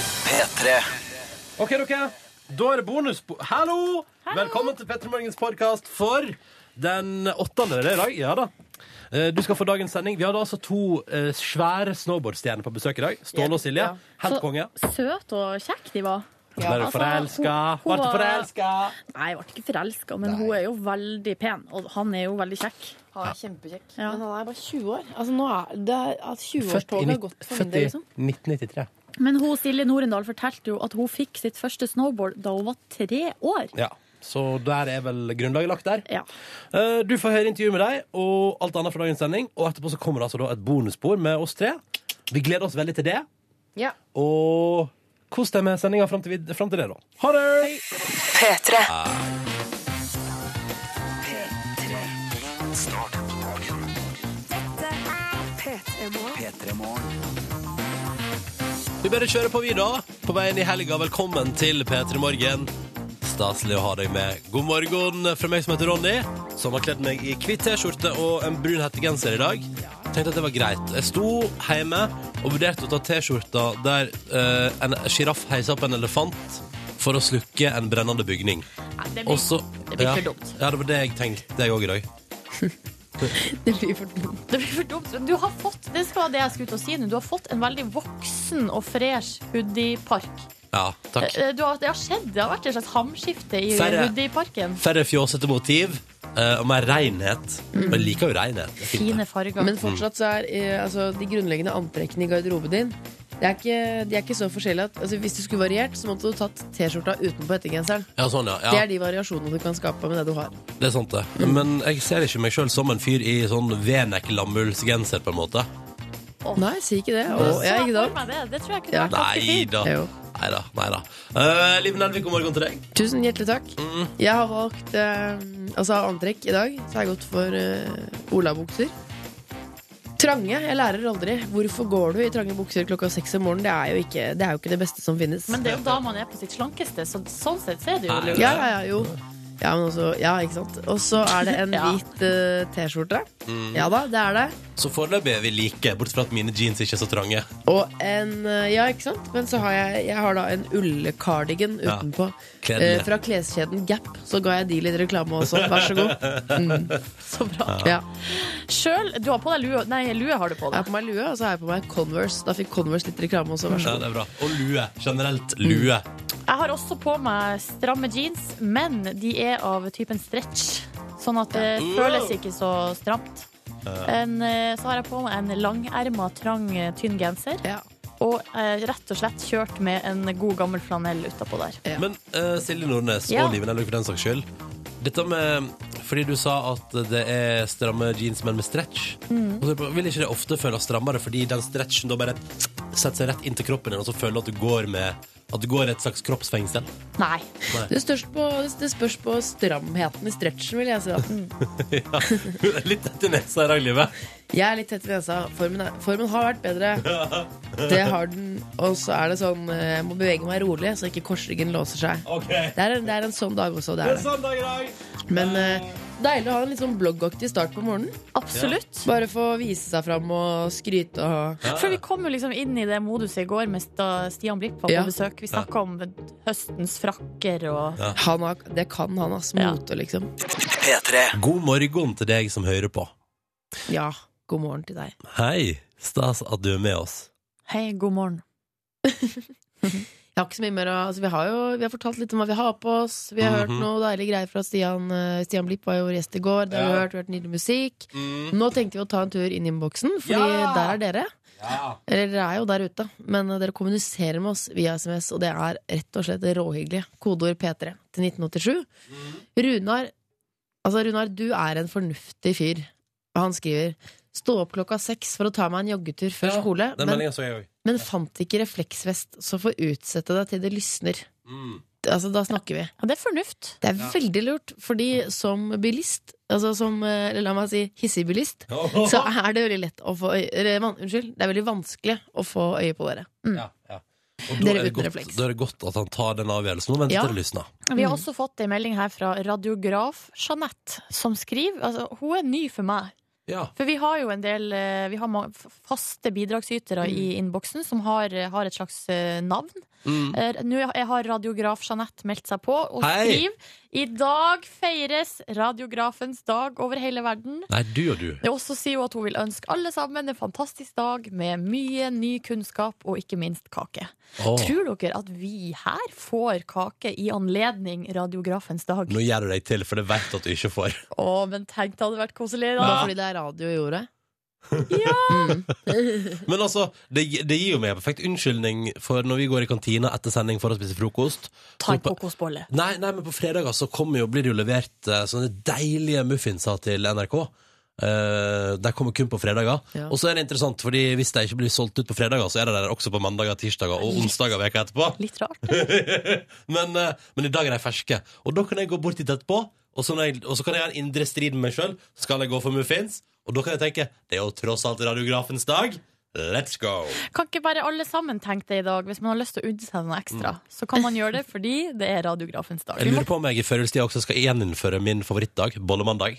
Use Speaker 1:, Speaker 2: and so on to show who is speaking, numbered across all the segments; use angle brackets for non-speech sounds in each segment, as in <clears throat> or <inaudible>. Speaker 1: P3.
Speaker 2: Ok, dere. Da er det bonus... Hallo! Velkommen til Petter Morgens podkast for den åttende. Det er i dag. Ja da. Eh, Du skal få dagens sending. Vi hadde altså to eh, svære snowboardstjerner på besøk i dag. Ståle og Silje. Helt konge.
Speaker 3: søt og kjekk de var.
Speaker 2: Ble du
Speaker 3: altså,
Speaker 2: forelska?
Speaker 3: hun- hun
Speaker 2: Ble du
Speaker 3: var-
Speaker 2: forelska?
Speaker 3: Nei, jeg ble ikke forelska, men hun er jo veldig pen, og han er jo veldig kjekk.
Speaker 4: Han er kjempekjekk.
Speaker 3: Ja.
Speaker 4: Men han er bare 20 år. Altså, nå er det at
Speaker 2: Født i
Speaker 4: 20-årstoget har
Speaker 2: nitt-
Speaker 4: gått for min
Speaker 2: født
Speaker 4: del,
Speaker 2: i
Speaker 4: liksom.
Speaker 2: 1993.
Speaker 3: Men hun, Silje Norendal fortalte jo at hun fikk sitt første snowboard da hun var tre år.
Speaker 2: Ja. Så der er vel grunnlaget lagt der.
Speaker 3: Ja.
Speaker 2: Eh, Du får høre intervju med deg og alt annet fra dagens sending. Og etterpå så kommer det altså da et bonusspor med oss tre. Vi gleder oss veldig til det.
Speaker 4: Ja.
Speaker 2: Og kos deg med sendinga fram til, vid- fram til det, da. Ha det!
Speaker 5: P3.
Speaker 1: P3 Morgen.
Speaker 2: Vi bare kjører på, vi, da. På veien i helga. Velkommen til P3 Morgen. Staselig å ha deg med. God morgen fra meg som heter Ronny, som har kledd meg i hvitt T-skjorte og en brun hettegenser i dag. Tenkte at det var greit. Jeg sto hjemme og vurderte å ta T-skjorta der eh, en sjiraff heiser opp en elefant for å slukke en brennende bygning.
Speaker 3: Nei, det
Speaker 2: Og så
Speaker 3: det blir
Speaker 2: ja.
Speaker 3: for dumt.
Speaker 2: Ja, det var det jeg tenkte, jeg òg i dag.
Speaker 4: Det blir for dumt.
Speaker 3: Det blir for dumt. Du har fått det skal være det jeg skulle til å si nå, du har fått en veldig voksen og fresh hoodiepark.
Speaker 2: Ja, takk.
Speaker 3: Eh, Du har, det har skjedd. Det har vært et slags hamskifte i
Speaker 2: Serre.
Speaker 3: hoodieparken.
Speaker 2: Færre fjåsete motiv eh, og mer renhet. Og jeg liker jo renhet. Det er fint,
Speaker 3: Mm. Fine
Speaker 2: det.
Speaker 3: farger.
Speaker 4: Men fortsatt så er eh, altså, de grunnleggende antrekkene i garderoben din det er ikke, De er ikke så forskjellige at altså, Hvis du skulle variert, så måtte du tatt T-skjorta utenpå hettegenseren.
Speaker 2: Ja, sånn, ja.
Speaker 4: Det
Speaker 2: ja.
Speaker 4: er de variasjonene du kan skape med det du har.
Speaker 2: Det er sant, det. Men jeg ser ikke meg sjøl som en fyr i sånn Venek-lammullsgenser, på en måte.
Speaker 4: Nei, si ikke det. Og,
Speaker 3: Så
Speaker 4: ja,
Speaker 3: jeg
Speaker 4: ikke
Speaker 3: får
Speaker 4: sant?
Speaker 3: meg det. Det tror jeg kunne
Speaker 4: Ja.
Speaker 3: vært ganske
Speaker 2: Nei
Speaker 3: fint.
Speaker 2: da.
Speaker 4: Jo.
Speaker 2: Nei da. Nei da. Eh, Liv Nelvik, god morgen til deg.
Speaker 4: Tusen hjertelig takk. Jeg har valgt eh, altså av antrekk i dag. Så har jeg gått for eh, olabukser. Trange. Jeg lærer aldri. Hvorfor går du i trange bukser klokka seks om morgenen? Det er jo ikke det, er jo ikke det beste som finnes.
Speaker 3: Men det er jo da man er på sitt slankeste, så sånn sett så er det jo
Speaker 2: Nei,
Speaker 3: lurt.
Speaker 4: ja, ja, ja, jo. Ja, men også, ja, ikke sant. Og så er det en
Speaker 3: Ja.
Speaker 4: hvit eh, T-skjorte.
Speaker 2: Mm.
Speaker 4: Ja da, det er det.
Speaker 2: Så foreløpig er vi like, bortsett fra at mine jeans ikke er så trange.
Speaker 4: Og en eh, Ja, ikke sant. Men så har jeg, jeg har da en ullkardigan
Speaker 2: Ja.
Speaker 4: utenpå.
Speaker 2: Kledelig.
Speaker 4: eh, fra kleskjeden Gap. Så ga jeg de litt reklame også. Vær så god. Mm.
Speaker 2: <laughs>
Speaker 3: Så bra.
Speaker 4: Ja.
Speaker 3: Sjøl, du har på deg lue. Nei, lue har du på
Speaker 4: Jeg har
Speaker 3: deg.
Speaker 4: på meg lue, og så har jeg på meg Converse. Da fikk Converse litt reklame også. Vær
Speaker 2: Ja,
Speaker 4: så god.
Speaker 2: det er bra. Og lue. Generelt lue.
Speaker 3: Jeg har også på meg stramme jeans, men de er av typen stretch. Sånn at det føles ikke så stramt. En, eh, så har jeg på meg en langerma, trang, eh, tynn genser.
Speaker 4: Ja.
Speaker 3: Og eh, rett og slett kjørt med en god gammel flanell utapå der.
Speaker 4: Ja.
Speaker 2: Men eh, Silje Nordnes
Speaker 3: Ja.
Speaker 2: og Liv Nelvik for den saks skyld. Dette med Fordi du sa at det er stramme jeans, men med stretch. Og så vil ikke det ofte føles strammere fordi den stretchen da bare setter seg rett inn til kroppen din, og så føler du at du går med At du går i et slags kroppsfengsel?
Speaker 3: Nei.
Speaker 4: Det, størst på, det spørs på stramheten i stretchen, vil jeg si. Da.
Speaker 2: Ja. <laughs> Litt etter nesa i dag, livet.
Speaker 4: Jeg er litt tett i nesa. Formen, er, formen har vært bedre. Det har den. Og så er det sånn eh, Jeg må bevege meg rolig, så ikke korsryggen låser seg. Det er, en- det er en sånn dag også. Det er det.
Speaker 2: Søndag i dag!
Speaker 4: Men eh, deilig å ha en litt sånn bloggaktig start på morgenen.
Speaker 3: Absolutt.
Speaker 4: Bare få vise seg fram og skryte og
Speaker 3: For vi kom jo liksom inn i det moduset i går med da Stian Blipp var på
Speaker 4: Ja.
Speaker 3: besøk. Vi snakka om høstens frakker og
Speaker 4: han har, Det kan han, altså.
Speaker 3: Ja.
Speaker 4: Mote, liksom.
Speaker 1: P3.
Speaker 2: God morgen til deg som hører på.
Speaker 4: Ja. God morgen til deg.
Speaker 2: Hei. Stas at du er med oss.
Speaker 3: Hei, god morgen.
Speaker 4: Jeg har ikke så mye mer å altså, Vi har jo vi har fortalt litt om hva vi har på oss. Vi har
Speaker 2: Mhm.
Speaker 4: hørt noe deilige greier fra Stian. eh, Stian Blipp var jo vår gjest i går. Det har vi
Speaker 2: Ja.
Speaker 4: hørt, vi har hørt nydelig musikk. Nå tenkte vi å ta en tur inn i innboksen, Fordi
Speaker 2: Ja!
Speaker 4: der er dere.
Speaker 2: Ja.
Speaker 4: Eller dere er jo der ute. Men eh, dere kommuniserer med oss via SMS, og det er rett og slett råhyggelig. Kodeord P3 til 1987.
Speaker 2: Mm.
Speaker 4: Runar, altså Runar, du er en fornuftig fyr. Og han skriver Stå opp klokka seks for å ta meg en joggetur før
Speaker 2: Ja,
Speaker 4: skole,
Speaker 2: Den
Speaker 4: men,
Speaker 2: meldinga så jeg òg.
Speaker 4: men fant ikke refleksvest, så får utsette deg til det lysner.
Speaker 2: Mm.
Speaker 4: Altså, da snakker vi.
Speaker 3: Ja, det er fornuft.
Speaker 4: Det er veldig lurt, fordi som bilist, altså som, eh, eller la meg si hissigbilist, <laughs> så er det veldig lett å få øye, eller, van- Unnskyld, det er veldig vanskelig å få øye på dere.
Speaker 2: Ja, ja. Og da
Speaker 4: Mm. Dere
Speaker 2: er, det
Speaker 4: uten
Speaker 2: godt,
Speaker 4: refleks.
Speaker 2: da er det godt at han tar den avgjørelsen. Nå venter
Speaker 4: Ja.
Speaker 2: det lysner.
Speaker 3: Vi har også fått en melding her fra radiograf Jeanette, som skriver altså, Hun er ny for meg.
Speaker 2: Ja.
Speaker 3: For vi har jo en del eh, Vi har ma- f- faste bidragsytere i innboksen som har, eh, har et slags eh, navn.
Speaker 2: Mm.
Speaker 3: Eh, Nå har radiograf Jeanette meldt seg på og
Speaker 2: Hei.
Speaker 3: skriver I dag feires radiografens dag over hele verden.
Speaker 2: Nei, du og du.
Speaker 3: Og så sier hun at hun vil ønske alle sammen en fantastisk dag med mye ny kunnskap og ikke minst kake.
Speaker 2: Åh,
Speaker 3: Tror dere at vi her får kake i anledning radiografens dag?
Speaker 2: Nå gjør du deg til, for det vet du at du ikke får.
Speaker 3: Å, men tenk det hadde vært koselig, da.
Speaker 4: Bare fordi det er radio i jordet.
Speaker 2: Men altså, det, det gir jo meg en perfekt unnskyldning for når vi går i kantina etter sending for å spise frokost.
Speaker 3: Ta en
Speaker 2: så på-
Speaker 3: kokosbolle.
Speaker 2: Nei, nei, men på fredager så kommer jo, blir det jo levert eh, sånne deilige muffinser til NRK. Eh, de kommer kun på fredager.
Speaker 4: Ja.
Speaker 2: Og så er det interessant, fordi hvis de ikke blir solgt ut på fredager, så er det der også på mandager, tirsdager og onsdager veka etterpå.
Speaker 3: Litt rart. det.
Speaker 2: men, eh, men i dag er de ferske. Og da kan jeg gå bort dit etterpå, og så, når jeg, og så kan jeg ha en indre strid med meg sjøl. Skal jeg gå for muffins? Og da kan jeg tenke det er jo tross alt radiografens dag. Let's go!
Speaker 3: Kan ikke bare alle sammen tenke det i dag? Hvis man har lyst til å unne seg noe ekstra, så kan man gjøre det fordi det er radiografens dag.
Speaker 2: Mm. Jeg lurer på om jeg i førjulstida også skal gjeninnføre min favorittdag, bollemandag.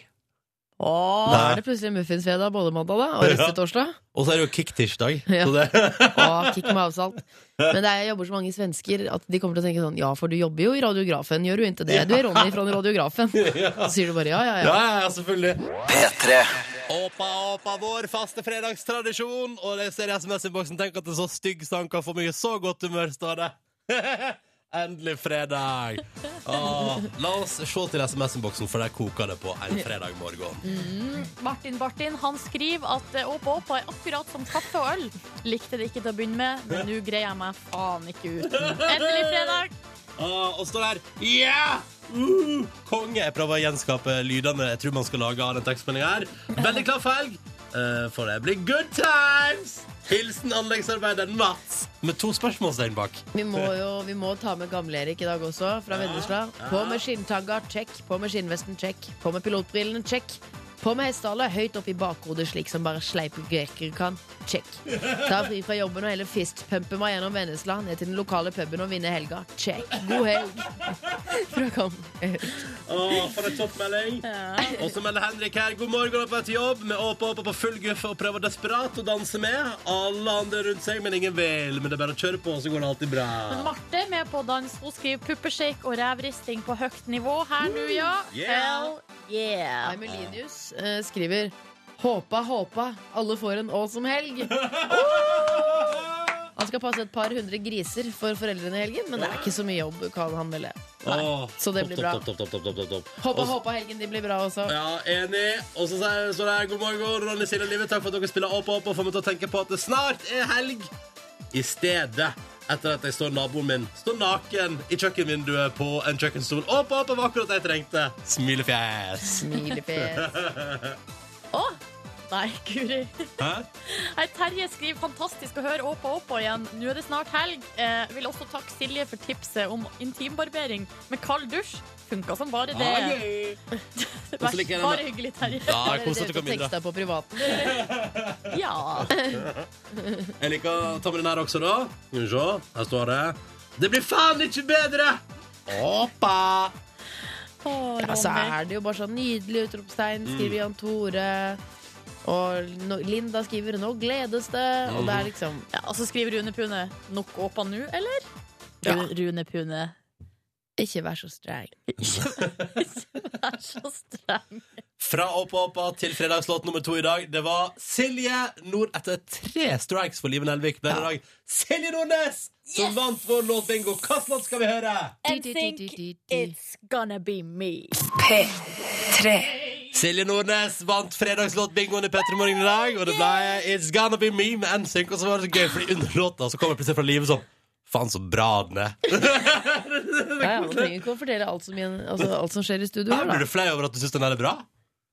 Speaker 4: Da er det plutselig muffinsfredag både mandag da, og restetorsdag.
Speaker 2: Og så er det jo kicktirsdag.
Speaker 4: Ja.
Speaker 2: Så det <laughs>
Speaker 4: Og kick med avsalt. Men det er, jobber så mange svensker at de kommer til å tenke sånn Ja, for du jobber jo i Radiografen, gjør du ikke det? Du er Ronny fra Radiografen. Så sier du bare <laughs> ja, ja, ja.
Speaker 2: Ja, ja, selvfølgelig.
Speaker 1: P3
Speaker 2: Åpa, åpa, vår faste fredagstradisjon. Og det ser i SMS-innboksen. Tenk at en så stygg sang kan få meg i så godt humør, står det. <laughs> Endelig fredag. Åh, la oss se til SMS-innboksen, for der koker det på en fredag morgen.
Speaker 3: Martin Bartin han skriver at eh, Åpa Åpa er akkurat som kaffe og øl. Likte det ikke til å begynne med, men nå greier jeg meg faen ikke ut. Endelig fredag!
Speaker 2: Åh, og står der. Ja! Uh, konge. Jeg prøver å gjenskape lydene jeg tror man skal lage av den tekstmeldinga her. Veldig klar for helg. Eh, for det blir good times! Hilsen anleggsarbeideren Mats. Med to spørsmålstegn bak.
Speaker 4: Vi må jo vi må ta med Gamle-Erik i dag også, fra Vennesla. På med skinntanga, check. På med skinnvesten, check. På med pilotbrillene, check. På med hestehale høyt opp i bakhodet, slik som bare sleipe grekere kan. Check. Ta fri fra jobben og heller fistpumpe meg gjennom Vennesla, ned til den lokale puben og vinne helga. Check. God helg. Fra Gamle-Erik.
Speaker 2: Åh, for en toppmelding. Og så melder Henrik her god morgen opp etter jobb med åpe åpe på full guffe og prøver desperat å danse med. Alle andre rundt seg, men ingen vil. Men det er bare å kjøre på, så går det alltid bra.
Speaker 3: Men Marte er med på dans. Hun skriver puppeshake og revristing på høyt nivå her nå, ja.
Speaker 2: Yeah.
Speaker 3: Hell yeah.
Speaker 4: Emelinius eh, skriver Håpa, håpa, alle får en awesome <laughs> helg. Han skal passe et par hundre griser for foreldrene i helgen, men det er ikke så mye jobb, kan han melde.
Speaker 2: Åh,
Speaker 4: så
Speaker 2: topp,
Speaker 4: det blir
Speaker 2: topp,
Speaker 4: bra.
Speaker 2: Topp, topp, topp, topp, topp, topp.
Speaker 4: Håpa,
Speaker 2: Og så-
Speaker 4: håpa helgen de blir bra også.
Speaker 2: Ja, enig. Og så sier- står det her god morgen, Ronny Silje Live. Takk for at dere spiller opp og opp og får meg til å tenke på at det snart er helg. I stedet etter at jeg står naboen min står naken i kjøkkenvinduet på en kjøkkenstol. Opp og opp var akkurat det jeg trengte. Smilefjes.
Speaker 4: <laughs> Smilefjes.
Speaker 3: Å, nei, guri.
Speaker 2: Hæ?
Speaker 3: Hei, Terje skriver fantastisk å høre Åpa Åpa igjen. Nå er det snart helg. Eh, vil også takke Silje for tipset om intimbarbering med kald dusj. Funka som bare det. <laughs> Vær,
Speaker 2: så liker jeg den
Speaker 3: bare
Speaker 2: da.
Speaker 3: hyggelig,
Speaker 2: <laughs>
Speaker 3: Terje.
Speaker 2: Ja,
Speaker 4: Dere
Speaker 2: kos at
Speaker 4: ute
Speaker 2: du
Speaker 4: og
Speaker 2: kom inn, da.
Speaker 4: teksta på privaten.
Speaker 3: Ja.
Speaker 2: Jeg liker å ta med den her også, da. Skal vi se. Her står det. Det blir faen ikke bedre! Oppa!
Speaker 3: Å,
Speaker 4: Ja, så
Speaker 3: Ronny.
Speaker 4: er det jo Mm. bare sånn nydelig utropstegn, skriver Jan Tore. Og nå- Linda skriver 'Nå gledes det'. Og det er liksom
Speaker 3: Ja, og så skriver Rune Pune nok Åpa nå, eller?
Speaker 2: Ja.
Speaker 3: Ru- Rune Pune. <laughs>
Speaker 4: Ikke vær så streng.
Speaker 3: Vær så streng.
Speaker 2: Fra Oppa Oppa til fredagslåt nummer to i dag. Det var Silje Nord etter tre strikes for Liven Elvik ble det i dag. Silje Nordnes som
Speaker 3: Yes!
Speaker 2: vant vår låtbingo. Hvilken låt skal vi høre?
Speaker 3: NSYNC, it's gonna be me.
Speaker 2: Silje Nordnes vant fredagslåtbingoen i P3 Morgen i dag, og det ble It's Gonna Be Me med NSYNC. Og så var det så gøy, fordi under låta så kom jeg plutselig fra livet sånn Faen, så bra den <laughs> er.
Speaker 4: Ja, ja, man trenger ikke å fortelle alt som, igjen- altså, alt som skjer i studio
Speaker 2: Her
Speaker 4: her,
Speaker 2: blir
Speaker 4: da.
Speaker 2: du flau over at du syns den her er bra.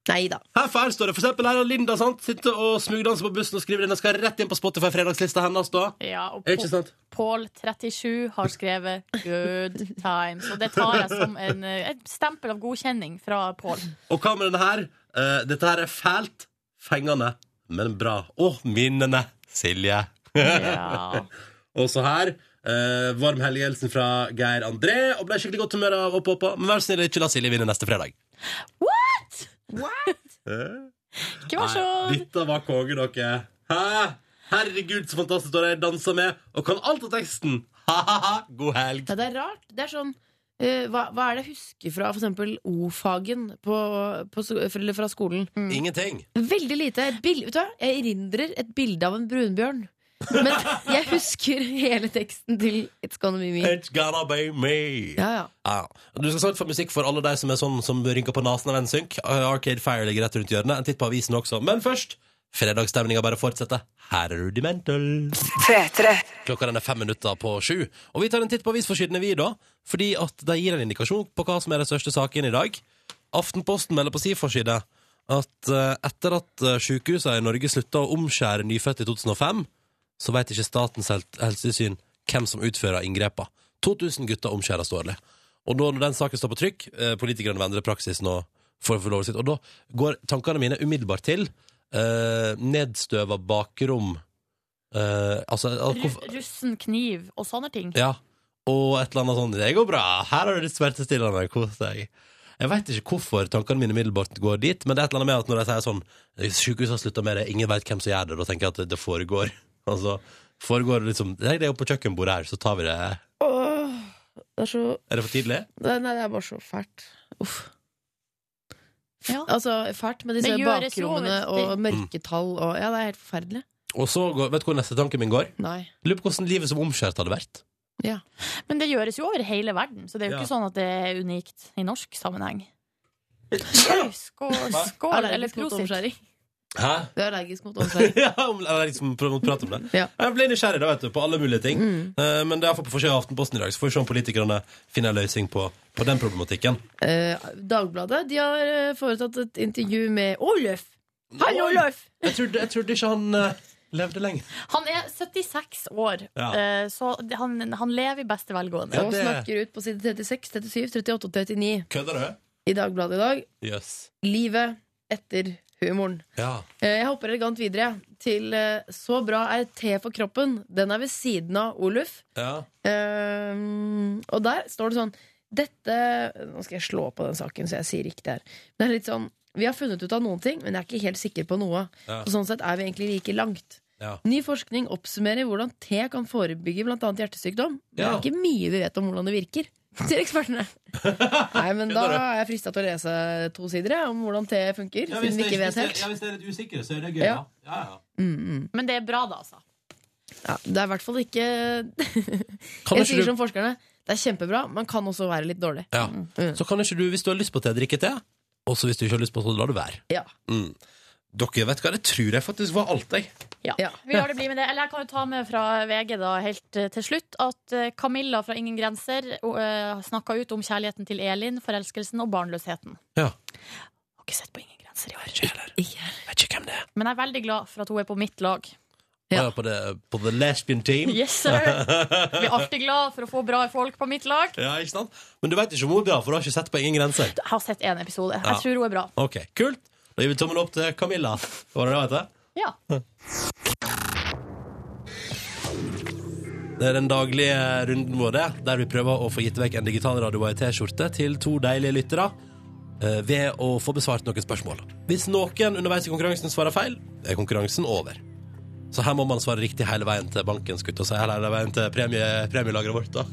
Speaker 4: Nei da.
Speaker 2: Her feil står det for eksempel her er Linda sant? Sitter og smugdanser på bussen og skriver den. Jeg skal rett inn på Spotify fredagslista hennes da.
Speaker 3: Ja, og
Speaker 2: Ikke sånn- sant?
Speaker 3: Pål37 har skrevet 'Good times'. Og det tar jeg som en, eh, et stempel av godkjenning fra Pål.
Speaker 2: Og hva med denne her? Eh, dette her er fælt, fengende, men bra. Og minnene. Silje.
Speaker 3: Ja.
Speaker 2: Og så her. eh, varm helgehilsen fra Geir André. Og ble skikkelig godt humør av Oppa Oppa. Men vær så snill, ikke la Silje vinne neste fredag.
Speaker 3: What?! Ikke vær så
Speaker 2: Nei, dette var konge, dere. Hæ? Herregud, så fantastisk da jeg dansa med, og kan alt av teksten. Ha-ha-ha, god helg.
Speaker 4: Ja, det er rart. Det er sånn eh, hva, hva er det jeg husker fra for eksempel O-fagen på, på, sko- eller fra skolen?
Speaker 2: Ingenting.
Speaker 4: Veldig lite. Et bil- vet du, hva? jeg erindrer et bilde av en brunbjørn. Men <laughs> jeg husker hele teksten til It's Gonna Be Me.
Speaker 2: It's gonna be me.
Speaker 4: Ja, ja.
Speaker 2: Ja. Du skal snart få musikk for alle de som er sånn som rynker på nesen av en synk. Arcade Fire ligger rett rundt hjørnet. En titt på avisen også. Men først, fredagsstemninga bare fortsetter. Her er Rudimental. Klokka den er fem minutter på sju. Og vi tar en titt på avisforsidene, vi, da. Fordi at de gir en indikasjon på hva som er de største sakene i dag. Aftenposten melder på si forside at eh, etter at eh, sykehusene i Norge slutta å omskjære nyfødte i 2005, så veit ikke Statens hel- helsetilsyn hvem som utfører inngrepene. 2000 gutter omskjæres årlig. Og da, når den saken står på trykk, eh, politikerne vendrer praksisen og får forlovet sitt, og da går tankene mine umiddelbart til eh, nedstøva bakrom eh, Altså al- hvorfor-
Speaker 3: Ru- Russen, kniv og sånne ting.
Speaker 2: Ja. Og et eller annet sånn 'Det går bra. Her har du litt smertestillende. Kos deg'. Jeg veit ikke hvorfor tankene mine umiddelbart går dit, men det er et eller annet med at når de sier sånn 'Sykehuset har slutta med det, ingen veit hvem som gjør det', da tenker jeg at det- det foregår. <laughs> Altså, foregår det liksom Legg det opp på kjøkkenbordet her, så tar vi det.
Speaker 4: Åh, det er så
Speaker 2: Er det for tidlig?
Speaker 4: Nei, nei, det er bare så fælt. Uff.
Speaker 3: Ja.
Speaker 4: Altså, fælt med disse
Speaker 3: Det gjøres jo,
Speaker 4: bakrommene
Speaker 3: vet du.
Speaker 4: og mørketall og Ja, det er helt forferdelig.
Speaker 2: Og så går, Vet du hvor neste tanken min går?
Speaker 4: Nei.
Speaker 2: Lurer på hvordan livet som omskjært hadde vært.
Speaker 3: Men det gjøres jo over hele verden, så det er jo
Speaker 2: Ja.
Speaker 3: ikke sånn at det er unikt i norsk sammenheng. Skål, skål, skål eller
Speaker 4: Allergisk mot
Speaker 3: prosit.
Speaker 4: omskjæring.
Speaker 2: Hæ?
Speaker 4: Du er allergisk mot omskjæring.
Speaker 2: <laughs> ja, om- eller liksom prøve å prate om det.
Speaker 4: Ja.
Speaker 2: Jeg ble nysgjerrig da, vet du, på alle mulige ting. Eh, men det er iallfall på forsida av Aftenposten i dag, så får vi se om politikerne finner en løsning på, på den problematikken.
Speaker 4: Eh, Dagbladet de har eh, foretatt et intervju med Oluf. Hallo, Oluf!
Speaker 2: Jeg trodde, jeg trodde ikke han eh, levde lenge.
Speaker 3: Han er 76 år,
Speaker 2: Ja.
Speaker 3: eh, så han, han lever i beste velgående.
Speaker 2: Ja,
Speaker 4: Og
Speaker 2: det-
Speaker 4: snakker ut på side 36, 37, 38 og 39
Speaker 2: Kødder du?
Speaker 4: i Dagbladet i dag.
Speaker 2: Jøss.
Speaker 4: Livet etter humoren.
Speaker 2: Ja.
Speaker 4: Eh, Jeg hopper elegant videre jeg, til eh, Så bra er te for kroppen. Den er ved siden av Oluf.
Speaker 2: ja.
Speaker 4: Eh, og der står det sånn Dette Nå skal jeg slå på den saken, så jeg sier riktig her. Men det er litt sånn Vi har funnet ut av noen ting, men jeg er ikke helt sikker på noe.
Speaker 2: Ja.
Speaker 4: Så sånn sett er vi egentlig like langt.
Speaker 2: Ja.
Speaker 4: Ny forskning oppsummerer hvordan te kan forebygge bl.a. hjertesykdom. Men Det
Speaker 2: Ja.
Speaker 4: er ikke mye vi vet om hvordan det
Speaker 2: <laughs>
Speaker 4: virker, sier ekspertene. Nei, men da er jeg frista til å lese to sider jeg, om hvordan te funker, siden vi ikke vet helt.
Speaker 2: hvis dere er litt usikre, så er det gøy,
Speaker 4: Ja.
Speaker 2: ja,
Speaker 3: Men det er bra, da, altså.
Speaker 4: Ja, det er i hvert fall ikke
Speaker 2: Kan
Speaker 4: <laughs>
Speaker 2: ikke
Speaker 4: Jeg sier
Speaker 2: du,
Speaker 4: som forskerne, det er kjempebra, man kan også være litt dårlig.
Speaker 2: ja.
Speaker 4: Mm.
Speaker 2: Så kan ikke du, hvis du har lyst på te, drikke te. Også hvis du ikke har lyst på det, så lar du være.
Speaker 4: Ja.
Speaker 2: Mm. Dere vet hva, det tror jeg faktisk var alt, jeg.
Speaker 3: Ja.
Speaker 4: Ja.
Speaker 3: Vi lar det bli med det. Eller jeg kan jo ta med fra VG da, helt eh, til slutt at eh, Camilla fra Ingen grenser uh, snakka ut om kjærligheten til Elin, forelskelsen og barnløsheten.
Speaker 2: Ja.
Speaker 3: Har ikke sett på Ingen grenser i år.
Speaker 2: Ikke heller. Vet ikke hvem det er.
Speaker 3: Men jeg er veldig glad for at hun er på mitt lag.
Speaker 4: Ja.
Speaker 2: Å, ja, på, det, på The Lesbian Team.
Speaker 3: Yes, sir! Vi er alltid glad for å få bra folk på mitt lag.
Speaker 2: Ja, ikke sant? Men du vet ikke om hun er bra, for du har ikke sett på ingen grenser.
Speaker 3: Jeg har sett én episode.
Speaker 2: Ja.
Speaker 3: Jeg tror hun er bra.
Speaker 2: Ok, kult. Da gir vi tommel opp til Camilla. Var det det, vet du?
Speaker 3: Ja.
Speaker 2: Det er den daglige runden vår, det, der vi prøver å få gitt vekk en digital radio og en T-skjorte til to deilige lyttere eh, ved å få besvart noen spørsmål. Hvis noen underveis i konkurransen svarer feil, er konkurransen over. Så her må man svare riktig hele veien til banken, skutt, og si hele veien til premie, premielageret vårt, da.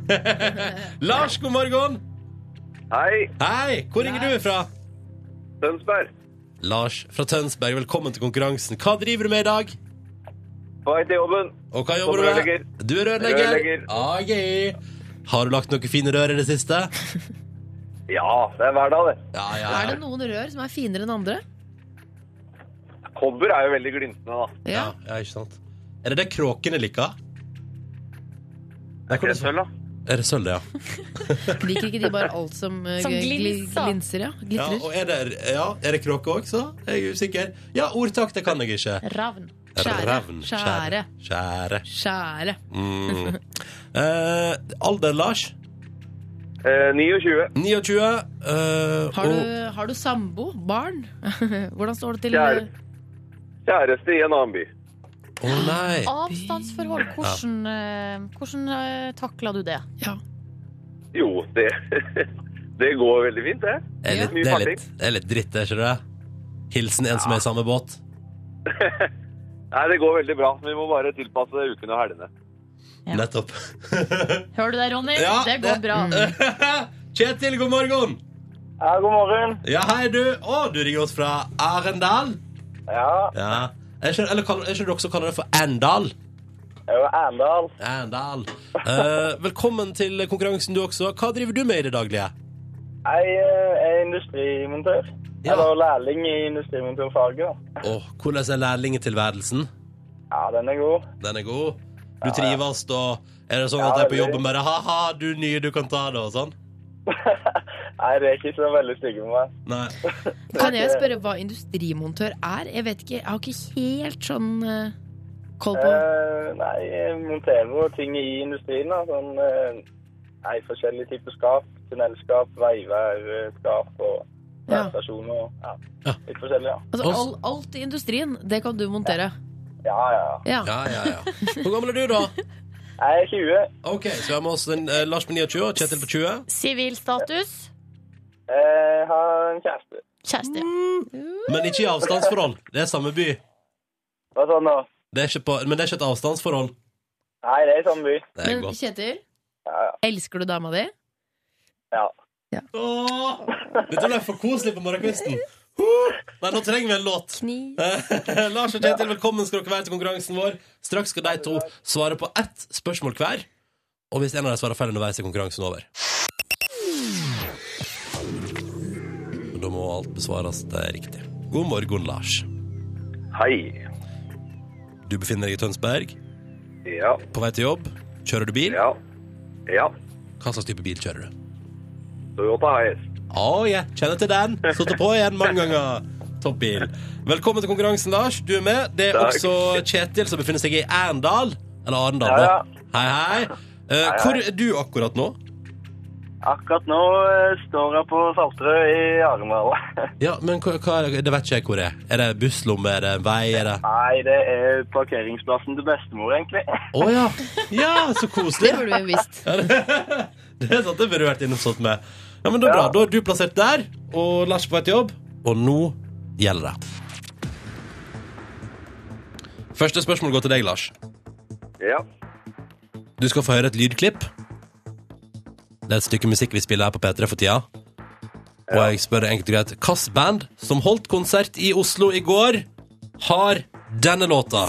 Speaker 2: <laughs> Lars, god morgen!
Speaker 5: Hei,
Speaker 2: Hei! Hvor ringer du fra?
Speaker 5: Tønsberg.
Speaker 2: Lars fra Tønsberg, velkommen til konkurransen. Hva driver du med i dag?
Speaker 5: På vei til jobben.
Speaker 2: Og hva jobber du
Speaker 5: Som
Speaker 2: med?
Speaker 5: rørlegger.
Speaker 2: Du er rørlegger.
Speaker 5: Rørlegger.
Speaker 2: Ah, gøy. Har du lagt noen fine rør i det siste?
Speaker 5: Ja, det er hverdag, det.
Speaker 2: Ja, ja.
Speaker 4: Er det noen rør som er finere enn andre?
Speaker 5: Kobber er jo veldig glimtende, da.
Speaker 2: ja, ja, ikke sant. Er det det kråkene liker? Nei, hvordan-
Speaker 5: Det er sølv, da.
Speaker 2: Er det sølv, ja.
Speaker 4: Liker ikke de bare alt som, eh,
Speaker 3: Som
Speaker 4: gli-
Speaker 3: glinser.
Speaker 4: glinser? Ja.
Speaker 2: ja.
Speaker 4: Glitrer.
Speaker 2: Og er det, ja, er det kråke også? Jeg er usikker. Ja, ordtak, det kan jeg ikke.
Speaker 3: Ravn.
Speaker 4: Skjære.
Speaker 2: Ravn. Skjære. Skjære.
Speaker 4: Skjære.
Speaker 2: Mm. Eh, alder, Lars?
Speaker 5: Eh, 29.
Speaker 2: 29. Eh,
Speaker 4: Har du,
Speaker 2: og-
Speaker 4: har du sambo? Barn? <laughs> Hvordan står det til?
Speaker 5: Kjære. Kjæreste i en annen by.
Speaker 2: Å nei.
Speaker 3: Avstandsforhold. Hvordan, eh, hvordan eh, takla du det?
Speaker 4: Ja.
Speaker 5: Jo, det <laughs> Det går veldig fint, det.
Speaker 2: Det er litt, det
Speaker 5: Mye
Speaker 2: er
Speaker 5: farting.
Speaker 2: litt, det er litt dritt, det, ikke det? Hilsen en som er i samme båt.
Speaker 5: Nei, det går veldig bra. Vi må bare tilpasse ukene og helgene.
Speaker 3: Ja.
Speaker 2: Nettopp. <laughs>
Speaker 3: Hører du det, Ronny?
Speaker 2: Ja,
Speaker 3: det Mm. går
Speaker 2: det-
Speaker 3: bra.
Speaker 2: Kjetil, god morgen!
Speaker 5: Ja, god morgen.
Speaker 2: Ja, hei, du. Å, du ringer oss fra Arendal.
Speaker 5: Ja,
Speaker 2: Ja. Er ikke, eller kaller, er ikke dere også kaller det for Arendal?
Speaker 5: jeg er Arendal.
Speaker 2: Arendal. Eh, velkommen til konkurransen, du også. Hva driver du med i det daglige?
Speaker 5: Jeg eh, er industrimontør.
Speaker 2: Ja. Eller
Speaker 5: lærling i industrimontørfaget.
Speaker 2: Og hvordan er lærlingtilværelsen?
Speaker 5: Ja, den er god. <laughs>
Speaker 2: Den er god. Du trives, og er det sånn at
Speaker 5: Ja,
Speaker 2: de på
Speaker 5: veldig.
Speaker 2: jobben bare Ha-ha, du nye, du kan ta det, og sånn?
Speaker 5: Nei, det er ikke så veldig stygge med meg.
Speaker 2: Nei.
Speaker 4: Kan
Speaker 3: Eh,
Speaker 4: jeg spørre hva industrimontør er? Jeg vet ikke, jeg har ikke helt sånn eh, koll på
Speaker 5: Eh, nei, jeg monterer jo ting i industrien. Da. Sånn, eh, nei, forskjellige typer skap. Tunnelskap, veiværskap og
Speaker 4: Ja.
Speaker 3: eh,
Speaker 5: værstasjoner. og- Ja.
Speaker 2: Ja.
Speaker 5: Litt forskjellig, ja.
Speaker 4: altså, all, Alt i industrien, det kan du montere.
Speaker 5: Ja, ja.
Speaker 4: Ja.
Speaker 2: Ja, ja, ja. Hvor gammel er du, da?
Speaker 5: Jeg er 20.
Speaker 2: OK, så vi har med oss en, eh, Lars på 29 og Kjetil på 20.
Speaker 3: Sivilstatus?
Speaker 5: Jeg har en kjæreste.
Speaker 3: Kjæreste.
Speaker 2: Men ikke i avstandsforhold. Det er samme by.
Speaker 5: Hva sånn nå?
Speaker 2: Det er ikke på, men det er ikke et avstandsforhold.
Speaker 5: Nei, det er i samme by.
Speaker 2: Det er
Speaker 4: Men
Speaker 2: godt.
Speaker 4: Kjetil,
Speaker 5: Ja, ja.
Speaker 4: elsker du dama di?
Speaker 5: ja.
Speaker 2: Åh, dette ble for koselig på morgenkvisten. Huh! Nei, nå trenger vi en låt. Eh, <laughs> Lars og Kjetil, velkommen skal dere være til konkurransen vår. Straks skal de to svare på ett spørsmål hver. Og hvis en av dem svarer feil underveis, er konkurransen over. Da må alt besvares det er riktig. God morgen, Lars.
Speaker 5: Hei.
Speaker 2: Du befinner deg i Tønsberg,
Speaker 5: Ja.
Speaker 2: på vei til jobb. Kjører du bil?
Speaker 5: Ja. Ja.
Speaker 2: Hva slags type bil kjører du?
Speaker 5: Toyota Hiace.
Speaker 2: Å ja, kjenner til den. Satte på igjen mange ganger. Topp bil. Velkommen til konkurransen, Lars. Du er med. Det er
Speaker 5: Takk.
Speaker 2: også Kjetil, som befinner seg i Arendal. Eller Arendal,
Speaker 5: Ja, ja.
Speaker 2: da. Hei, hei. Eh, hvor er du akkurat nå?
Speaker 5: Akkurat nå eh, står jeg på Saltrød i Arendal. <laughs>
Speaker 2: Ja, men hva, hva er det? det vet ikke jeg hvor det er. Er det busslomme? Er det en vei? Er det Å
Speaker 5: Nei, det er parkeringsplassen til bestemor, egentlig. <laughs>
Speaker 2: ja. ja! Så
Speaker 4: Det
Speaker 2: koselig.
Speaker 4: burde vi jo
Speaker 3: <laughs>
Speaker 4: visst.
Speaker 2: <laughs> Det er sant, det burde du vært innom sånt med. Ja, men da er bra.
Speaker 5: Ja.
Speaker 2: Da er du plassert der, og Lars på vei til jobb. Og nå gjelder det. Første spørsmål går til deg, Lars.
Speaker 5: Ja.
Speaker 2: Du skal få høre et lydklipp. Det er et stykke musikk vi spiller her på P3 for tida. Og jeg spør enkelt og greit Hvilket band som holdt konsert i Oslo i går, har denne låta?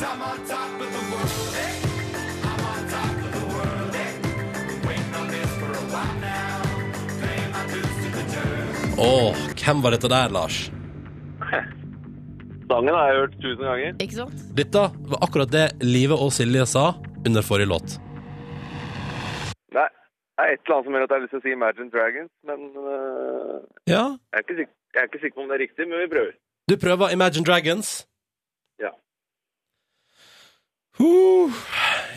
Speaker 2: Åh, hvem var dette der, Lars?
Speaker 5: Sangen har jeg hørt tusen ganger.
Speaker 4: Ikke sant?
Speaker 2: Dette var akkurat det Live og Silje sa under forrige låt.
Speaker 5: Nei, det er et eller annet som gjør at jeg har lyst til å si Imagine Dragons, men eh,
Speaker 2: Ja,
Speaker 5: jeg, er ikke sikker, jeg er ikke sikker på om det er riktig, men vi prøver.
Speaker 2: Du prøver Imagine Dragons?
Speaker 5: Ja.
Speaker 2: Huh,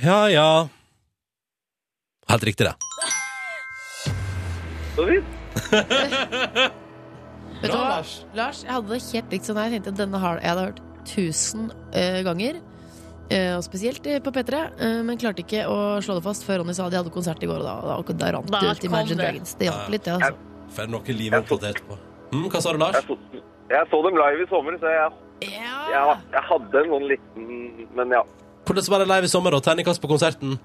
Speaker 2: ja, ja. Helt riktig, det.
Speaker 5: Så fint.
Speaker 4: Vet du hva? Lars, jeg hadde det helt likt sånn her. Jeg tenkte at denne har jeg hadde hørt tusen eh, ganger. eh, og spesielt eh, på P3, eh, men klarte ikke å slå det fast før Ronny sa de hadde konsert i går. Og da, da, og da rant
Speaker 3: Da
Speaker 4: det ut
Speaker 3: kom
Speaker 4: Imagine
Speaker 3: det.
Speaker 4: Dragons. Det hjalp litt, det. Altså.
Speaker 2: Får noe liv oppdatert på. Mm, hva sa du, Lars?
Speaker 5: Jeg så, jeg så dem live i sommer, så jeg, jeg, jeg hadde en sånn liten Men ja,
Speaker 2: Hvordan var det live i sommer, da? Terningkast på konserten?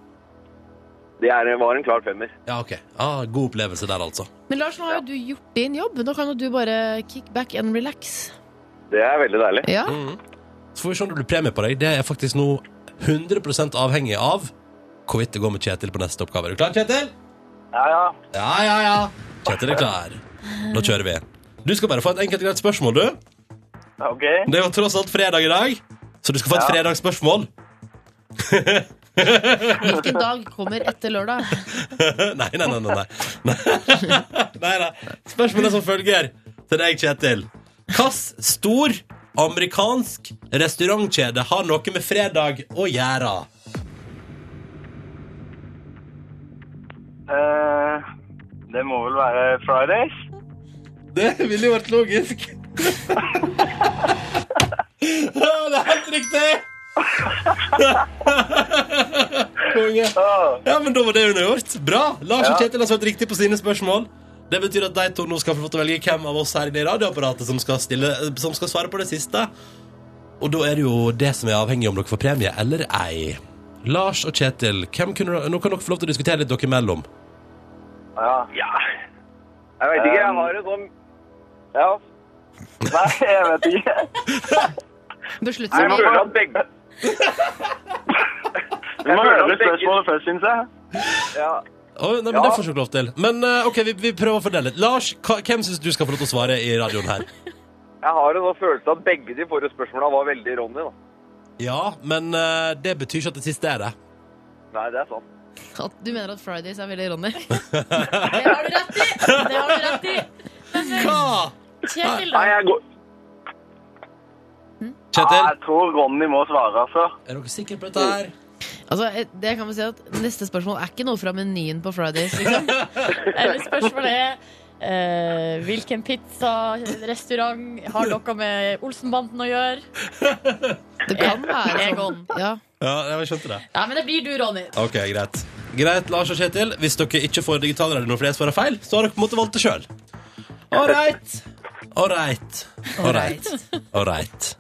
Speaker 5: det er, var en klar femmer.
Speaker 2: Ja, OK. Ah, god opplevelse der, altså.
Speaker 4: Men Lars, nå har jo du gjort din jobb. Nå kan jo du bare kick back and relax.
Speaker 5: Det er veldig deilig.
Speaker 4: Ja,
Speaker 2: Så får vi se om det blir premie på deg. Det er faktisk nå 100 avhengig av hvorvidt det går med Kjetil på neste oppgave. Er du klar, Kjetil?
Speaker 5: Ja, ja.
Speaker 2: Ja, ja, ja. Kjetil er klar. Nå kjører vi. Du skal bare få et enkelt og greit spørsmål, du.
Speaker 5: OK.
Speaker 2: Det er jo tross alt fredag i dag, så du skal få et fredagsspørsmål. <laughs>
Speaker 4: Hvilken dag kommer etter lørdag?
Speaker 2: Nei, nei, nei. nei, <laughs> nei. nei, nei. Spørsmålet som følger til deg, Kjetil. Hvilken stor amerikansk restaurantkjede har noe med fredag å gjøre?
Speaker 5: eh, det må vel være Fridays?
Speaker 2: Det ville jo vært logisk. Ja, Det er helt riktig! Konge. Ja, men da var det undergjort. Bra. Lars og
Speaker 5: Ja.
Speaker 2: Kjetil har svart riktig på sine spørsmål. Det betyr at de to nå skal få lov til å velge hvem av oss her i det radioapparatet som skal, stille, som skal svare på det siste. Og da er det jo det som er avhengig om dere får premie eller ei. Lars og Kjetil, hvem kunne, dere- nå kan dere få lov til å diskutere litt dere imellom.
Speaker 5: Ja.
Speaker 6: Jeg vet ikke, jeg
Speaker 5: Um,
Speaker 6: har en sånn
Speaker 5: ja. Nei, jeg vet ikke.
Speaker 4: Beslutt
Speaker 6: Jeg
Speaker 4: som
Speaker 6: føler at begge
Speaker 5: Du må
Speaker 6: høre spørsmålet
Speaker 5: først, syns jeg. Ja.
Speaker 2: Å, nei, men
Speaker 5: Ja.
Speaker 2: Det får dere ikke lov til. Men eh, ok, vi, vi prøver å fordele litt. Lars, hva, hvem syns du skal få lov til å svare i radioen her?
Speaker 6: Jeg har en sånn følelse at begge de forrige spørsmåla var veldig Ronny, da.
Speaker 2: <laughs> Ja, men eh, det betyr ikke at det siste er det.
Speaker 6: Nei, det er sant.
Speaker 4: At du mener at Fridays er veldig Ronny?
Speaker 3: Det har du rett i! Det har du rett i.
Speaker 2: Hva?
Speaker 3: Kjetil,
Speaker 5: Nei,
Speaker 3: da.
Speaker 5: jeg, går, Nei,
Speaker 2: Kjetil,
Speaker 5: jeg tror Ronny må svare, altså.
Speaker 2: er dere sikre på dette her?
Speaker 4: Altså, eh, det kan vi si at Neste spørsmål er ikke noe fra menyen på Fridays. Liksom.
Speaker 3: Eller spørsmålet er eh, hvilken pizzarestaurant har noe med Olsenbanden å gjøre?
Speaker 4: Det kan være sånn.
Speaker 3: Egon.
Speaker 4: Ja.
Speaker 2: Ja, jeg skjønte det.
Speaker 3: Nei, men det blir du, Ronny.
Speaker 2: Ok, greit. Greit, Lars og Kjetil. Hvis dere ikke får digitalradio når flere svarer feil, så har dere på en måte valgt det sjøl. Ålreit. Ålreit. Ålreit. Ålreit.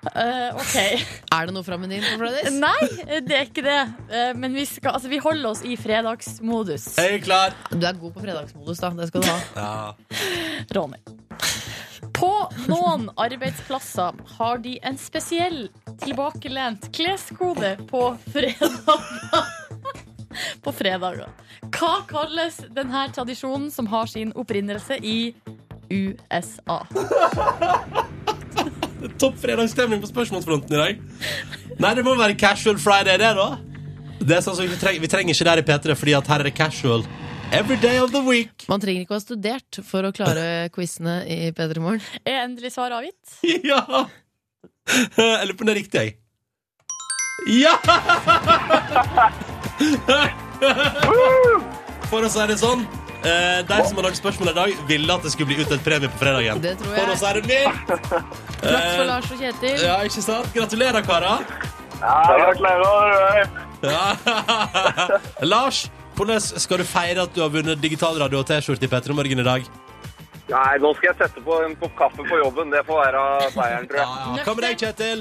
Speaker 3: Eh, OK.
Speaker 4: Er det noe fra menyen på Fridays?
Speaker 3: Nei, det er ikke det. Eh, Men vi, skal, altså, vi holder oss i fredagsmodus.
Speaker 2: Er dere klar?
Speaker 4: Du er god på fredagsmodus, da. Det skal du ha.
Speaker 2: Ja.
Speaker 3: Ronny. På noen arbeidsplasser har de en spesiell tilbakelent kleskode på fredager. <laughs> På fredager. Hva kalles denne tradisjonen som har sin opprinnelse i USA?
Speaker 2: Topp fredagsstemning på spørsmålsfronten i dag. Nei, det må være casual friday, det, da. Det er sånn som Vi trenger, vi trenger ikke det her i P3, fordi at her er det casual every day of the week. <laughs>
Speaker 4: Man trenger ikke å ha studert for å klare quizene i P3 Morgen.
Speaker 3: Er endelig svar avgitt?
Speaker 2: Ja! Jeg lurer på om det er riktig, jeg. Ja! <laughs> For å si det sånn eh, De som har lagd spørsmål i dag, ville at det skulle bli utdelt premie på fredagen.
Speaker 4: Det tror jeg.
Speaker 2: For å si det mildt. Eh,
Speaker 4: Flaks for Lars og Kjetil.
Speaker 2: Ja, ikke sant? Gratulerer, karer.
Speaker 5: Ja, klarer,
Speaker 2: Ja. <laughs> Lars, hvordan skal du feire at du har vunnet digital radio og T-skjorte i Petter Morgen i dag?
Speaker 6: Nei, nå skal jeg sette på en kopp kaffe på jobben. Det får være seieren, tror
Speaker 2: Ja,
Speaker 6: jeg.
Speaker 2: ja. Hva med deg, Kjetil?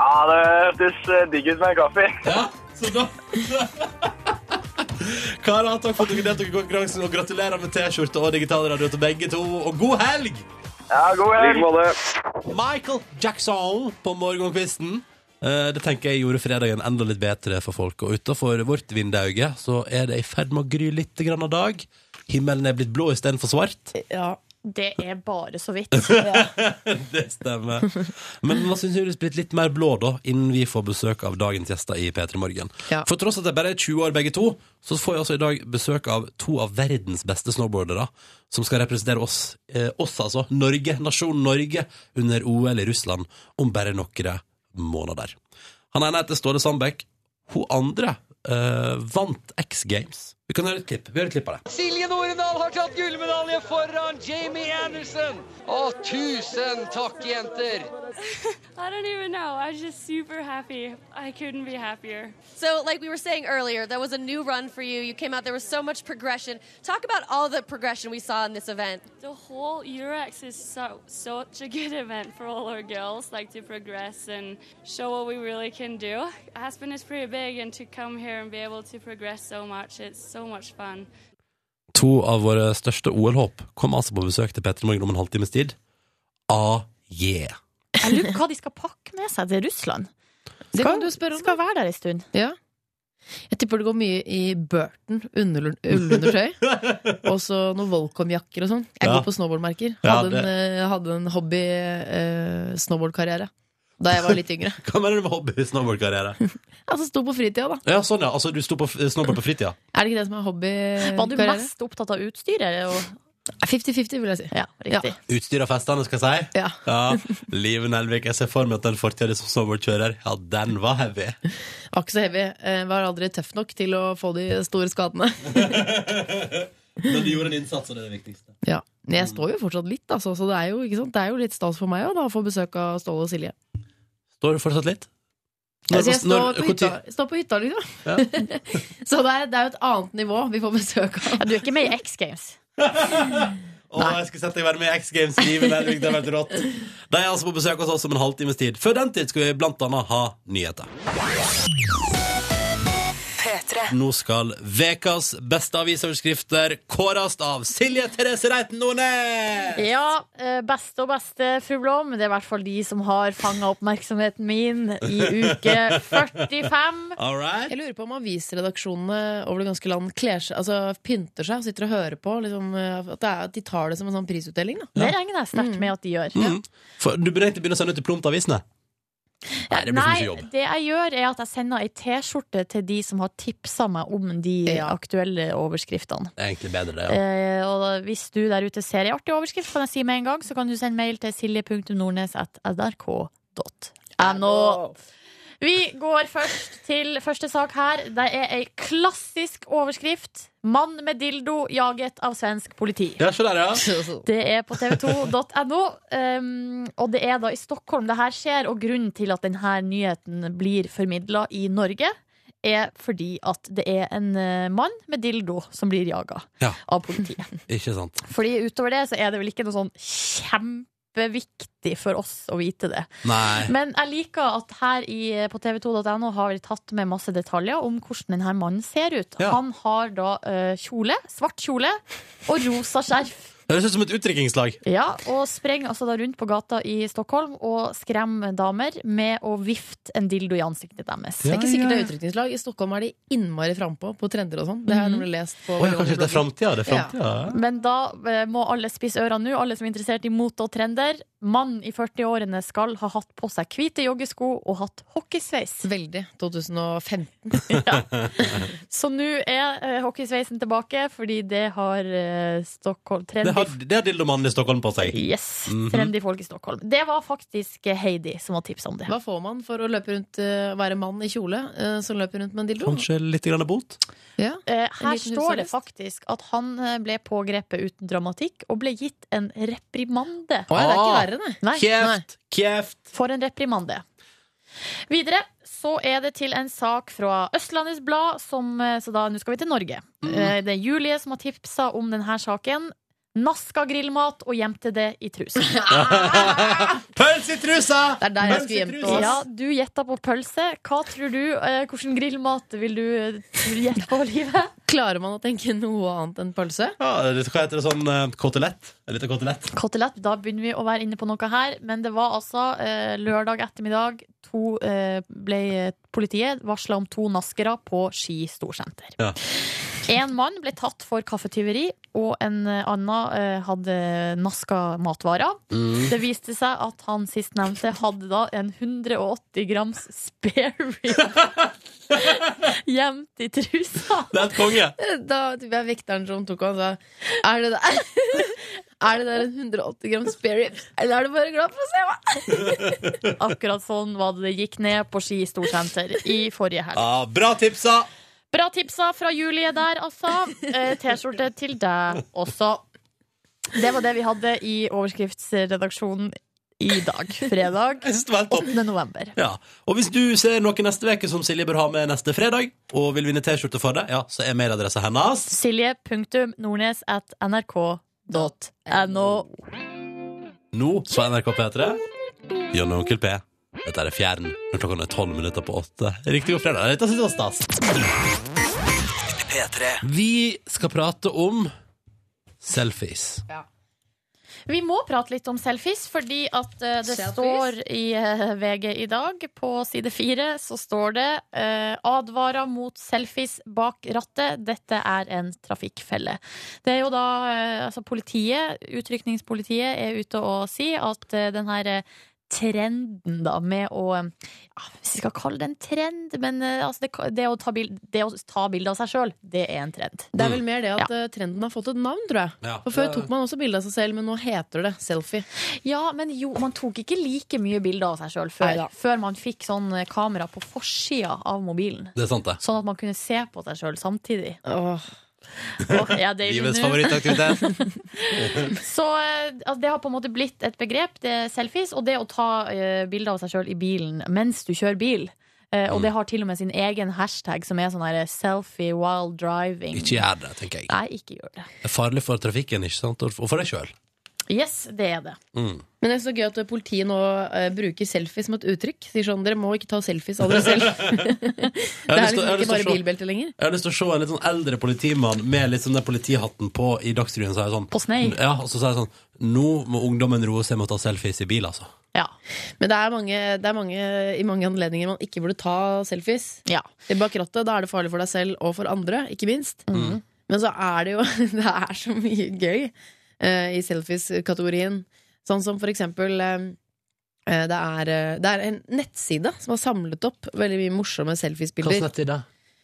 Speaker 5: ja, det hørtes eh, digg ut med en kaffe.
Speaker 2: <laughs> Ja, så da <laughs> Karer, takk for at dere deltok i konkurransen, og gratulerer med T-skjorte og digital radio til begge to. Og god helg!
Speaker 5: Ja,
Speaker 6: I
Speaker 5: god helg.
Speaker 6: like måte.
Speaker 2: Michael Jackson på morgenkvisten. Eh, Det tenker jeg gjorde fredagen enda litt bedre for folk. Og utafor vårt vindauge så er det i ferd med å gry litt grann av dag. Himmelen er blitt blå istedenfor svart.
Speaker 3: Det er bare så vidt.
Speaker 2: <laughs> Det stemmer. Men man syns det er blitt litt mer blå da, innen vi får besøk av dagens gjester i P3 Morgen.
Speaker 4: Ja.
Speaker 2: For tross at de bare er 20 år begge to, så får jeg altså i dag besøk av to av verdens beste snowboardere, som skal representere oss, eh, oss altså, Norge, nasjonen Norge, under OL i Russland om bare noen måneder. Han ene heter Ståle Sandbekk. Hun andre eh, vant X Games. Vi kan høre et klipp. Vi hører et klipp av det.
Speaker 7: Silje Nordendal har tatt gullmedalje foran Jamie Anderson. Å, tusen takk, jenter!
Speaker 8: I don't even know. I was just super happy. I couldn't be happier.
Speaker 9: So, like we were saying earlier, there was a new run for you. You came out, there was so much progression. Talk about all the progression we saw in this event.
Speaker 8: The whole Eurex is so such a good event for all our girls, like to progress and show what we really can do. Aspen is pretty big, and to come here and be able to progress so much, it's so much fun.
Speaker 2: To av våre største OL-håp kom altså på besøk til Petter Morgen om en halvtimes tid. Ah, yeah.
Speaker 3: Jeg lurer på hva de skal pakke med seg til Russland.
Speaker 4: Det kan du spørre om.
Speaker 3: Skal være der ei stund.
Speaker 4: Ja. Jeg tipper det går mye i Burton, ullundertøy, <laughs> ullundertøy og så noen Volcom-jakker og sånn. Jeg
Speaker 2: Ja.
Speaker 4: går på snowboardmerker.
Speaker 2: Ja,
Speaker 4: Hadde,
Speaker 2: det-
Speaker 4: en, eh, hadde en hobby eh, snowboardkarriere da jeg var litt yngre.
Speaker 2: Hva mener du med hobby snowboardkarriere?
Speaker 4: <laughs> Altså sto på fritida, da.
Speaker 2: <laughs> Ja, sånn, ja. Altså, du sto på f- snowboard på fritida?
Speaker 4: Er det ikke det som Eh, er
Speaker 3: Var du
Speaker 4: hobbykarriere?
Speaker 3: mest opptatt av utstyret? Og...
Speaker 4: 50-50, vil jeg si.
Speaker 3: Ja, riktig.
Speaker 2: Utstyr av festene, skal jeg si?
Speaker 4: Ja.
Speaker 2: Ja. Live Nelvik, jeg ser for meg at den fortida som snowboardkjører, ja, den var heavy.
Speaker 4: Var ikke så heavy. Eh, Var aldri tøff nok til å få de store skadene.
Speaker 2: Men du gjorde en innsats, og det er det viktigste.
Speaker 4: Ja. Men jeg står jo fortsatt litt, altså, så det er jo, ikke sant? Det er jo litt stas for meg også, da, å få besøk av Ståle og Silje.
Speaker 2: Står du fortsatt litt?
Speaker 4: altså, jeg står, på
Speaker 2: hvor
Speaker 4: hytta,
Speaker 2: tid-
Speaker 4: står på hytta, liksom. <laughs> så det er, det er jo et annet nivå vi får besøk av.
Speaker 3: Ja, du er ikke med i X Games?
Speaker 2: Å, jeg skulle sett deg være med i X Games i Nelvik. Det har vært rått. De er altså på besøk hos oss om en halvtimes tid. Før den tid skal vi blant annet ha nyheter. Nå skal vekas beste avisoverskrifter kåres av Silje Therese Reiten Nordnes!
Speaker 3: Ja, eh, beste og beste, fru Blom. Det er i hvert fall de som har fanga oppmerksomheten min i uke 45.
Speaker 2: All right.
Speaker 4: Jeg lurer på om avisredaksjonene over det ganske land kler seg, altså pynter seg og sitter og hører på. Liksom, at, det er, at de tar det som en sånn prisutdeling. <laughs> Da.
Speaker 3: Det regner jeg sterkt med at de gjør.
Speaker 2: Mm. For, du burde egentlig begynne å sende ut i Prompt-avisene. Nei, det blir for mye
Speaker 3: Nei,
Speaker 2: jobb.
Speaker 3: det jeg gjør, er at jeg sender ei T-skjorte til de som har tipsa meg om de
Speaker 4: Ja.
Speaker 3: aktuelle overskriftene.
Speaker 2: Det er egentlig bedre, det. Ja.
Speaker 3: Eh, og da- hvis du der ute ser ei artig overskrift, kan jeg si med en gang, så kan du sende mail til silje.nordnes.nrk.no. Vi går først til første sak her. Det er ei klassisk overskrift. 'Mann med dildo jaget av svensk politi'.
Speaker 2: Ja, se der, ja.
Speaker 3: Det er på tv2.no, um, og det er da i Stockholm det her skjer. Og grunnen til at denne nyheten blir formidla i Norge, er fordi at det er en eh, mann med dildo som blir jaga
Speaker 2: Ja.
Speaker 3: av politiet.
Speaker 2: Ikke sant.
Speaker 3: Fordi utover det så er det vel ikke noe sånn kjempeviktig for oss å vite det.
Speaker 2: Nei.
Speaker 3: Men jeg liker at her i, på tv2.no har vi tatt med masse detaljer om hvordan denne mannen ser ut.
Speaker 2: Ja.
Speaker 3: Han har da eh, kjole, svart kjole og rosa
Speaker 2: <laughs>
Speaker 3: skjerf.
Speaker 2: Det høres ut som et utdrikningslag.
Speaker 3: Ja, og sprenger altså da rundt på gata i Stockholm og skremmer damer med å vifte en dildo i ansiktet deres.
Speaker 4: Det er ikke sikkert det er utrykningslag. I Stockholm er de innmari frampå på trender og sånn. Det har jeg nemlig lest på
Speaker 2: Å, ja, kanskje
Speaker 4: veldig mange
Speaker 2: det er
Speaker 4: blogger.
Speaker 2: framtida? Det er framtida. Ja.
Speaker 3: Men da eh, må alle spisse ørene nå, alle som er interessert i mote og trender. Mannen i 40-årene skal ha hatt på seg hvite joggesko og hatt hockeysveis.
Speaker 4: Veldig. 2015.
Speaker 3: Så nå er eh, hockeysveisen tilbake, fordi det har eh, Stockholm trendy
Speaker 2: Det har, det har dildomannen i Stockholm på seg.
Speaker 3: Yes,
Speaker 2: Mhm.
Speaker 3: trendy folk i Stockholm. Det var faktisk eh, Heidi som var tipset om det.
Speaker 4: Hva får man for å løpe rundt, eh, være mann i kjole eh, som løper rundt med en dildo?
Speaker 2: Kanskje litt grann bot?
Speaker 4: Ja.
Speaker 3: Eh,
Speaker 4: En
Speaker 3: Her
Speaker 4: liten
Speaker 3: står det
Speaker 4: husarrest.
Speaker 3: faktisk at han eh, ble pågrepet uten dramatikk og ble gitt en reprimande.
Speaker 4: Å, ja, det er ikke
Speaker 2: Ah.
Speaker 4: verre, nei.
Speaker 3: Nei, nei.
Speaker 2: Kjeft! Kjeft!
Speaker 3: For en reprimande. Videre så er det til en sak fra Østlandets Blad, som, eh, så da nå skal vi til Norge. Eh, Det er Julie som har tipsa om denne saken. Naska grillmat og gjemte det i trusa.
Speaker 2: Pøls i trusa!
Speaker 4: Det er der jeg
Speaker 2: Pøls
Speaker 4: skulle
Speaker 2: i
Speaker 4: gjemt
Speaker 2: trusa!
Speaker 4: oss.
Speaker 3: Ja, du gjetta på pølse. Hva tror du? eh, Hvilken grillmat vil du eh, gjette på, Live?
Speaker 4: Klarer man å tenke noe annet enn pølse?
Speaker 2: Ja, det- hva heter det sånn eh, kotelett? En liten kotelett?
Speaker 3: Kotelett, da begynner vi å være inne på noe her. Men det var altså eh, lørdag ettermiddag to, eh, ble politiet varsla om to naskere på Ski storsenter.
Speaker 2: Ja.
Speaker 3: En mann ble tatt for kaffetyveri, og en eh, annen eh, hadde naska matvarer. Det viste seg at han sistnevnte hadde da en 180 grams spare rib gjemt i trusa.
Speaker 2: Det er et konge!
Speaker 4: Da tror jeg vekteren som tok han sa Er det der, <laughs> er det der en 180 gram spare ribs? Eller er du bare glad for å se meg?
Speaker 3: <laughs> Akkurat sånn var det det gikk ned på Ski storsenter i forrige helg.
Speaker 2: Ja, bra tipsa!
Speaker 3: Bra tipsa fra Julie der, altså. Eh, T-skjorte til deg også. Det var det vi hadde i overskriftsredaksjonen i dag, fredag
Speaker 2: Jeg synes det var helt topp.
Speaker 3: 8. november.
Speaker 2: Ja. Og hvis du ser noe neste veke som Silje bør ha med neste fredag, og vil vinne T-skjorte for det, ja, så er mailadressa hennes
Speaker 3: Silje.nordnes at nrk.no.
Speaker 2: nå på NRK P3. Jon og Onkel P. Dette er Fjern når klokka er tolv minutter på åtte. Riktig god fredag. Dette synes jeg var stas.
Speaker 1: P3.
Speaker 2: Vi skal prate om selfies.
Speaker 3: Vi må prate litt om selfies, fordi at eh, det
Speaker 4: Selfies?
Speaker 3: står i eh, VG i dag, på side fire, så står det eh, 'Advarer mot selfies bak rattet. Dette er en trafikkfelle'. Det er jo da eh, altså politiet, utrykningspolitiet, er ute og sier at eh, den her eh, Trenden da med å eh, ja, Hvis vi skal kalle det en trend Men eh, altså det, det, å ta bild, det å ta bilde av seg sjøl, det er en trend.
Speaker 4: Det er vel mer det at eh, trenden har fått et navn, tror jeg.
Speaker 2: Ja.
Speaker 4: For Før tok man også bilde av seg selv, men nå heter det selfie.
Speaker 3: Ja, men jo, man tok ikke like mye bilder av seg sjøl før,
Speaker 4: Neida.
Speaker 3: før man fikk sånn eh, kamera på forsida av mobilen.
Speaker 2: Det er sant, det.
Speaker 3: Sånn at man kunne se på seg sjøl samtidig.
Speaker 4: Åh.
Speaker 3: Åh, ja, det, er jo
Speaker 2: Livets
Speaker 3: nå.
Speaker 2: favorittaktivitet.
Speaker 4: <laughs>
Speaker 3: Så eh, altså, det har på en måte blitt et begrep, det er selfies, og det å ta eh, bilder av seg sjøl i bilen mens du kjører bil. Eh,
Speaker 2: Mm.
Speaker 3: og det har til og med sin egen hashtag, som er sånn her selfie while driving.
Speaker 2: Ikke gjør det, tenker jeg.
Speaker 3: Nei, ikke gjør det.
Speaker 2: Det er farlig for trafikken, ikke sant? Og for deg sjøl.
Speaker 3: Yes, det er det.
Speaker 2: Mm.
Speaker 4: Men det er så gøy at politiet nå eh, bruker selfie som et uttrykk. Sier sånn, Dere må ikke ta selfies av dere selv. <laughs> det
Speaker 2: Jeg har
Speaker 4: er
Speaker 2: lyst til-
Speaker 4: liksom
Speaker 2: jeg har lyst til
Speaker 4: ikke
Speaker 2: å
Speaker 4: bare
Speaker 2: se-
Speaker 4: bilbelte lenger.
Speaker 2: Jeg har lyst til å se en litt sånn eldre politimann med litt sånn den politihatten på i Dagsrevyen. Så er jeg sånn,
Speaker 3: På snei.
Speaker 2: Ja, og så sier jeg sånn Nå må ungdommen roe seg med å ta selfies i bil, altså.
Speaker 3: Ja.
Speaker 4: Men det er, mange, det er mange i mange anledninger man ikke burde ta selfies.
Speaker 3: ja.
Speaker 4: I bak rattet, da er det farlig for deg selv og for andre, ikke minst. Men så er det jo <laughs> Det er så mye gøy eh, i selfies-kategorien. Sånn som for eksempel eh, eh, det, er, eh, det er en nettside som har samlet opp veldig mye morsomme selfies-bilder.
Speaker 2: Hva det?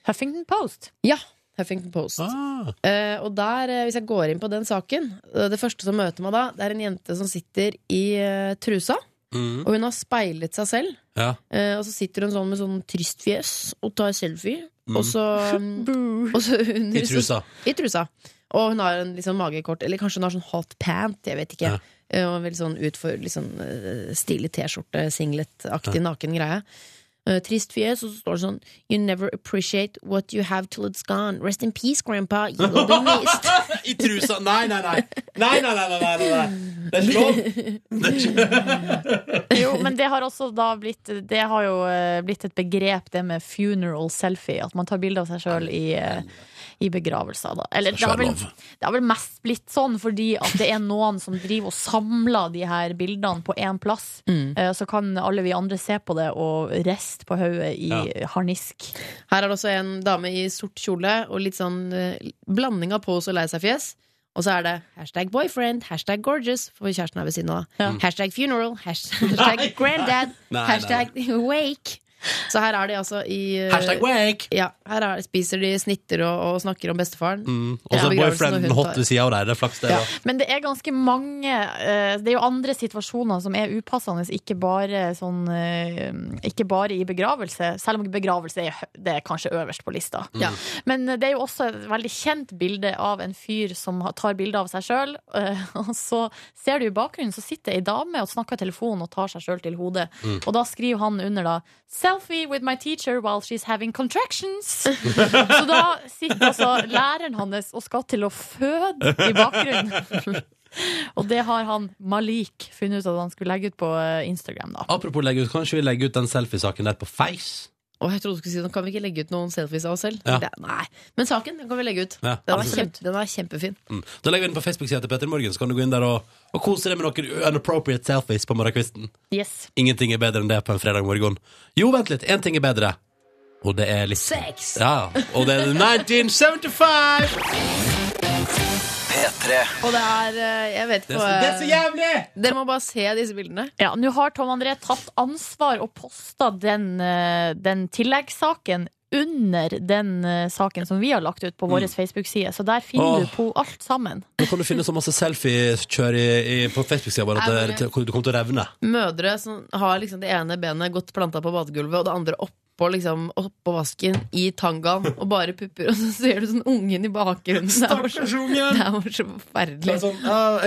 Speaker 3: Huffington Post.
Speaker 4: Ja, Huffington Post.
Speaker 2: Ah,
Speaker 4: Eh, og der, eh, hvis jeg går inn på den saken eh, Det første som møter meg da, det er en jente som sitter i eh, trusa.
Speaker 2: mm,
Speaker 4: Og hun har speilet seg selv.
Speaker 2: ja.
Speaker 4: Eh, og så sitter hun sånn med sånn trist fjes og tar selfie. Og så, mm,
Speaker 3: Boo.
Speaker 4: <laughs> og så under,
Speaker 2: Mm. I trusa.
Speaker 4: I trusa. Og hun har en liksom magekort, eller kanskje hun har sånn hot pant, jeg vet ikke.
Speaker 2: Ja.
Speaker 4: Eh, Og en veldig sånn utfor liksom, eh, stilig T-skjorte, singlet-aktig naken greie. Eh, Trist fjes, og så står det sånn You never appreciate what you have till it's gone. Rest in peace, grandpa. You will be missed.
Speaker 2: <laughs> I trusa Nei, nei, nei! Nei, nei, nei, nei, nei, nei. Det er ikke
Speaker 4: <laughs>
Speaker 2: lov! Det er ikke... <laughs>
Speaker 3: Jo, men det har også da blitt Det har jo eh, blitt et begrep, det med funeral selfie. At man tar bilde av seg sjøl i, eh, i begravelser. Da. Eller,
Speaker 2: Det
Speaker 3: det,
Speaker 2: skal
Speaker 3: har vel,
Speaker 2: være lov.
Speaker 3: det har vel mest blitt sånn fordi at det er noen som driver og samler de her bildene på én plass.
Speaker 2: Mm.
Speaker 3: Eh, Så kan alle vi andre se på det og riste på hodet i harnisk.
Speaker 4: Her er det også en dame i sort kjole og litt sånn eh, blanding av pose og lei seg-fjes. Og så er det hashtag boyfriend, hashtag gorgeous, for kjæresten er ved siden av. Mm. Hashtag funeral,
Speaker 2: <laughs>
Speaker 4: hashtag, hashtag granddad,
Speaker 2: Nei, nei,
Speaker 4: hashtag wake. Så her er de altså i eh,
Speaker 2: Hashtag wake!
Speaker 4: ja, her er, spiser de snitter og, og snakker om bestefaren.
Speaker 2: Mm. Og så
Speaker 4: Ja.
Speaker 2: er boyfrienden hot ved sida av deg. Det er flaks, det.
Speaker 4: Ja.
Speaker 2: da.
Speaker 3: Men det er ganske mange eh, Det er jo andre situasjoner som er upassende, ikke bare, sånn, eh, ikke bare i begravelse. Selv om begravelse er, hø- det er kanskje øverst på lista.
Speaker 4: Ja.
Speaker 3: Men det er jo også et veldig kjent bilde av en fyr som har- tar bilde av seg sjøl. <laughs> Og så ser du i bakgrunnen så sitter ei dame og snakker i telefonen og tar seg sjøl til hodet. Og da skriver han under da 'Selfie with my teacher while she's having contractions'. så da sitter altså læreren hans og skal til å føde i bakgrunnen. Og det har han Malik funnet ut at han skulle legge ut på eh, Instagram. da
Speaker 2: Apropos legge ut, kan ikke vi legge ut den selfiesaken der på Face?
Speaker 4: Og jeg trodde du skulle si sånn, kan vi ikke legge ut noen selfies av oss selv?
Speaker 2: Ja.
Speaker 4: Det, nei. Men saken den kan vi legge ut.
Speaker 2: Ja,
Speaker 4: Den, er
Speaker 2: absolutt.
Speaker 4: kjempe, den er kjempefin.
Speaker 2: Mm. Da legger vi den på Facebook-sida til Petter Morgen, så kan du gå inn der og, og kose deg med noen unappropriate selfies på morgenkvisten.
Speaker 3: Yes
Speaker 2: Ingenting er bedre enn det på en fredag morgen. Jo, vent litt. Én ting er bedre. Og det er litt
Speaker 4: Sex!
Speaker 2: Ja, og det er 1975!
Speaker 1: P3.
Speaker 4: Og det er eh, Jeg vet
Speaker 2: Det
Speaker 4: ikke
Speaker 2: er så,
Speaker 4: hva
Speaker 2: det er så jævlig!
Speaker 4: Dere må bare se disse bildene.
Speaker 3: Ja, nå har Tom André tatt ansvar og posta den, eh, den tilleggssaken under den eh, saken som vi har lagt ut på vår Facebook-side. Så der finner
Speaker 2: Åh.
Speaker 3: du på alt sammen.
Speaker 2: Nå kan du finne så masse selfiekjør i, i, på Facebook-sida vår at det, til- du kommer til å revne.
Speaker 4: mødre som har liksom det ene benet godt planta på badegulvet, og det andre oppå liksom, oppå vasken i tangaen og bare pupper, og så ser du sånn ungen i bakgrunnen. Det er bare så, det er bare så forferdelig.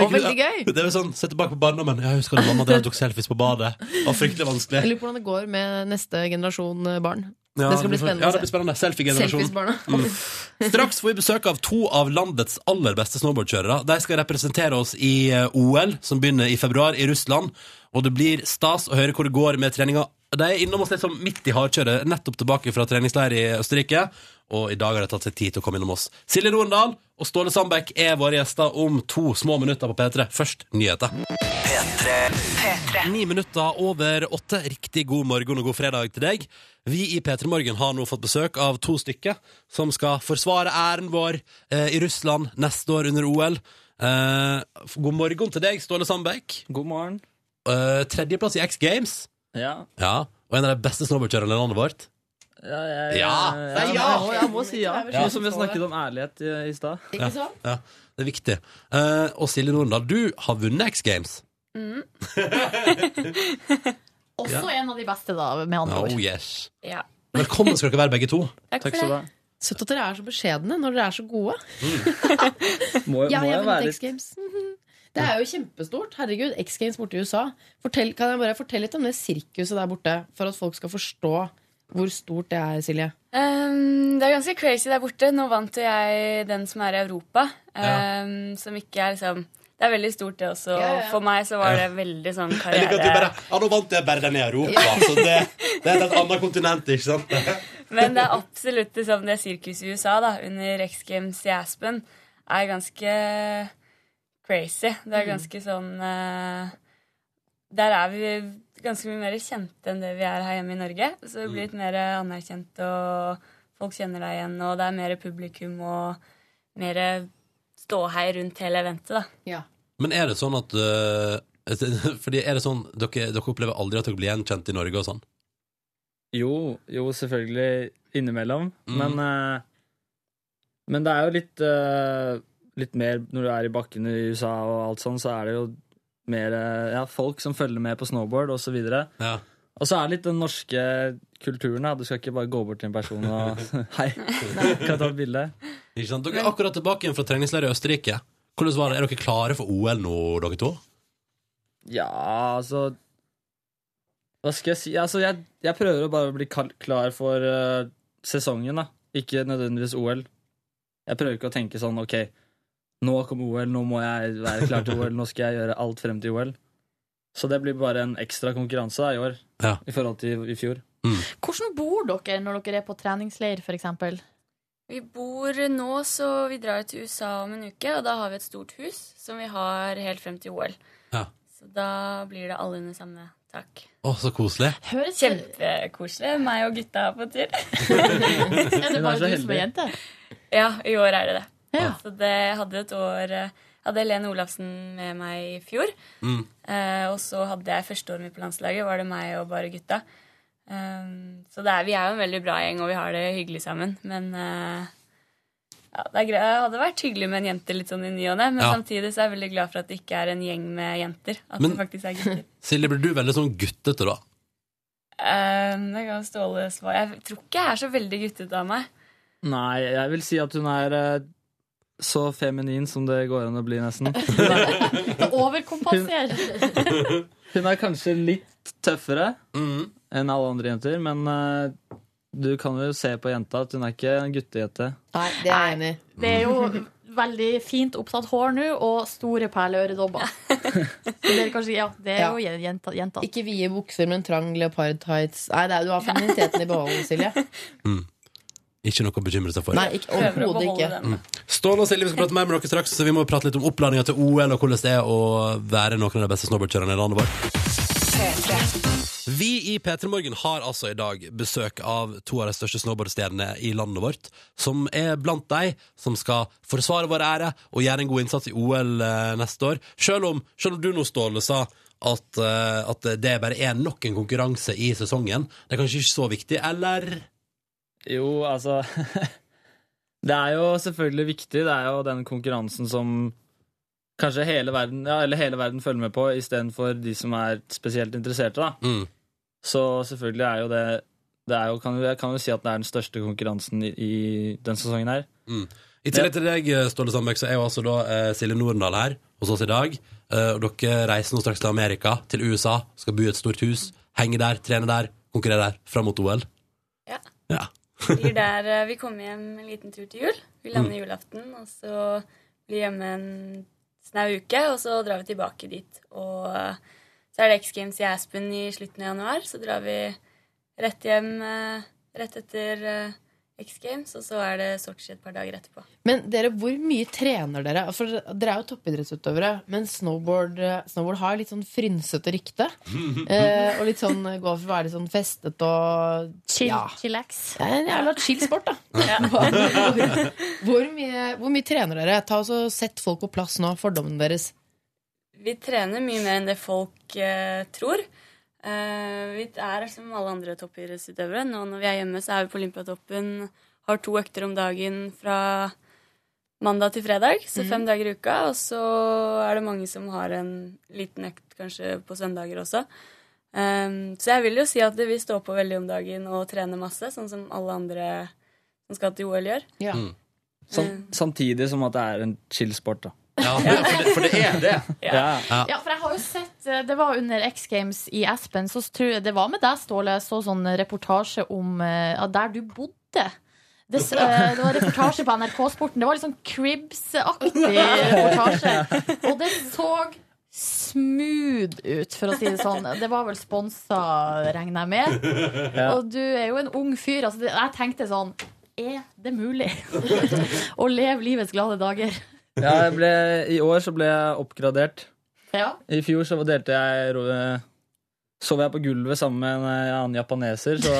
Speaker 4: Og veldig gøy.
Speaker 2: Det er jo sånn, Se tilbake på barndommen. Ja, husker du mamma der tok selfies på badet? Det var fryktelig
Speaker 4: Jeg
Speaker 2: vanskelig.
Speaker 4: lurer på hvordan det går med neste generasjon eh, barn.
Speaker 2: Ja,
Speaker 4: det skal bli
Speaker 2: får-
Speaker 4: spennende
Speaker 2: Ja,
Speaker 4: å
Speaker 2: det blir
Speaker 4: se.
Speaker 2: spennende. Selfie-generasjonen.
Speaker 4: Selfies-barna.
Speaker 7: Mm.
Speaker 2: Straks får vi besøk av to av landets aller beste snowboardkjørere. De skal representere oss i eh, OL, som begynner i februar i Russland. Og det blir stas å høre hvor det går med treninga. De er innom oss litt sånn midt i hardkjøret, nettopp tilbake fra treningsleir i Østerrike. Og i dag har de tatt seg tid til å komme innom oss. Silje Norendal og Ståle Sandbekk er våre gjester om to små minutter på P3. Først nyheter. Ni minutter over åtte. Riktig god morgen og god fredag til deg. Vi i P3 Morgen har nå fått besøk av to stykker som skal forsvare æren vår eh, i Russland neste år under OL. Eh, f- god morgen til deg, Ståle Sandbekk.
Speaker 7: God morgen.
Speaker 2: Eh, tredjeplass i X Games.
Speaker 7: Ja.
Speaker 2: Ja, Og en av de beste snowboardkjørerne i landet vårt.
Speaker 7: Ja, jeg,
Speaker 2: Eh, Ja.
Speaker 7: jeg, må- jeg må si ja.
Speaker 4: Ja.
Speaker 7: Som vi
Speaker 10: Sånn
Speaker 7: snakket om ærlighet i, i stad.
Speaker 4: Ikke sant?
Speaker 2: Ja, Det er viktig. Eh, og Silje Norendal, du har vunnet X Games.
Speaker 3: Også en av de beste, da, med andre
Speaker 2: Oh
Speaker 3: ord.
Speaker 2: yes.
Speaker 3: Ja.
Speaker 2: Velkommen skal dere være, begge to.
Speaker 7: Takk skal du ha.
Speaker 4: Søtt at dere er så beskjedne når dere er så gode.
Speaker 7: Mm. Må,
Speaker 4: <laughs> Ja,
Speaker 7: må
Speaker 4: jeg
Speaker 7: jeg
Speaker 4: vant
Speaker 7: være
Speaker 4: X Games. mhm. Det er jo kjempestort. Herregud, X Games borte i USA. Fortell, kan jeg bare fortelle litt om det sirkuset der borte, for at folk skal forstå Hvor stort det er, Silje?
Speaker 11: Ehm, det er ganske crazy der borte. Nå vant jo jeg den som er i Europa. ehm, Som ikke er liksom Det er veldig stort, det
Speaker 2: Ja,
Speaker 11: også.
Speaker 2: ja.
Speaker 11: Og for meg så var
Speaker 2: Ja.
Speaker 11: det veldig sånn
Speaker 2: Jeg liker at du bare
Speaker 11: karriere.
Speaker 2: Ja, nå vant jeg bare den i Europa. Så det, det er et annet kontinent, ikke sant?
Speaker 11: Men det er absolutt liksom det sirkuset i USA, da, under X Games i Aspen, er ganske crazy. Det er
Speaker 12: Mm.
Speaker 11: ganske sånn eh, Der er vi ganske mye mer kjente enn det vi er her hjemme i Norge. Så det blir litt mer anerkjent, og folk kjenner deg igjen, og det er mer publikum og mer ståhei rundt hele eventet, da.
Speaker 2: <laughs> Men er det sånn at øh, <laughs> Fordi er det sånn dere, dere opplever aldri at dere blir gjenkjent i Norge og sånn?
Speaker 10: Jo, jo, selvfølgelig innimellom.
Speaker 2: Mm.
Speaker 10: Men, eh, men det er jo litt, eh, litt mer Når du er i bakken i USA og alt sånn, så er det jo mer eh, ja, folk som følger med på snowboard osv. Og, så
Speaker 2: ja.
Speaker 10: og så er det litt den norske kulturen. Da. Du skal ikke bare gå bort til en person og <laughs> Hei, kan jeg ta et bilde?
Speaker 2: Ikke sant? Dere er akkurat tilbake igjen fra treningsleir i Østerrike. Hvordan var det? Er dere klare for OL nå, dere to?
Speaker 10: Ja, altså Hva skal jeg si? Altså, jeg, jeg prøver å bare bli kal- klar for eh, sesongen, da. Ikke nødvendigvis OL. Jeg prøver ikke å tenke sånn OK, nå kommer OL, nå må jeg være klar til OL, nå skal jeg gjøre alt frem til OL. Så det blir bare en ekstra konkurranse da, i år i forhold til i fjor.
Speaker 3: Hvordan bor dere når dere er på treningsleir, for eksempel?
Speaker 11: Vi bor nå, så vi drar til USA om en uke, og da har vi et stort hus som vi har helt frem til OL.
Speaker 2: Ja.
Speaker 11: Så da blir det alle under samme tak.
Speaker 2: Å, så koselig.
Speaker 11: Kjempekoselig. Meg og gutta er på tur.
Speaker 3: Er det Hun er bare så du som er heldig. jente?
Speaker 11: Ja, i år er det det. Så det jeg hadde et år eh, hadde Helene Olafsen med meg i fjor.
Speaker 2: Mm.
Speaker 11: Eh, og så hadde jeg første året mitt på landslaget, var det meg og bare gutta. Um, så det er, vi er jo en veldig bra gjeng, og vi har det hyggelig sammen. Men eh, ja, det, er greit. det hadde vært hyggelig med en jente litt sånn i ny og ne. Men
Speaker 2: Ja.
Speaker 11: samtidig så er jeg veldig glad for at det ikke er en gjeng med jenter. At
Speaker 2: Men-
Speaker 11: det faktisk er gutter.
Speaker 2: Silje, blir du veldig sånn guttete da?
Speaker 11: um, det kan Ståle svare. Jeg tror ikke jeg er så veldig guttete av meg.
Speaker 10: Nei, jeg vil si at hun er eh, så feminin som det går an å bli, nesten. Hun er,
Speaker 3: <laughs> Overkompensere.
Speaker 10: Hun er kanskje litt tøffere enn alle andre jenter, men eh, du kan jo se på jenta at hun er ikke en guttejente.
Speaker 4: Nei, det er jeg enig i.
Speaker 3: Det er jo veldig fint opptatt hår nå, og store perleøredobber. <laughs> Så det er kanskje, ja, det er jo jenta. jenta.
Speaker 4: Ikke vide bukser, men trang leopard tights. Nei, det er, du har feminiteten i behold, Silje.
Speaker 2: Ikke noe å bekymre seg for?
Speaker 4: <laughs> Nei, ikke- overhodet ikke.
Speaker 2: Mm. Ståle og Silje, vi skal prate mer med dere straks, så vi må prate litt om oppladninga til OL, og hvordan det er å være noen av de beste snowboardkjørerne i landet vårt. Vi i P3 Morgen har altså i dag besøk av to av de største snowboardstjernene i landet vårt, som er blant de som skal forsvare vår ære og gjøre en god innsats i OL eh, neste år. Selv om, selv om du nå, Ståle, sa at, eh, at det bare er nok en konkurranse i sesongen. Det er kanskje ikke så viktig, eller?
Speaker 10: Jo, altså <laughs> Det er jo selvfølgelig viktig. Det er jo den konkurransen som kanskje hele verden, ja, eller hele verden følger med på, istedenfor de som er spesielt interesserte, da.
Speaker 2: Mm.
Speaker 10: Så selvfølgelig er jo det det er jo, kan, Jeg kan jo si at det er den største konkurransen i, i den sesongen her.
Speaker 2: Mm. I tillegg til deg, eh, Ståle Sandberg, så er jo altså da eh, Silje Nordendal her hos oss i dag. Eh, og dere reiser nå straks til Amerika, til USA, skal bo i et stort hus, henge der, trene der, konkurrere der, fram mot OL.
Speaker 11: Ja.
Speaker 2: Ja.
Speaker 11: blir der eh, Vi kommer hjem en liten tur til jul. Vi lander
Speaker 2: Mm.
Speaker 11: julaften, og så blir hjemme en snau uke, og så drar vi tilbake dit. Og eh, så er det X Games i Aspen i slutten av januar, så drar vi rett hjem eh, rett etter eh, X Games, og så er det Sotsji et par dager etterpå.
Speaker 4: Men dere, hvor mye trener dere? For dere er jo toppidrettsutøvere, men snowboard, snowboard har jo litt sånn frynsete <laughs> rykte. Eh, og litt sånn går for å være litt sånn festet og
Speaker 3: Chill,
Speaker 4: Ja.
Speaker 3: chillax.
Speaker 4: Det er en jævla chill sport, da. <laughs>
Speaker 11: <laughs>
Speaker 4: hvor, mye, hvor mye trener dere? Ta oss og Sett folk på plass nå, fordommene deres.
Speaker 11: Vi trener mye mer enn det folk eh, tror. Eh, vi er som alle andre toppidrettsutøvere. Nå når vi er hjemme, så er vi på Olympiatoppen. Har to økter om dagen fra mandag til fredag, så fem
Speaker 12: Mhm.
Speaker 11: dager i uka. Og så er det mange som har en liten økt kanskje på søndager også. Eh, så jeg vil jo si at vi står på veldig om dagen og trener masse, sånn som alle andre som skal til OL gjør.
Speaker 10: Sam, samtidig som at det er en chill sport, da.
Speaker 2: <laughs> Ja, for det, for det er det.
Speaker 10: Ja.
Speaker 3: Ja, for jeg har jo sett eh, Det var under X Games i Aspen. Så tror jeg, det var med deg, Ståle. Jeg så sånn reportasje om eh, ja, der du bodde. Det, s- eh, det var reportasje på NRK Sporten. Det var litt sånn Cribs-aktig reportasje. Og det så smooth ut, for å si det sånn. Det var vel sponsa, regner jeg med.
Speaker 12: Ja.
Speaker 3: Og du er jo en ung fyr. Altså, det- jeg tenkte sånn Er det mulig <laughs> å leve livets glade dager?
Speaker 10: Ja, jeg ble, I år så ble jeg oppgradert.
Speaker 3: Ja.
Speaker 10: I fjor så delte jeg ro- eh, Sov jeg på gulvet sammen med en eh, annen japaneser, så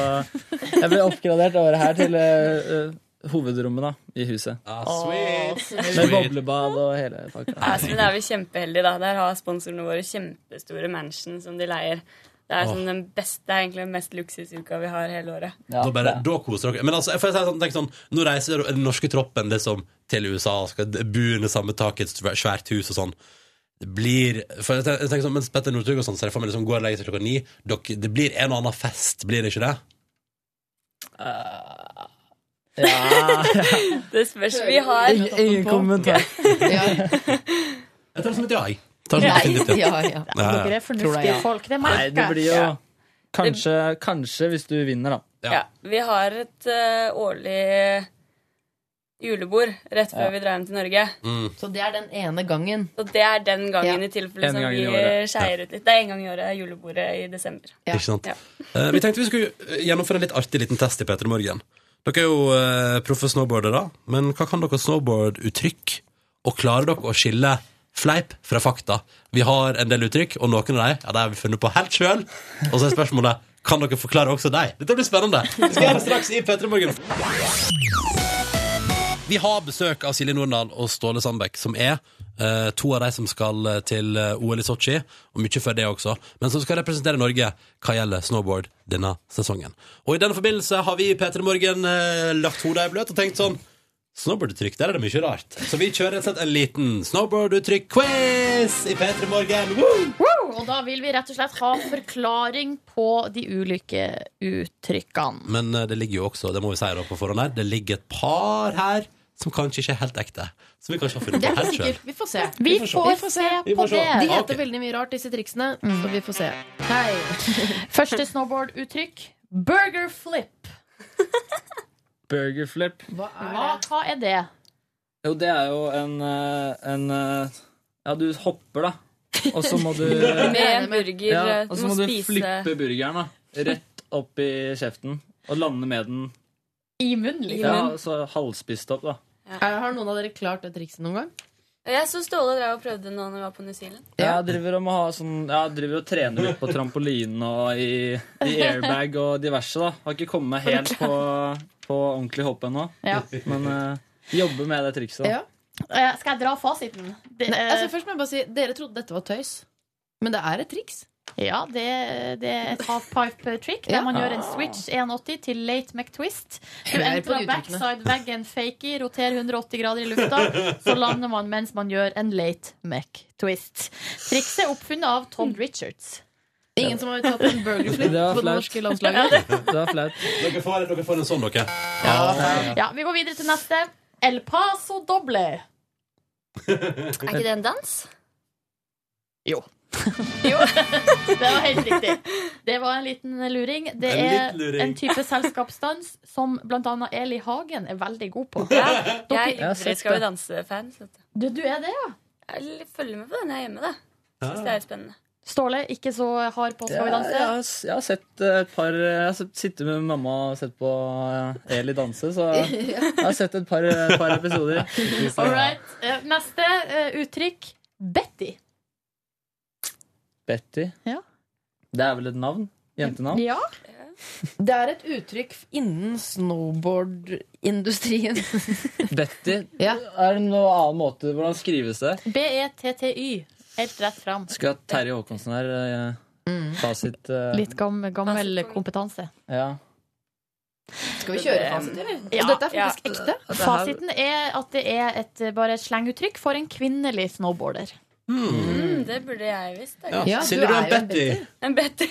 Speaker 10: jeg ble oppgradert det året her til eh, eh, hovedrommet da, i huset.
Speaker 2: Ah,
Speaker 10: Med boblebad og hele pakka.
Speaker 11: Aspen er vi kjempeheldige, da. Der har sponsorene våre kjempestore mansion som de leier. Det er, sånn den beste, det er egentlig den mest luksusuka vi har hele året.
Speaker 2: Da, bare, da koser dere Men altså, får jeg si sånn, tenk sånn, nå reiser den norske troppen liksom, til USA og skal bo under samme tak i et svæ- svært hus og sånn. Det blir for jeg tenker, jeg tenker sånn, Mens Petter Northug og sånn, så er det for meg liksom, går og legger seg klokka ni. Dere, det blir en og annen fest, blir det ikke det?
Speaker 11: Det spørs. Vi har
Speaker 4: Ingen- ingen kommentar. <laughs>
Speaker 2: Jeg tar det som et ja, jeg. Tar det som et
Speaker 4: Ja,
Speaker 2: definitivt
Speaker 4: ja, ja.
Speaker 2: Ja, ja.
Speaker 3: Dere er
Speaker 10: Tror
Speaker 3: fornuftige
Speaker 10: jeg, ja.
Speaker 3: folk. Det
Speaker 10: Nei,
Speaker 3: merker
Speaker 10: det
Speaker 3: jeg.
Speaker 10: blir jo kanskje, kanskje hvis du vinner, da.
Speaker 11: Ja, vi har et eh, årlig julebord rett før
Speaker 4: Ja.
Speaker 11: vi drar hjem til Norge.
Speaker 4: Så det er den ene gangen.
Speaker 11: Og det er den gangen i tilfelle
Speaker 4: En
Speaker 11: som
Speaker 4: gang i
Speaker 11: vi
Speaker 4: året.
Speaker 11: skeier ut litt. Det er en gang i året julebordet i desember.
Speaker 2: Ikke sant? Eh, vi tenkte vi skulle eh, gjennomføre en litt artig liten test i Peter Morgen. Dere er jo uh, proffe snowboardere, men hva kan dere snowboarduttrykk? Og klarer dere å skille fleip fra fakta? Vi har en del uttrykk, og noen av dem ja, de har vi funnet på helt sjøl. Og så er spørsmålet kan dere forklare også dem. Dette blir spennende. Vi skal gjøre det straks i Peter Morgen. Vi har besøk av Silje Nordahl og Ståle Sandbekk, som er eh, to av de som skal eh, til eh, OL i Sotsji, og mye før det også, men som skal representere Norge hva gjelder snowboard denne sesongen. Og i den forbindelse har vi i P3 Morgen eh, lagt hodet i bløt og tenkt sånn Snowboarduttrykk, der er det mye rart. Så vi kjører rett og slett en liten snowboarduttrykk-quiz i P3 Morgen. Woo!
Speaker 3: Woo! Og da vil vi rett og slett ha forklaring på de ulike
Speaker 4: <laughs>
Speaker 3: uttrykkene.
Speaker 2: Men eh, det ligger jo også, det må vi si da på forhånd her, det ligger et par her som kanskje ikke er helt ekte. Som vi kanskje har funnet
Speaker 4: Det
Speaker 2: på
Speaker 4: er ikke
Speaker 2: helt sjøl.
Speaker 4: sikkert. Vi får se.
Speaker 3: Vi får se Mm.
Speaker 2: Vi får
Speaker 3: på
Speaker 2: se. Ah,
Speaker 3: det.
Speaker 4: De
Speaker 2: Ok.
Speaker 4: heter veldig mye rart, disse triksene, så vi får se.
Speaker 3: Første snowboard-uttrykk burger flip.
Speaker 10: Burger flip.
Speaker 3: Hva, hva er det?
Speaker 10: Jo, det er jo en, eh, en eh, Ja, du hopper, da. Og så må du
Speaker 11: <laughs> Med en burger. eh,
Speaker 10: Ja,
Speaker 11: du
Speaker 10: og så
Speaker 11: må
Speaker 10: må du
Speaker 11: spise-
Speaker 10: flippe burgeren da rett opp i kjeften og lande med den
Speaker 3: I munnen,
Speaker 10: ja, så halvspist opp. da
Speaker 4: Har noen av dere klart det trikset noen gang?
Speaker 11: Jeg så Ståle drev og prøvde nå når vi var på New Zealand.
Speaker 10: Jeg driver og, må ha sånn, jeg driver og trener litt på trampolinen og i, i airbag og diverse. da Har ikke kommet meg helt på, på ordentlig hopp ennå.
Speaker 3: Ja.
Speaker 10: Men eh, jobber med det trikset. da.
Speaker 3: Eh, Skal jeg dra fasiten? Det,
Speaker 4: Nei,
Speaker 3: eh,
Speaker 4: altså, først må jeg bare si Dere trodde dette var tøys, men det er et triks.
Speaker 3: Ja, det, det er et halfpipe trick der
Speaker 4: Ja.
Speaker 3: man gjør en switch 180 til late McTwist. Du
Speaker 4: Hør på
Speaker 3: entrer
Speaker 4: uttrykkene.
Speaker 3: backside veggen fakie, roterer 180 grader i lufta, så lander man mens man gjør en late McTwist. Trikset er oppfunnet av
Speaker 4: Mm.
Speaker 3: Todd Richards.
Speaker 4: Ingen som har tatt en burgerflip
Speaker 10: Det
Speaker 4: på
Speaker 10: var
Speaker 4: det
Speaker 10: flaut.
Speaker 4: norske
Speaker 3: <laughs>
Speaker 4: landslaget?
Speaker 10: Det var flaut.
Speaker 2: Dere får, dere får en sånn, dere.
Speaker 3: Ja, Vi går videre til neste. El Paso doble.
Speaker 11: Er ikke det en dans? <laughs>
Speaker 3: Jo. Det var helt riktig. Det var en liten luring. Det
Speaker 11: En
Speaker 3: er
Speaker 11: liten luring.
Speaker 3: en type selskapsdans som bl.a. Eli Hagen er veldig god på.
Speaker 11: Jeg
Speaker 3: Dere-
Speaker 11: er ivrig Skal vi danse-fan. så vet
Speaker 3: Du, du er det, ja?
Speaker 11: du. Jeg følger med på den jeg er hjemme, da. Syns det er litt spennende.
Speaker 3: Ståle, ikke så hard på Skal vi
Speaker 10: Jeg, jeg,
Speaker 3: danse?
Speaker 10: har, s- jeg har sett eh, et par Jeg har sett- sittet med mamma og sett på eh, Eli danse,
Speaker 3: <laughs>
Speaker 10: så jeg har sett et par, par episoder.
Speaker 3: All right. Eh, Neste eh, uttrykk. Betty.
Speaker 10: Betty.
Speaker 3: Ja.
Speaker 10: Det er vel et navn? Jentenavn?
Speaker 3: Ja.
Speaker 4: Det er et uttrykk innen <laughs> snowboardindustrien.
Speaker 10: Betty? Er det noen annen måte? Hvordan skrives det?
Speaker 3: E B-E-T-T-Y. Helt rett fram.
Speaker 10: Skulle hatt Terje Håkonsen her. eh, Fasit. eh,
Speaker 3: Litt gammel,
Speaker 11: Altså,
Speaker 3: gammel kompetanse.
Speaker 10: Ja.
Speaker 4: Skal vi kjøre fasit, eller?
Speaker 3: Ja.
Speaker 4: Og dette er faktisk ekte.
Speaker 3: Fasiten er at det er et, eh, bare et slenguttrykk for en kvinnelig snowboarder.
Speaker 11: Mm, det burde jeg visst. da.
Speaker 2: Ja. Ja, Silje, du er du er en jo en Betty.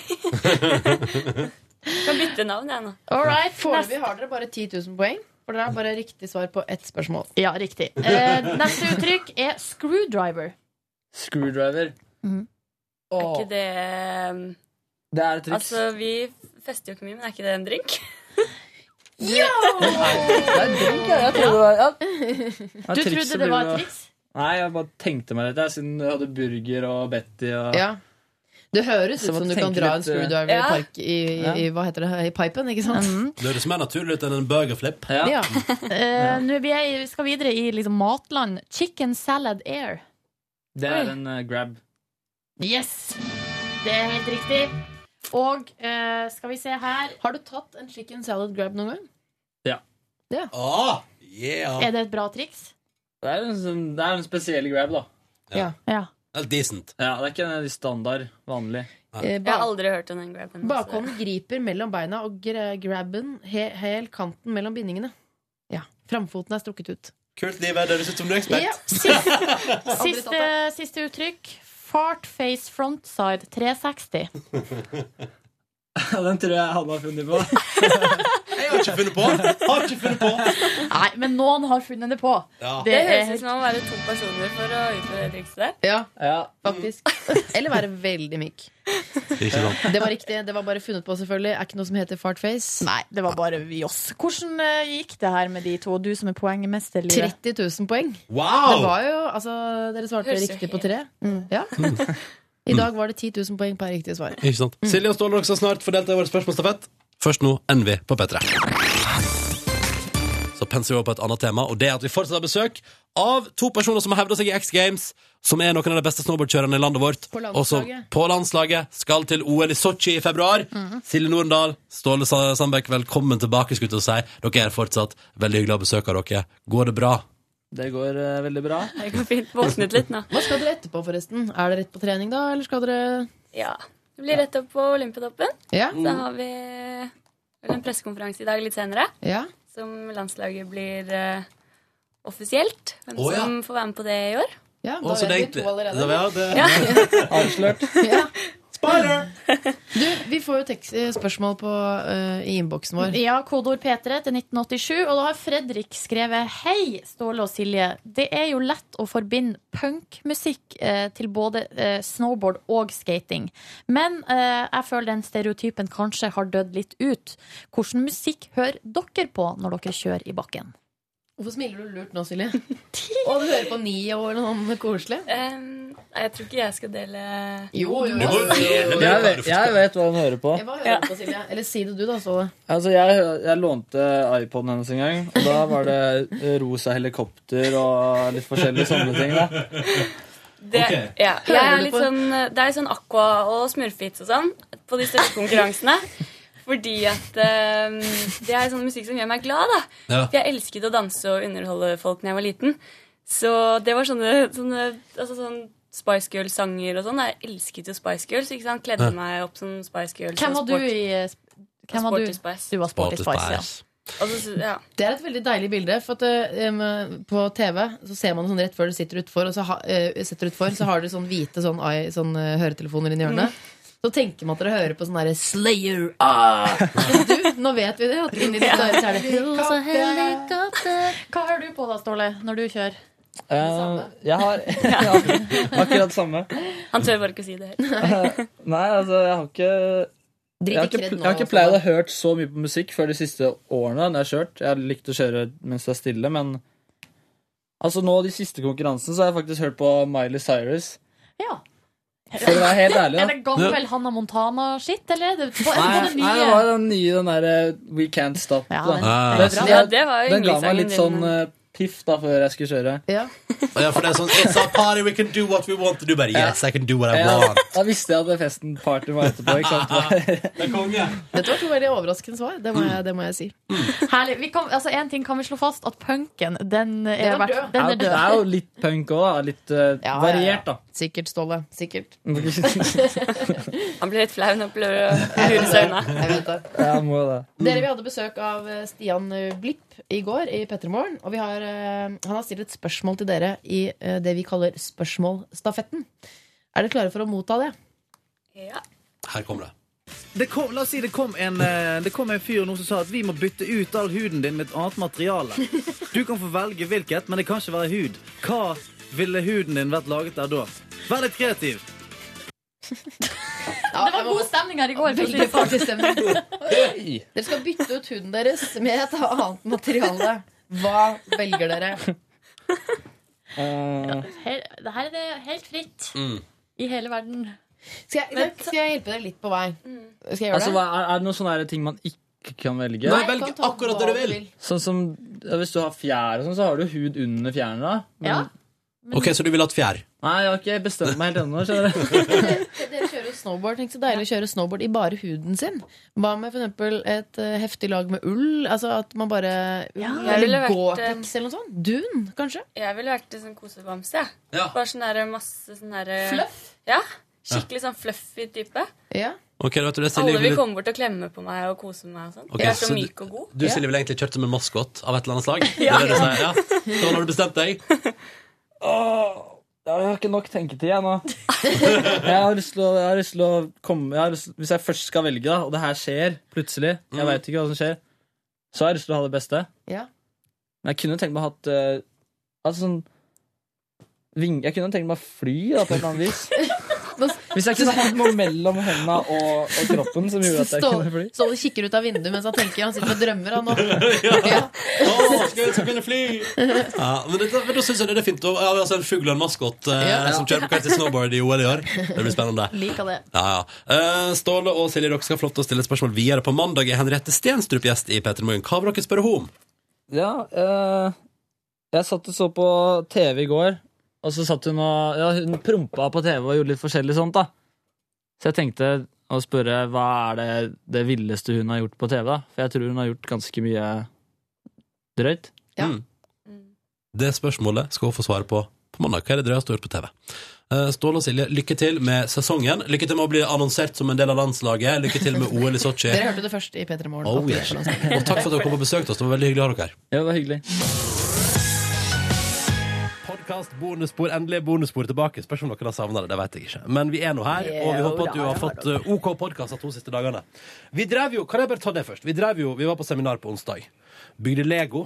Speaker 2: Betty.
Speaker 11: En Betty. <laughs> kan bytte navn, jeg nå.
Speaker 4: All right, Foreløpig har dere bare 10 000 poeng. håper dere har bare riktig svar på ett spørsmål.
Speaker 3: Ja, riktig. Eh, neste uttrykk er screwdriver.
Speaker 10: Screwdriver.
Speaker 11: Er ikke det um,
Speaker 10: Det er et triks.
Speaker 11: Altså, vi fester jo ikke mye, men er ikke det en drink?
Speaker 10: Jeg trodde det var
Speaker 3: <laughs>
Speaker 10: ja. Ja,
Speaker 3: Du
Speaker 10: trikset
Speaker 3: trodde det
Speaker 10: blir
Speaker 3: var et
Speaker 10: å-
Speaker 3: triks?
Speaker 10: Nei, jeg bare tenkte meg litt, jeg, siden jeg hadde burger og Betty og
Speaker 4: Ja. Det høres
Speaker 10: Så
Speaker 4: ut
Speaker 10: man
Speaker 4: som du kan
Speaker 10: tenker
Speaker 4: dra en
Speaker 10: litt,
Speaker 4: screwdriver
Speaker 10: eh,
Speaker 4: i, park, i,
Speaker 10: Ja.
Speaker 4: i, hva heter det, i pipen, ikke sant?
Speaker 11: Mm.
Speaker 2: Det høres mer naturlig ut enn en burgerflip.
Speaker 4: Ja.
Speaker 3: Mm. Eh, Nå vi er- vi skal vi videre i liksom matland. Chicken salad air.
Speaker 10: Det er en eh, grab.
Speaker 3: Yes! Det er helt riktig. Og eh, skal vi se her
Speaker 4: Har du tatt en chicken salad grab noen gang?
Speaker 10: Ja.
Speaker 4: Ja.
Speaker 2: Ah, yeah.
Speaker 3: Er det et bra triks?
Speaker 10: Det er en, sånn- det er en spesiell grab, da.
Speaker 4: Ja.
Speaker 2: Helt decent.
Speaker 10: Ja, det er ikke en standard vanlig. <laughs>
Speaker 4: Eh, ba- Jeg har
Speaker 11: aldri hørt om den graben.
Speaker 4: Bakhånden griper mellom beina og gra- grabben he hel kanten mellom bindingene. Ja. Framfoten er strukket ut.
Speaker 2: Kult, Livet. Det høres ut som du er ekspert.
Speaker 4: Ja.
Speaker 3: Siste, siste uttrykk. Fartface frontside 360.
Speaker 10: Den tror jeg han har funnet på.
Speaker 2: Jeg har ikke funnet på! Har ikke funnet <laughs> på.
Speaker 3: Nei, men noen har funnet det på.
Speaker 2: Ja.
Speaker 11: Det
Speaker 3: er
Speaker 11: høres ut som å være to personer for å utføre det trikset der.
Speaker 4: Ja,
Speaker 10: Ja.
Speaker 4: <laughs> faktisk. Eller være veldig myk.
Speaker 2: Ikke sant.
Speaker 4: Det var riktig. Det var bare funnet på, selvfølgelig. Er ikke noe som heter fartface.
Speaker 3: Nei, det var bare vi oss. Hvordan eh, gikk det her med de to? Du som er poengmester, Live.
Speaker 4: 30 000 poeng. Det
Speaker 2: Wow!
Speaker 4: var jo, altså, dere svarte
Speaker 11: Høres jo
Speaker 4: riktig på
Speaker 11: helt-
Speaker 4: tre. <laughs> Ja. I dag var det 10 000 poeng per riktige svar.
Speaker 2: Ikke sant. Silje og Ståle er også snart for delta i vår spørsmålsstafett. Først nå NV på P3. Så penser vi over på et annet tema, og det er at vi fortsatt har besøk av to personer som har hevda seg i X Games, som er noen av de beste snowboardkjørerne i landet vårt.
Speaker 4: På landslaget.
Speaker 2: Og som på landslaget skal til OL i Sotsji i februar. Silje Norendal, Ståle Sa- Sandbekk, velkommen tilbake, skulle jeg til å si. Dere er fortsatt veldig hyggelig å ha besøk av dere. Går det bra?
Speaker 10: Det går eh, veldig bra.
Speaker 11: Det går fint. Våknet litt nå.
Speaker 4: Hva skal dere etterpå, forresten? Er det rett på trening, da? Eller skal dere
Speaker 11: Ja. Det blir rett opp på Olympiatoppen.
Speaker 4: Ja?
Speaker 11: Så har vi vel en pressekonferanse i dag litt senere,
Speaker 4: ja?
Speaker 11: som landslaget blir eh, offisielt. Hvem
Speaker 2: Å, ja.
Speaker 11: som får være med på det i år.
Speaker 4: ja
Speaker 2: Å,
Speaker 4: da
Speaker 2: så det
Speaker 4: vet
Speaker 2: er
Speaker 4: vi
Speaker 2: egentlig-
Speaker 4: to allerede.
Speaker 2: Ja, det-
Speaker 11: Ja.
Speaker 10: Avslørt.
Speaker 4: Ja.
Speaker 2: <laughs>
Speaker 4: Du, vi får jo tekst, eh, spørsmål på, eh, i innboksen vår.
Speaker 3: Ja, kodeord P3 til 1987. Og da har Fredrik skrevet Hei, Ståle og Silje. Det er jo lett å forbinde punkmusikk eh, til både eh, snowboard og skating. Men eh, jeg føler den stereotypen kanskje har dødd litt ut. Hvordan musikk hører dere på når dere kjører i bakken?
Speaker 4: Hvorfor smiler du lurt nå, Silje? Og du hører på Nio eller noe koselig?
Speaker 11: Em, Ehm, nei, jeg tror ikke jeg skal dele
Speaker 4: Jo, jo,
Speaker 2: Du må jo dele det.
Speaker 10: Jeg vet, jeg vet hva hun hører på.
Speaker 4: Hva hører du på, Silje? Eller si det du, da, Ståle.
Speaker 10: Altså, jeg, jeg lånte iPoden hennes en gang, og da var det eh, rosa helikopter og litt forskjellige sånne ting. da.
Speaker 11: det.
Speaker 2: Ok.
Speaker 11: Ja. Jeg
Speaker 4: Hører
Speaker 11: er
Speaker 4: du
Speaker 11: litt
Speaker 4: på-
Speaker 11: sånn, det er jo sånn aqua og smurfehits og sånn på de største
Speaker 10: <laughs>
Speaker 11: konkurransene. Fordi at em, det er sånn musikk som gjør meg glad, da.
Speaker 2: Ja.
Speaker 11: For jeg elsket å danse og underholde folk da jeg var liten. Så det var sånne, sånne altså sånn Spice Girls-sanger og sånn. Jeg elsket jo Spice Girls. ikke sant? Kledde meg opp som Spice Girls.
Speaker 3: Hvem var
Speaker 11: og
Speaker 3: du
Speaker 11: sport-
Speaker 3: i eh, sp- hvem var
Speaker 11: Sporty
Speaker 3: du?
Speaker 11: Spice.
Speaker 3: Du var Sporty Spice, ja.
Speaker 11: Og så, ja.
Speaker 4: Det er et veldig deilig bilde. For at, eh, em, på TV så ser man det sånn rett før du sitter utfor, og så, ha, eh, sitter utfor, så har dere sånn hvite sånn, eye- sånn, eh, høretelefoner inni hjørnet. Så tenker man at dere hører på sånn derre Slayer. Ah! Men du, nå vet vi det. At inni ditt øre så er det
Speaker 3: Rosa helikopter. Hva hører du på da, Ståle, når du kjører?
Speaker 10: Eh, jeg har <laughs> ja, akkurat samme.
Speaker 11: Han tør bare ikke å si det helt.
Speaker 10: Nei, altså, jeg har ikke jeg har
Speaker 4: Drit i
Speaker 10: ikke,
Speaker 4: kred
Speaker 10: jeg
Speaker 4: nå, altså.
Speaker 10: har ikke pleid å hørt så mye på musikk før de siste årene. når Jeg har kjørt. Jeg har likt å kjøre mens det er stille, men altså nå de siste konkurransene så har jeg faktisk hørt på Miley Cyrus.
Speaker 3: Ja.
Speaker 10: For å være helt ærlig,
Speaker 3: Er
Speaker 10: da.
Speaker 3: det gammel Hanna Montana-skitt, eller er det på, er det
Speaker 10: Nei,
Speaker 3: på det nye?
Speaker 10: nei, det var den nye, den derre We Can't Stop.
Speaker 3: Ja,
Speaker 10: da.
Speaker 3: den-
Speaker 2: Ah.
Speaker 10: Den synes
Speaker 11: Ja,
Speaker 10: jeg-
Speaker 11: det var jo
Speaker 10: Den ga meg
Speaker 11: yndlingssangen
Speaker 10: litt
Speaker 11: din.
Speaker 10: sånn eh, piff da før jeg skulle kjøre.
Speaker 4: Ja.
Speaker 2: Ja, for det er sånn It's a party, we can do what we want. Du bare Yes, I can do what I
Speaker 10: Ja,
Speaker 2: want.
Speaker 10: da visste jeg at det festen party var etterpå. Ikke sant?
Speaker 2: Det er konge.
Speaker 4: Dette var to veldig overraskende svar. Det må jeg, det må jeg si.
Speaker 3: Herlig. Vi kan, altså, en ting kan vi slå fast, at punken, den er,
Speaker 4: Den er
Speaker 3: vært-
Speaker 4: død.
Speaker 3: Den er
Speaker 10: Det
Speaker 3: død.
Speaker 10: er jo litt punk òg, da. Litt eh,
Speaker 4: Ja, ja, ja.
Speaker 10: variert, da.
Speaker 4: Sikkert, Ståle. Sikkert.
Speaker 10: eh,
Speaker 11: Han ble litt flau når han prøver å lure seg unna.
Speaker 10: <laughs>
Speaker 4: Jeg vet det.
Speaker 10: Jeg må det.
Speaker 4: Dere, Vi hadde besøk av eh, Stian eh, Blipp i går i Pettermorgen. Og vi har, eh, han har stilt et spørsmål til dere i eh, det vi kaller spørsmålstafetten. Er dere klare for å motta det?
Speaker 11: Ja.
Speaker 2: Her kommer det.
Speaker 12: det kom, la oss si det kom, en, eh, det kom en fyr nå som sa at vi må bytte ut all huden din med et annet materiale. Du kan få velge hvilket, men det kan ikke være hud. Hva ville huden din vært laget av da? Vær litt kreativ.
Speaker 3: det var god stemning her i går.
Speaker 4: Veldig farlig stemning. Dere skal bytte ut huden deres med et annet materiale. Hva velger dere?
Speaker 3: Her, det her er det helt fritt
Speaker 10: Mm.
Speaker 3: i hele verden.
Speaker 4: Skal jeg, skal jeg hjelpe deg litt på vei? Skal jeg gjøre
Speaker 10: Altså,
Speaker 4: det?
Speaker 10: hva, er, er det noen sånne her ting man ikke kan velge?
Speaker 4: Nei, Nei, du velg kan ta akkurat hva det du du vil. vil.
Speaker 10: Sånn som, ja, hvis du har fjær og sånn, så har du hud under fjærene. da. Men-
Speaker 4: Ja,
Speaker 2: Ok, Så du ville hatt fjær?
Speaker 10: Nei, jeg har ikke bestemt meg helt ennå. skjønner du.
Speaker 4: Dere kjører jo snowboard. Tenk så deilig å kjøre snowboard i bare huden sin. Hva med for eksempel et eh, heftig lag med ull? Altså at man bare
Speaker 11: Jeg ville
Speaker 4: Eller
Speaker 11: vært,
Speaker 4: Gore-Tex eller noe sånt? Dun, kanskje?
Speaker 11: Jeg ville vært en sånn kosebamse. jeg.
Speaker 2: Ja.
Speaker 11: Bare sånn der masse sånn der
Speaker 4: Fluff?
Speaker 11: Ja. Skikkelig sånn fluffy type.
Speaker 2: Ok, vet du, det Silje
Speaker 11: Alle vil
Speaker 2: ville-
Speaker 11: komme bort og klemme på meg og kose meg og sånn.
Speaker 2: Ok,
Speaker 11: jeg er så
Speaker 2: så
Speaker 11: myk og god.
Speaker 2: Du Silje ville egentlig kjørt som en maskot av et eller annet slag?
Speaker 11: Ja.
Speaker 2: Det er det du sier, ja. Sånn har du bestemt deg?
Speaker 10: Åh, ja, jeg har ikke nok tenketid, jeg nå. <laughs> Jeg har lyst til å, jeg har lyst til å komme jeg har lyst, Hvis jeg først skal velge, da, og det her skjer plutselig Jeg vet ikke hva som skjer, så har jeg lyst til å ha det beste.
Speaker 4: Ja.
Speaker 10: Men jeg kunne tenkt meg å ha hatt eh, Altså sånn ving, Jeg kunne tenkt meg å fly, da, på et eller
Speaker 4: <laughs>
Speaker 10: annet vis. Hvis jeg kunne hatt noe mellom hendene og, og kroppen som gjorde at jeg
Speaker 4: Stå-
Speaker 10: kunne fly.
Speaker 4: Ståle kikker ut av vinduet mens han tenker. Han sitter og drømmer,
Speaker 2: <laughs>
Speaker 4: han nå.
Speaker 2: Ja, men, det, men da syns jeg det er fint. å- Ja, altså En fugl og en maskot eh,
Speaker 4: Ja.
Speaker 2: som kjører på kart til snowboard i OL i år. Det blir spennende.
Speaker 4: Liker det.
Speaker 2: Ja, ja. Eh, Ståle og Silje, dere skal få lov til å stille spørsmål videre. På mandag er Henriette Stenstrup gjest i P3 Morgen. Hva vil dere spørre henne om?
Speaker 10: Ja, eh, jeg satt og så på TV i går, og så satt hun og ja, Hun prompa på TV og gjorde litt forskjellig sånt, da. Så jeg tenkte å spørre hva er det, det villeste hun har gjort på TV, da? For jeg tror hun har gjort ganske mye drøyt.
Speaker 2: Mm. Det spørsmålet skal hun få svar på på mandag. Hva er det drøyeste du har gjort på TV? Eh, Ståle og Silje, lykke til med sesongen. Lykke til med å bli annonsert som en del av landslaget. Lykke til med OL i Sotsji.
Speaker 4: Dere hørte det først i P3 Morgen. altså.
Speaker 2: Oh, yes. Og takk for at dere kom og besøkte oss. Det var veldig hyggelig å ha dere her.
Speaker 10: Ja, det var hyggelig.
Speaker 2: Podkast, bonusspor, endelig bonusspor tilbake. Spørs om dere har savna det, det vet jeg ikke. Men vi er nå her, og vi
Speaker 10: Jo
Speaker 2: håper at du har
Speaker 10: da, det var
Speaker 2: fått eh, OK podkast de to siste dagene. Vi drev jo, kan jeg bare ta det først? Vi drev jo, vi var på seminar på onsdag. Bygde Lego.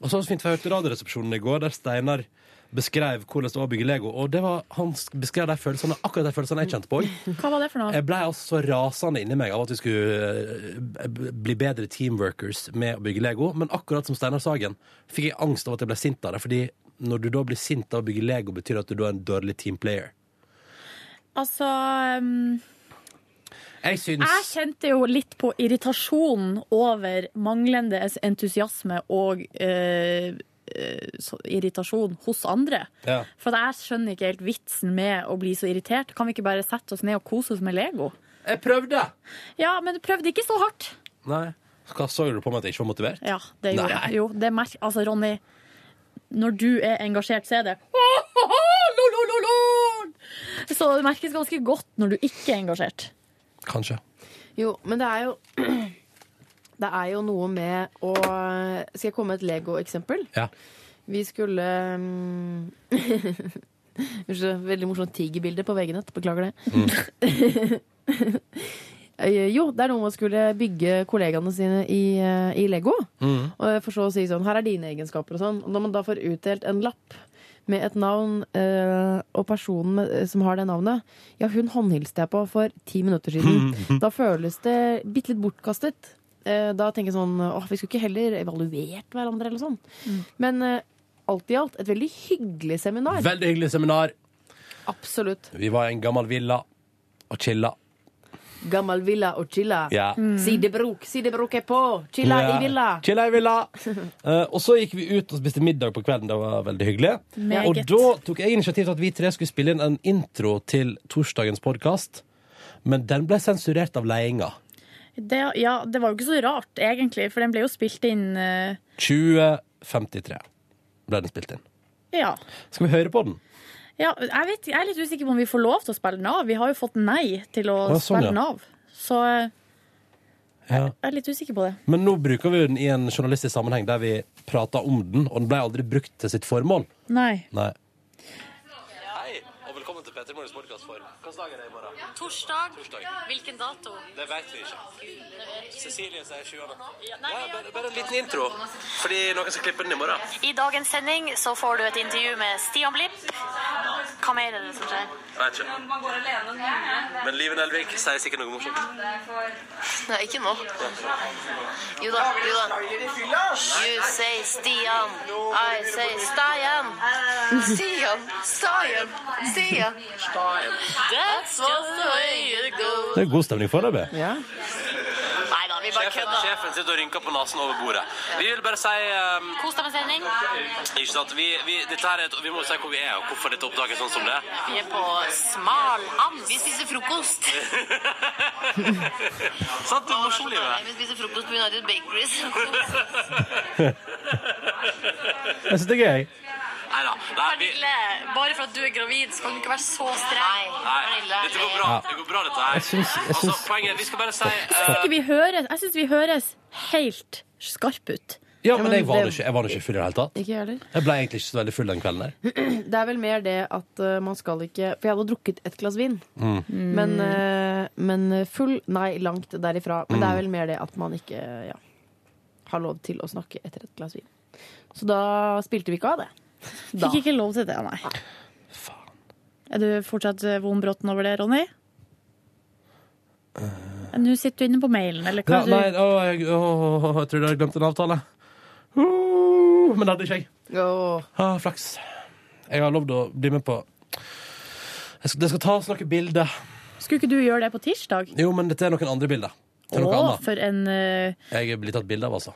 Speaker 2: Og så var det så fint, for jeg hørte Radioresepsjonen i går, der Steinar beskrev hvordan det var å bygge Lego. Og det var, han beskrev de følelsene, akkurat de følelsene jeg kjente på òg.
Speaker 3: Hva var det for noe?
Speaker 2: Jeg blei altså så rasende inni meg av at vi skulle eh, b- bli bedre teamworkers med å bygge Lego, men akkurat som Steinar Sagen fikk jeg angst av at jeg ble sint av det, fordi når du da blir sint av å bygge Lego, betyr det at du da er en dårlig teamplayer.
Speaker 13: Altså um,
Speaker 2: Jeg
Speaker 13: Jeg
Speaker 2: syns
Speaker 13: kjente jo litt på irritasjon over manglende entusiasme og eh, eh, så, irritasjon hos andre.
Speaker 2: ja.
Speaker 13: For at jeg skjønner ikke helt vitsen med å bli så irritert. Kan vi ikke bare sette oss ned og kose oss med Lego?
Speaker 2: Jeg prøvde!
Speaker 13: Ja, men du prøvde ikke så hardt.
Speaker 2: Nei. Hva så du på meg at jeg ikke var motivert?
Speaker 13: Ja, det gjorde
Speaker 2: Nei.
Speaker 13: jeg. Jo, det merk... Altså, Ronny, når du er engasjert, så er det Lo, lo, lo, lo! Så det merkes ganske godt når du ikke er engasjert.
Speaker 2: Kanskje.
Speaker 4: Jo, men det er jo <clears throat> Det er jo noe med å eh, Skal jeg komme med et Lego-eksempel?
Speaker 2: Ja.
Speaker 4: Vi skulle mm, Unnskyld, veldig morsomt tigerbilde på veggene. Beklager det. Eh, <laughs> jo, det er noe man skulle bygge kollegaene sine i, eh, i Lego.
Speaker 14: Mm.
Speaker 4: Og for så å si sånn, her er dine egenskaper og sånn. Og når man da får utdelt en lapp med et navn, eh, og personen med, som har det navnet Ja, hun håndhilste jeg på for ti minutter siden. da føles det bitte litt bortkastet. Eh, da tenker jeg sånn åh, vi skulle ikke heller evaluert hverandre eller sånn. Men eh, alt i alt et veldig hyggelig seminar.
Speaker 2: Veldig hyggelig seminar.
Speaker 4: Absolutt.
Speaker 2: Vi var i en gammel villa og chilla.
Speaker 4: Gammel villa og chilla.
Speaker 2: Ja. Mm.
Speaker 4: Sidebruk, sidebruk er på! Chilla
Speaker 2: Ja.
Speaker 4: i villa!
Speaker 2: Chilla i villa! <laughs> Eh, og så gikk vi ut og spiste middag på kvelden. Det var veldig hyggelig.
Speaker 4: Meget.
Speaker 2: Og da tok jeg initiativ til at vi tre skulle spille inn en intro til torsdagens podkast. Men den ble sensurert av ledelsen.
Speaker 13: Det, ja, det var jo ikke så rart, egentlig, for den ble jo spilt inn eh,
Speaker 2: 2053 ble den spilt inn.
Speaker 13: Ja.
Speaker 2: Skal vi høre på den?
Speaker 13: ja jeg, vet, jeg er litt usikker på om vi får lov til å spille den av. Vi har jo fått nei til å
Speaker 2: Å, sånn,
Speaker 13: spille den
Speaker 2: ja.
Speaker 13: av. Så eh,
Speaker 2: Ja.
Speaker 13: jeg er litt usikker på det.
Speaker 2: Men nå bruker vi den i en journalistisk sammenheng der vi prater om den, og den ble aldri brukt til sitt formål.
Speaker 13: Nei.
Speaker 2: Nei.
Speaker 1: Hei, og velkommen til
Speaker 2: Petter Morgens podkastform. Hvilken dag er det i morgen?
Speaker 11: Torsdag.
Speaker 2: Torsdag.
Speaker 11: Hvilken dato?
Speaker 2: Det vet vi ikke. Cecilie sier 20.
Speaker 11: Ja, nei,
Speaker 2: Ja, bare, bare en liten intro, fordi noen skal klippe den i morgen.
Speaker 11: I dagens sending så får du et intervju med Stian Blipp. Hva mer er det som skjer?
Speaker 2: Vet ikke.
Speaker 15: Man går alene og hymler.
Speaker 2: Men Liven Elvik sier sikkert noe morsomt.
Speaker 16: Nei, ikke nå. Jo da, jo da. You say Stian, I say Stian. Stian, Stian, Stian. That's what the way it goes.
Speaker 2: Det er god stemning foreløpig.
Speaker 16: Ja.
Speaker 11: Nei da, vi bare
Speaker 2: Sjefen,
Speaker 11: kødder.
Speaker 2: sjefen sitter og rynker på nesen over bordet. Vi vil bare si um,
Speaker 11: Kos deg med sending.
Speaker 2: ikke sant? Vi, vi, dette her er et, vi må si hvor vi er, og hvorfor dette opptaket er sånn som det er.
Speaker 11: Vi er på Smalhans. Vi spiser
Speaker 16: <laughs>
Speaker 11: frokost.
Speaker 2: Sant, det er morsomt, livet.
Speaker 16: Vi spiser frokost på United <laughs> Bakeries.
Speaker 4: Jeg syns det er gøy.
Speaker 2: Nei da. Nei, vi,
Speaker 11: Pernille, bare for at du er gravid, så kan du ikke være så streng.
Speaker 2: nei, dette går bra. Det går bra, dette her.
Speaker 4: Jeg syns- jeg
Speaker 2: Altså,
Speaker 4: syns-
Speaker 2: poenget er, vi skal bare si eh,
Speaker 3: Jeg syns ikke vi høres, jeg synes vi høres helt skarpe ut.
Speaker 2: Ja, men jeg var nå ikke, jeg var nå ikke full i det hele tatt.
Speaker 16: Ikke jeg heller.
Speaker 2: Jeg ble egentlig ikke så veldig full den kvelden der.
Speaker 4: Det er vel mer det at eh, man skal ikke For jeg hadde drukket et glass vin.
Speaker 2: Mm.
Speaker 4: Men, eh, men full Nei, langt derifra. Men
Speaker 2: Mm.
Speaker 4: det er vel mer det at man ikke ja, har lov til å snakke etter et glass vin. Så da spilte vi ikke av det. Da.
Speaker 3: Fikk ikke lov til det, nei. Er du fortsatt eh, vonbrotten over det, Ronny? Eh, Nå sitter du inne på mailen, eller hva
Speaker 4: Ja,
Speaker 3: er
Speaker 2: Nei,
Speaker 3: det
Speaker 2: å, jeg, å, jeg tror jeg har glemt en avtale. Uh, men det hadde ikke jeg. Ah, flaks. Jeg har lovd å bli med på jeg skal, Det skal tas noen bilder.
Speaker 3: du Skulle ikke du gjøre det på tirsdag?
Speaker 2: Jo, men dette er noen andre bilder. Det er
Speaker 3: Å,
Speaker 2: noe annet.
Speaker 3: for en eh,
Speaker 2: Jeg blir tatt bilde av, altså.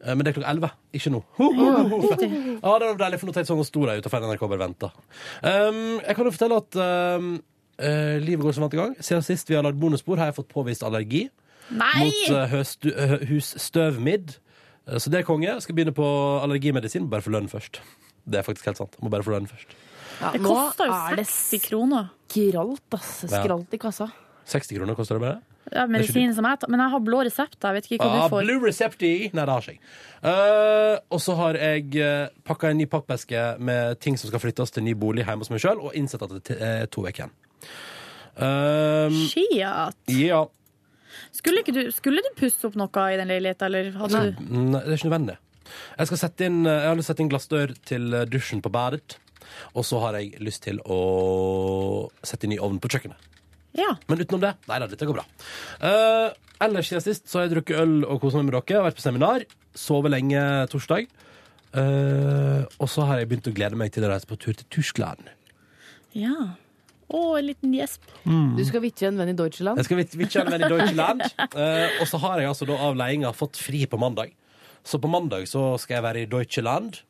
Speaker 2: Eh, Men det er klokka elleve, ikke nå. Ho, ho, ho, ho. Ja, det var deilig, for nå tenkte jeg sånn og sto der utenfor NRK og bare venta. Um, jeg kan jo fortelle at um, eh, livet går som vant i gang. Siden sist vi har lagd bonusspor, har jeg fått påvist allergi
Speaker 3: Nei!
Speaker 2: mot eh, høstu, eh, husstøvmidd. Eh, Så det er konge. Jeg skal begynne på allergimedisin. Bare få lønn først. Det er faktisk helt sant. Jeg må bare få lønn først.
Speaker 3: Det koster jo 60 kroner.
Speaker 4: Skralt, ass. Skralt i kassa.
Speaker 2: 60 kroner koster det bare.
Speaker 3: Ja, medisin som jeg tar. Men jeg har blå resept, jeg vet ikke hva
Speaker 2: Ah,
Speaker 3: du får.
Speaker 2: Blue Recepti! Nei, det har ikke jeg. Eh, og så har jeg uh, pakka en ny pappeske med ting som skal flyttes til ny bolig hjemme hos meg sjøl, og innsett at det er eh, to uker igjen. Um,
Speaker 3: Shit.
Speaker 2: ja.
Speaker 3: Skulle, ikke du, skulle du pusse opp noe i den leiligheten, eller hadde du
Speaker 2: Nei, det er ikke nødvendig. Jeg, skal sette inn, eh, jeg har lyst til å sette inn glassdør til eh, dusjen på badet. Og så har jeg lyst til å sette inn ny ovn på kjøkkenet.
Speaker 3: Ja.
Speaker 2: Men utenom det, nei da, dette går bra. Eh, ellers siden sist så har jeg drukket øl og koset meg med dere. Vært på seminar. Sovet lenge torsdag. Eh, og så har jeg begynt å glede meg til å reise på tur til Tyskland.
Speaker 3: Ja. Å, en liten gjesp.
Speaker 4: Du skal vitje en venn i Deutschland.
Speaker 2: Jeg skal vit- vitche en venn i Deutschland. Eh, og så har jeg altså da av ledelsen fått fri på mandag. Så på mandag så skal jeg være i Deutschland.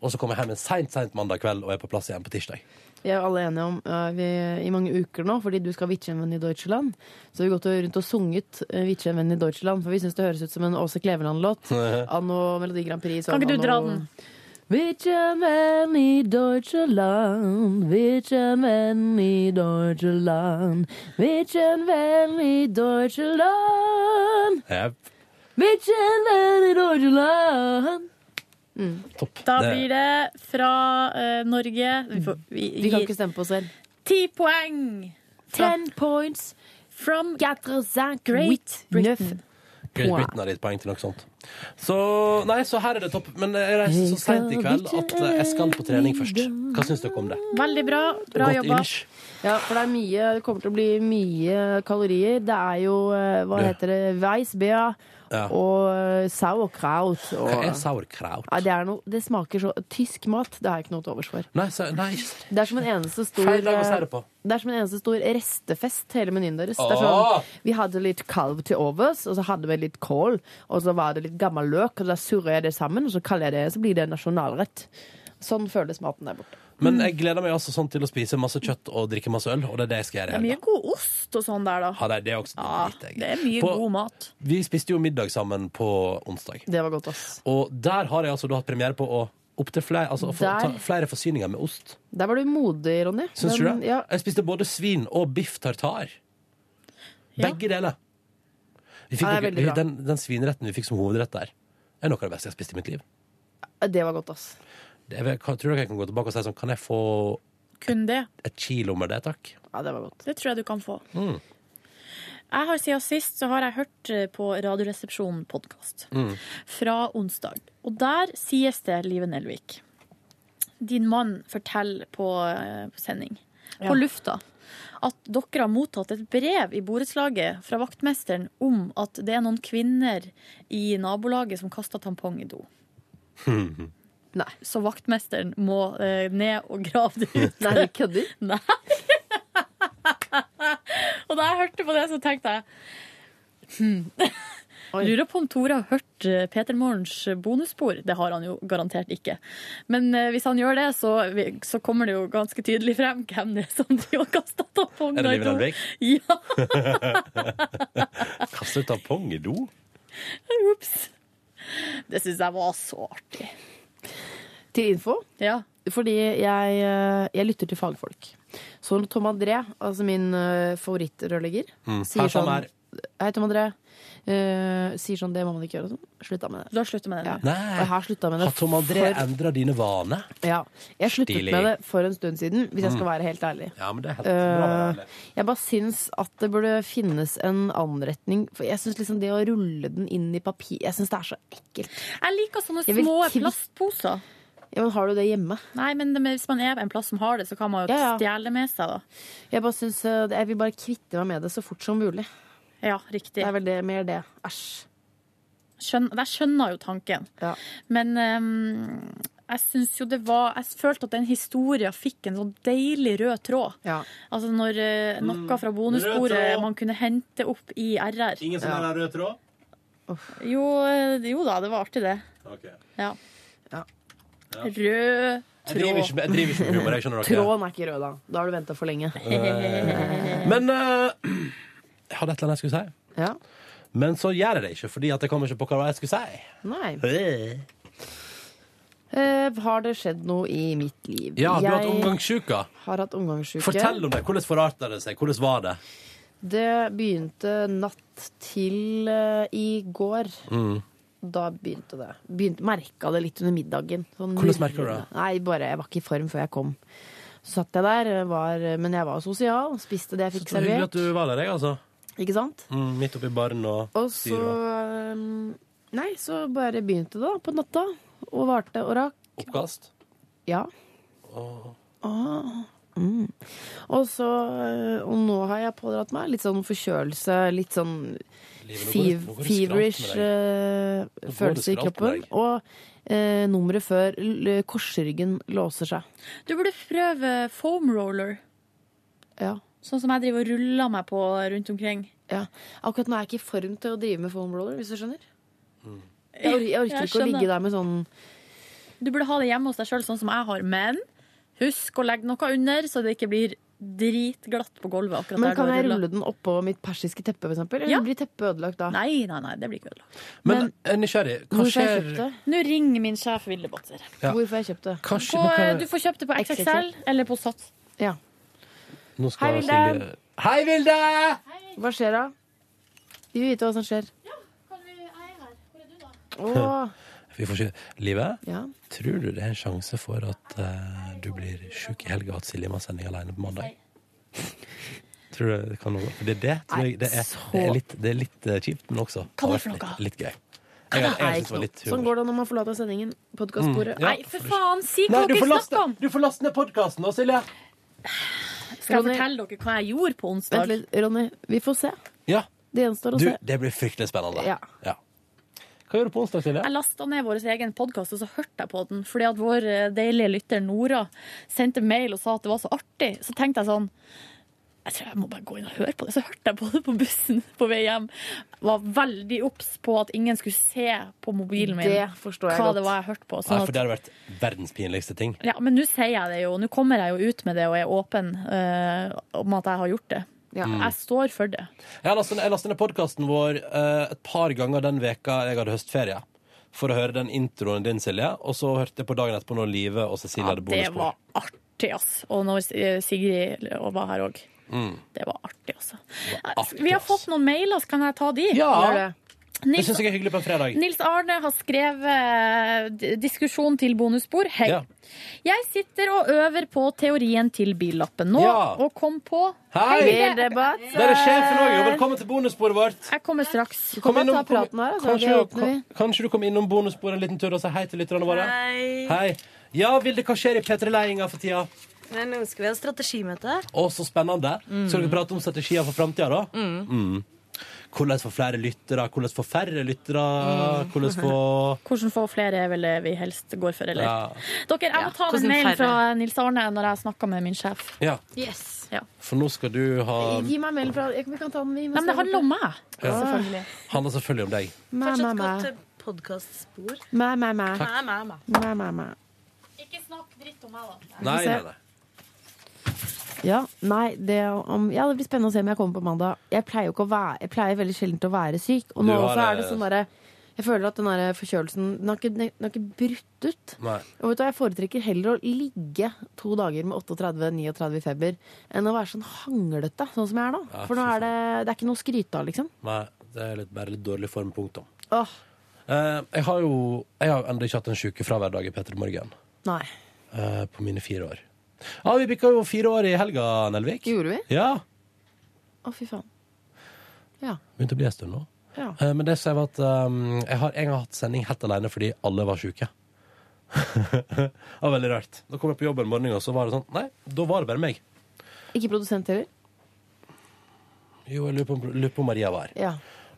Speaker 2: Og så kommer jeg hjem en seint, seint mandag kveld og er på plass igjen på tirsdag.
Speaker 4: Vi er jo alle enige om eh, vi, i mange uker nå, fordi du skal vitche en venn i Deutschland. Så har vi gått og- rundt og sunget eh, 'Vitche en venn i Deutschland', for vi syns det høres ut som en Åse Kleveland-låt. Anno Melodi Grand Prix.
Speaker 3: Kan ikke du dra den?
Speaker 4: Vitche en venn i Deutschland, vitche en venn i Deutschland, vitche en venn i Deutschland,
Speaker 2: Yep.
Speaker 4: vitche en venn i Deutschland.
Speaker 3: Da
Speaker 4: Det-
Speaker 3: blir det fra eh, Norge Vi, får, vi,
Speaker 4: Vi kan ikke stemme på oss selv.
Speaker 3: Ti poeng!
Speaker 4: Ten points
Speaker 3: from
Speaker 4: Great Britain.
Speaker 2: Great Britain har litt poeng til noe sånt. Så nei, så her er det topp. Men jeg reiser så seint i kveld at eh, jeg skal på trening først. Hva syns dere om det?
Speaker 3: Veldig bra.
Speaker 2: Bra Godt jobba. image.
Speaker 4: Ja, for det er mye Det kommer til å bli mye kalorier. Det er jo eh, Hva
Speaker 2: Det.
Speaker 4: heter det? Weissbea
Speaker 2: Ja.
Speaker 4: og eh, sauerkraut. Og,
Speaker 2: Jeg er sauerkraut.
Speaker 4: Nei, det, er noe, det smaker så Tysk mat, det har jeg ikke noe til overs for.
Speaker 2: Nei, sa- nei, ikke sant.
Speaker 4: Det er som en eneste stor eh,
Speaker 2: Feil dag å si det på.
Speaker 4: Det er som en eneste stor restefest, hele menyen deres. Det er
Speaker 2: Åh!
Speaker 4: sånn, vi hadde litt kalv til overs, og så hadde vi litt kål, og så var det litt gammel løk, og da surrer jeg det sammen, og så, kaller jeg det, så blir det en nasjonalrett. Sånn føles maten der borte.
Speaker 2: Men jeg gleder meg altså sånn til å spise masse kjøtt og drikke masse øl, og det er det jeg skal
Speaker 3: Det
Speaker 2: gjøre.
Speaker 3: er
Speaker 2: i helga.
Speaker 3: mye god ost og sånn der, da.
Speaker 2: Ja, det er det også.
Speaker 3: Det er mye
Speaker 2: På-
Speaker 3: god mat.
Speaker 2: Vi spiste jo middag sammen på onsdag.
Speaker 4: Det var godt, ass.
Speaker 2: Og der har jeg altså da hatt premiere på å opptil flere, altså, å få,
Speaker 4: Der.
Speaker 2: ta flere forsyninger med ost.
Speaker 4: Der var du modig, Ronny.
Speaker 2: Syns du det?
Speaker 4: Men, Ja,
Speaker 2: Jeg spiste både svin og biff tartar. Begge deler. Vi fikk
Speaker 4: Ja, det
Speaker 2: noe-
Speaker 4: er veldig bra.
Speaker 2: den, den svinretten vi fikk som hovedrett der, er noe av det beste jeg har spist i mitt liv.
Speaker 4: det var godt, ass.
Speaker 2: Det, jeg, tror dere jeg kan gå tilbake og si sånn Kan jeg få
Speaker 3: Kun det.
Speaker 2: Et kilo med det, takk.
Speaker 4: Ja, det var godt.
Speaker 3: Det tror jeg du kan få.
Speaker 2: Mm.
Speaker 3: Jeg har Siden sist så har jeg hørt eh, på Radioresepsjonen podkast
Speaker 2: Mm.
Speaker 3: fra onsdag. Og der sies det, Live Nelvik Din mann forteller på, eh, på sending,
Speaker 17: Ja.
Speaker 3: på lufta, at dere har mottatt et brev i borettslaget fra vaktmesteren om at det er noen kvinner i nabolaget som kaster tampong
Speaker 2: <laughs>
Speaker 3: i do. Så vaktmesteren må eh, ned og grave det
Speaker 2: <laughs>
Speaker 3: ut.
Speaker 4: Nei, du kødder?
Speaker 3: Nei. og da jeg hørte på det, så tenkte jeg
Speaker 4: <laughs>
Speaker 3: hmm. Lurer på om Tore har hørt eh, Peter Morgens bonusspor. Det har han jo garantert ikke. Men eh, hvis han gjør det, så, vi- så kommer det jo ganske tydelig frem hvem det er som <laughs> driver og kaster
Speaker 2: Er
Speaker 3: tamponger
Speaker 2: det
Speaker 3: i
Speaker 2: Liv
Speaker 3: do.
Speaker 2: Nelvik?
Speaker 3: <laughs> Ja,
Speaker 2: Kaste ut tampong i do?
Speaker 3: ups. Det syns jeg var så artig.
Speaker 4: Til info?
Speaker 3: Ja.
Speaker 4: Fordi jeg, eh, jeg lytter til fagfolk. Så når Tom André, altså min eh, favorittrørlegger,
Speaker 2: Mm.
Speaker 4: sånn-
Speaker 2: Her som her.
Speaker 4: Hei, Tom André. Eh, sier sånn 'det må man ikke gjøre' og sånn. Slutta med det.
Speaker 3: Du har slutta med det?
Speaker 4: Ja.
Speaker 2: Nei.
Speaker 4: Og jeg har slutta med det.
Speaker 2: Har Tom André
Speaker 4: for-
Speaker 2: endra dine vaner?
Speaker 4: Ja. Jeg sluttet
Speaker 2: Stilig.
Speaker 4: med det for en stund siden, hvis jeg skal
Speaker 2: Mm.
Speaker 4: være helt ærlig.
Speaker 2: Ja, men det er helt bra å være
Speaker 4: Eh,
Speaker 2: ærlig.
Speaker 4: jeg bare syns at det burde finnes en anretning. For jeg syns liksom det å rulle den inn i papir Jeg syns det er så ekkelt.
Speaker 3: Jeg liker sånne
Speaker 4: Jeg vil
Speaker 3: små
Speaker 4: kvitt-
Speaker 3: plastposer.
Speaker 4: Ja, men Har du det hjemme?
Speaker 3: Nei, men det- men hvis man er en plass som har det, så kan man jo stjele det med seg, da.
Speaker 4: Jeg, bare synes, eh, jeg vil bare kvitte meg med det så fort som mulig.
Speaker 3: Ja, riktig.
Speaker 4: Det er vel det, mer det. Æsj.
Speaker 3: Skjøn- jeg skjønner jo tanken. Men ehm, jeg syns jo det var Jeg følte at den historien fikk en sånn deilig rød tråd. Altså når eh, noe fra
Speaker 2: Mm. Rød
Speaker 3: bonusbordet
Speaker 2: tråd.
Speaker 3: man kunne hente opp i RR.
Speaker 2: Ingen som har rød tråd?
Speaker 3: Jo, eh, jo da, det var artig, det.
Speaker 2: Ok.
Speaker 3: Ja.
Speaker 2: Ja.
Speaker 3: Rød
Speaker 2: Jeg driver ikke med, jeg driver ikke med humor, jeg skjønner dere.
Speaker 4: Tråden er ikke rød, da. Da har du venta for lenge.
Speaker 2: Eh, Men eh, jeg hadde et eller annet jeg skulle si.
Speaker 4: Ja.
Speaker 2: Men så gjør jeg det ikke, fordi at jeg kommer ikke på hva jeg skulle si.
Speaker 4: Nei.
Speaker 2: Eh.
Speaker 4: Eh, har det skjedd noe i mitt liv?
Speaker 2: Ja, du har hatt
Speaker 4: Jeg
Speaker 2: omgangssjuka.
Speaker 4: har hatt omgangsuke.
Speaker 2: Fortell om det. Hvordan forarta det seg? Hvordan var det?
Speaker 4: Det begynte natt til eh, i går.
Speaker 2: Mm.
Speaker 4: Da begynte det. Begynte, merka det litt under middagen. Sånn
Speaker 2: Hvordan
Speaker 4: nurrende.
Speaker 2: merket du det?
Speaker 4: Nei, bare, Jeg var ikke i form før jeg kom. Så satt jeg der, eh, var, men jeg var sosial. Spiste det jeg fikk
Speaker 2: Så hyggelig
Speaker 4: servert.
Speaker 2: at du var der, jeg, altså.
Speaker 4: Ikke sant?
Speaker 2: Mm, midt oppi baren og,
Speaker 4: Og
Speaker 2: styr
Speaker 4: så
Speaker 2: og
Speaker 4: eh, Nei, så bare begynte det da, på natta. Og varte og rakk.
Speaker 2: oppkast.
Speaker 4: Ja.
Speaker 2: Og
Speaker 4: Ah. Mm. Og så eh, Og nå har jeg pådratt meg litt sånn forkjølelse, litt sånn
Speaker 2: Livet, nå går det-
Speaker 4: fev,
Speaker 2: nå går det
Speaker 4: feverish
Speaker 2: skralt med Nå går
Speaker 4: eh, følelse i
Speaker 2: det skralt med
Speaker 4: kroppen. Og eh, nummeret før l- eh, korsryggen låser seg.
Speaker 3: Du burde prøve foam roller.
Speaker 4: Ja.
Speaker 3: Sånn som jeg driver og ruller meg på rundt omkring.
Speaker 4: Ja. Akkurat nå er jeg ikke i form til å drive med foam roller, hvis du skjønner. Jeg, or jeg orker ikke å ligge der med sånn
Speaker 3: Du burde ha det hjemme hos deg sjøl, sånn som jeg har. Men husk å legge noe under, så det ikke blir dritglatt på gulvet. akkurat
Speaker 4: Men
Speaker 3: der
Speaker 4: kan
Speaker 3: du har
Speaker 4: jeg
Speaker 3: rullet.
Speaker 4: rulle den oppå mitt persiske teppe, for eksempel? Eller
Speaker 3: Ja.
Speaker 4: blir teppet ødelagt da?
Speaker 3: Nei, nei, nei, det blir ikke ødelagt.
Speaker 2: Men, eh, nysgjerrig, hva
Speaker 4: Hvorfor har jeg
Speaker 2: skjer
Speaker 4: kjøpt det?
Speaker 3: Nå ringer min sjef Vilde Botter.
Speaker 2: Ja.
Speaker 4: Hvorfor har jeg kjøpt det?
Speaker 2: Hva skj-
Speaker 3: På, eh,
Speaker 2: nå kan jeg-
Speaker 3: du får kjøpt det på
Speaker 4: XXL.
Speaker 3: XXL eller på Sats.
Speaker 4: Ja.
Speaker 2: Nå skal
Speaker 4: Hei, Vilde.
Speaker 2: Silje- Hei, Vilde!
Speaker 4: Hva skjer da? Vi vil vite hva som skjer. Åh.
Speaker 2: <laughs> Vi får se. Live,
Speaker 4: Ja.
Speaker 2: tror du det er en sjanse for at eh, du blir sjuk i helga og at Silje må ha sending alene på mandag? Tror du det kan gå? For Det, det, tror jeg, det, er, det, er litt, det er litt eh, kjipt, men også
Speaker 4: Hva er det for noe?
Speaker 2: Litt, litt gøy. Jeg, jeg,
Speaker 4: Nei,
Speaker 2: synes det var litt
Speaker 4: sånn går det når man forlater sendingen. Podkastbordet.
Speaker 2: Mm, ja. Nei, for
Speaker 3: faen! Si
Speaker 2: Nei, du får laste, du får laste ned podkasten nå, Silje.
Speaker 3: Skal jeg fortelle dere hva jeg gjorde på onsdag?
Speaker 4: Vent litt, Ronny. Vi får se.
Speaker 2: Ja.
Speaker 4: Det gjenstår å
Speaker 2: Du,
Speaker 4: se.
Speaker 2: det blir fryktelig spennende.
Speaker 3: Ja.
Speaker 2: Hva gjør du på onsdag, Silje?
Speaker 3: Jeg lasta ned vår egen podkast, og så hørte jeg på den. Fordi at vår eh, deilige lytter Nora sendte mail og sa at det var så artig. Så tenkte jeg sånn Jeg tror jeg må bare gå inn og høre på det. Så hørte jeg på det på bussen på vei hjem. Var veldig obs på at ingen skulle se på mobilen min
Speaker 4: Det forstår jeg
Speaker 3: hva
Speaker 4: godt.
Speaker 3: det var jeg hørte på.
Speaker 2: Nei,
Speaker 3: Sånn
Speaker 2: for
Speaker 3: at,
Speaker 2: det hadde vært verdens pinligste ting.
Speaker 3: ja, men nå sier jeg det jo. Nå kommer jeg jo ut med det og er åpen eh, om at jeg har gjort det.
Speaker 2: Mm.
Speaker 3: Jeg står for det.
Speaker 2: Jeg lastet ned, jeg lastet ned podkasten vår eh, et par ganger den veka jeg hadde høstferie. For å høre den introen din, Silje. Og så hørte jeg på dagen etterpå når Live og Cecilie hadde
Speaker 3: Det
Speaker 2: bonusbord.
Speaker 3: var artig, ass. Og når eh, Sigrid var her òg.
Speaker 2: Mm.
Speaker 3: Eh, Det var artig, altså. Vi har fått noen mailer, så kan jeg ta de?
Speaker 2: Ja. Gjør Det syns jeg er hyggelig på en fredag.
Speaker 13: Nils Arne har skrevet eh, diskusjon til bonusspor. Hei.
Speaker 2: Ja.
Speaker 13: Jeg sitter og øver på teorien til billappen nå,
Speaker 2: Ja.
Speaker 13: og kom på
Speaker 2: Hei!
Speaker 13: Hei, det-
Speaker 2: Der er sjefen òg, og velkommen til bonussporet vårt.
Speaker 13: Jeg kommer straks.
Speaker 2: Kom innom- kanskje, kan- kanskje du kommer innom bonussporet en liten tur og sier hei til lytterne våre?
Speaker 18: Hei.
Speaker 2: Hei. Ja, Vilde, hva skjer i P3-ledelsen for tida?
Speaker 18: Nei, nå skal vi ha strategimøte.
Speaker 2: Å, så spennende. Skal dere prate om strategier for framtida, da?
Speaker 18: Mm.
Speaker 2: Mm. Hvordan få flere lyttere, hvordan få færre lyttere, hvordan få
Speaker 13: Hvordan få flere er vel det vi helst går for, eller?
Speaker 2: Ja.
Speaker 13: Dere, jeg må ta med
Speaker 18: hvordan
Speaker 13: en mail
Speaker 18: færre?
Speaker 13: fra Nils Arne når jeg snakker med min sjef.
Speaker 2: Ja,
Speaker 13: Ja.
Speaker 2: for nå skal du ha
Speaker 13: Gi
Speaker 4: meg mail fra Vi kan ta den,
Speaker 13: Nei,
Speaker 4: vi.
Speaker 13: men det handler om meg.
Speaker 2: Ja.
Speaker 4: Selvfølgelig.
Speaker 2: Handler selvfølgelig om deg.
Speaker 18: Fortsatt godt podkastspor.
Speaker 4: Mæ, mæ,
Speaker 18: Mæ,
Speaker 4: mæ.
Speaker 18: mæ, mæ.
Speaker 4: Mæ, mæ, mæ.
Speaker 13: Ikke snakk dritt om meg, da.
Speaker 2: Nei, nei, nei.
Speaker 4: Ja, nei, det, om, ja, det blir spennende å se om jeg kommer på mandag. Jeg pleier, jo ikke å være, jeg pleier veldig sjelden å være syk. Og
Speaker 2: Du
Speaker 4: nå
Speaker 2: har,
Speaker 4: også er det
Speaker 2: eh,
Speaker 4: sånn derre Jeg føler at den der forkjølelsen Den har ikke, den har ikke brutt ut.
Speaker 2: nei.
Speaker 4: Og vet du, hva, Jeg foretrekker heller å ligge to dager med 38-39 i feber enn å være sånn hanglete, sånn som jeg er nå.
Speaker 2: Ja,
Speaker 4: For nå er det, det er ikke noe å skryte av, liksom.
Speaker 2: nei. Det er litt, bare litt dårlig form, punktum.
Speaker 4: Åh,
Speaker 2: Eh, jeg har jo jeg har ennå ikke hatt en sykefraværdag i P3 Morgen
Speaker 4: nei.
Speaker 2: eh, på mine fire år. Ja, Vi bikka jo fire år i helga, Nelvik.
Speaker 4: Gjorde vi?
Speaker 2: Ja,
Speaker 4: Å, fy faen.
Speaker 2: Begynte å bli en stund nå.
Speaker 4: Ja.
Speaker 2: Eh, Men det som var at ehm, jeg har en gang hatt sending helt alene fordi alle var syke. <laughs> det var veldig rart. Da kom jeg på jobb en morgen, og så var det sånn Nei, da var det bare meg.
Speaker 4: Ikke produsent heller?
Speaker 2: Jo, jeg lurer på, om- lurer på om Maria var her.
Speaker 4: Ja.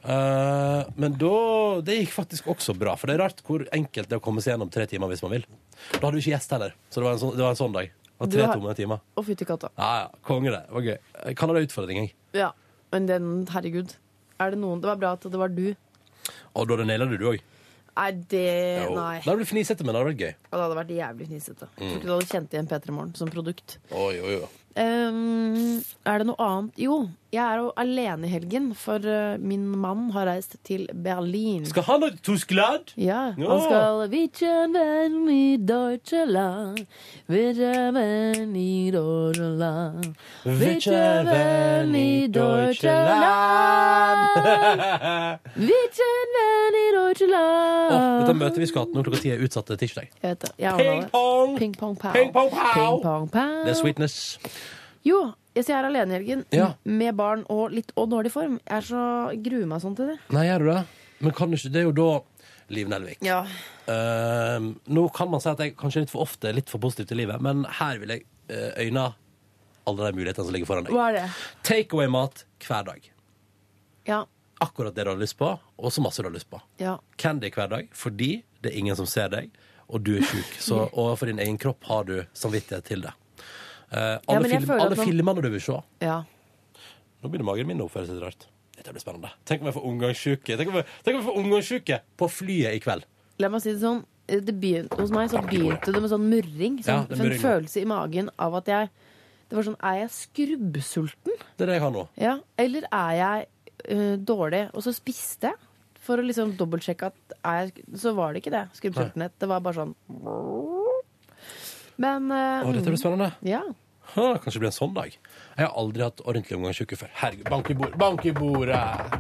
Speaker 2: Eh, men da Det gikk faktisk også bra. For det er rart hvor enkelt det er å komme seg gjennom tre timer hvis man vil. Da hadde vi ikke gjest heller, så det var en sånn, det var en sånn dag. Det var
Speaker 4: Du
Speaker 2: tre
Speaker 4: har-
Speaker 2: tomme timer.
Speaker 4: Å, fytti katta.
Speaker 2: Ja, ja. Konge, det. Det var gøy. Eh, Jeg kaller det utfordring, jeg.
Speaker 4: Ja. Men den, herregud. Er det noen Det var bra at det var du.
Speaker 2: Og da naila du, du òg.
Speaker 4: Nei, det
Speaker 2: Jo.
Speaker 4: Eh, Nei.
Speaker 2: Det hadde blitt fnisete, men det hadde vært gøy.
Speaker 4: Og det hadde vært jævlig fnisete. Jeg Tror
Speaker 2: Mm.
Speaker 4: ikke du hadde kjent igjen P3 Morgen som produkt.
Speaker 2: Oi, oi, oi.
Speaker 4: Ehm, er det noe annet? Jo, jeg er jo alene i helgen, for eh, min mann har reist til Berlin.
Speaker 2: Skal han ha
Speaker 4: <laughs>
Speaker 2: <laughs> Tyskland?
Speaker 4: Ja,
Speaker 2: Ja.
Speaker 4: han skal Witchen werden i Deutschland Witchen werden i Deutschland Witchen werden i Deutschland Witchen werden i
Speaker 2: Åh, dette
Speaker 4: Deutschland
Speaker 2: møtet vi skal ha nå klokka ti, er utsatt til tirsdag.
Speaker 4: Jeg vet det, jeg har
Speaker 2: Ping
Speaker 4: det.
Speaker 2: pong!
Speaker 4: Ping pong pow
Speaker 2: Ping pong pow!
Speaker 4: Ping pong pow
Speaker 2: Det er sweetness.
Speaker 4: Jo, jeg sier jeg er alene i helgen
Speaker 2: Ja.
Speaker 4: Med barn og litt og dårlig form Jeg er så gruer meg sånn til det
Speaker 2: Nei, gjør du det? Men kan du ikke Det er jo da Liv Nelvik.
Speaker 4: Ja.
Speaker 2: Ehm, nå kan man si at jeg kanskje er litt for ofte er litt for positiv til livet, men her vil jeg eh, øyne alle de mulighetene som ligger foran deg.
Speaker 4: Hva er det?
Speaker 2: Takeaway-mat hver dag.
Speaker 4: Ja,
Speaker 2: Akkurat det du har lyst på, og så masse du har lyst på.
Speaker 4: ja
Speaker 2: Candy hver dag, fordi det er ingen som ser deg, og du er sjuk. Så
Speaker 4: <laughs>
Speaker 2: overfor din egen kropp har du samvittighet til det. Eh,
Speaker 4: Ja,
Speaker 2: alle
Speaker 4: men jeg
Speaker 2: film,
Speaker 4: føler at
Speaker 2: alle
Speaker 4: man-
Speaker 2: filmene du vil se.
Speaker 4: Ja.
Speaker 2: Nå begynner magen min å oppføre seg litt rart. Dette blir spennende. Tenk om jeg får omgangssjuke Tenk om jeg, tenk om jeg får omgangssjuke på flyet i kveld.
Speaker 4: La meg si det sånn. Det begynte, hos meg så begynte det med sånn murring.
Speaker 2: Ja,
Speaker 4: Sånn,
Speaker 2: det er
Speaker 4: sånn
Speaker 2: murring.
Speaker 4: følelse i magen av at jeg Det var sånn Er jeg skrubbsulten?
Speaker 2: Det er det jeg har nå.
Speaker 4: Ja. Eller er jeg øh, dårlig? Og så spiste jeg. For å liksom dobbeltsjekke at er jeg, Så var det ikke det. Skrubbsultenhet. Det var bare sånn Men øh,
Speaker 2: Å, dette blir spennende.
Speaker 4: Ja.
Speaker 2: Ha, kanskje det blir en sånn dag. Jeg har aldri hatt ordentlig omgangsuke før. Herregud, bank i, bord, bank i bordet!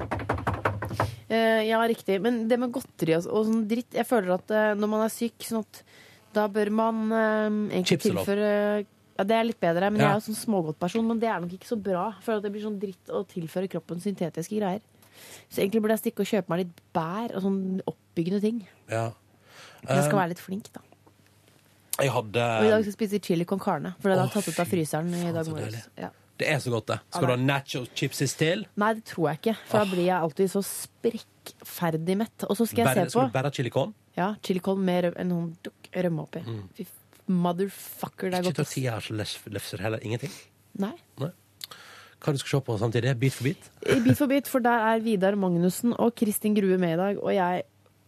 Speaker 4: Eh, ja, riktig. Men det med godteri og, og sånn dritt Jeg føler at eh, når man er syk, sånn at da bør man eh, egentlig
Speaker 2: Chips er lov.
Speaker 4: tilføre ja, Det er litt bedre, men jeg
Speaker 2: Ja.
Speaker 4: er jo sånn smågodtperson. Men det er nok ikke så bra. Jeg føler at det blir sånn dritt å tilføre kroppen syntetiske greier. Så egentlig burde jeg stikke og kjøpe meg litt bær og sånn oppbyggende ting.
Speaker 2: Ja.
Speaker 4: Men jeg skal
Speaker 2: Um,
Speaker 4: være litt flink, da.
Speaker 2: jeg hadde
Speaker 4: Og i dag skal jeg spise chili con carne, for den
Speaker 2: Å,
Speaker 4: har jeg tatt ut av fryseren i dag
Speaker 2: så
Speaker 4: morges.
Speaker 2: deilig.
Speaker 4: Ja.
Speaker 2: Det er så godt, det. Skal du ha nacho chipses til?
Speaker 4: Nei, det tror jeg ikke, for da blir jeg alltid så sprekkferdig mett. Og så skal jeg
Speaker 2: Bare-
Speaker 4: se på
Speaker 2: du bare ha chili con?
Speaker 4: Ja, chilicon med rø- en sånn dukk rømme oppi.
Speaker 2: Mm.
Speaker 4: Fy f- motherfucker, det er
Speaker 2: Ikke
Speaker 4: godt.
Speaker 2: ta tida her, så lef- lefser heller ingenting.
Speaker 4: Nei.
Speaker 2: Nei. Hva du skal se på samtidig? Bit for bit?
Speaker 4: I Bit for bit, for der er Vidar Magnussen og Kristin Grue med i dag, og jeg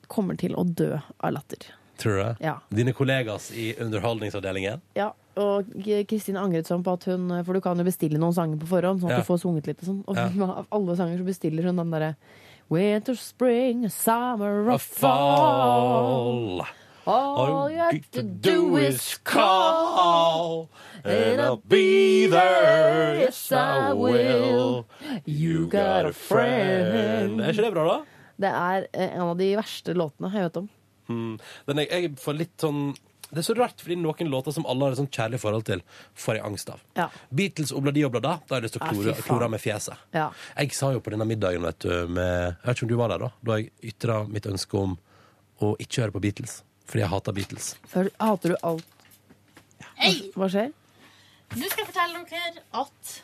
Speaker 4: kommer til å dø av latter.
Speaker 2: Tror du det?
Speaker 4: Ja.
Speaker 2: Dine kollegas i Underholdningsavdelingen?
Speaker 4: Ja, og G- Kristin angret sånn på at hun For du kan jo bestille noen sanger på forhånd, sånn
Speaker 2: Ja.
Speaker 4: at du får sunget litt og sånn. Og
Speaker 2: Ja.
Speaker 4: <laughs> av alle sanger så bestiller hun den derre Winter, spring, summer
Speaker 2: A
Speaker 4: og
Speaker 2: fall.
Speaker 4: fall. All you have to do is
Speaker 2: call,
Speaker 4: and I'll be there. Yes, I will.
Speaker 2: You
Speaker 4: got a friend.
Speaker 2: Er ikke det bra, da?
Speaker 14: Det er eh, en av de verste låtene jeg vet om.
Speaker 2: Mm. Men jeg, jeg får litt sånn Det er så rart, fordi noen låter som alle har et sånn kjærlig forhold til, får jeg angst av.
Speaker 14: Ja.
Speaker 2: Beatles Obladi Oblada, da har jeg lyst til å
Speaker 14: Ah, fy
Speaker 2: klore,
Speaker 14: faen.
Speaker 2: klore av med fjeset.
Speaker 14: Ja.
Speaker 2: Jeg sa jo på denne middagen, vet du, med, jeg vet ikke om du var der da, da jeg ytra mitt ønske om å ikke høre på Beatles. Fordi jeg hater Beatles.
Speaker 14: Før, hater du alt
Speaker 3: Hei!
Speaker 14: Hva skjer?
Speaker 3: Nå skal jeg fortelle dere at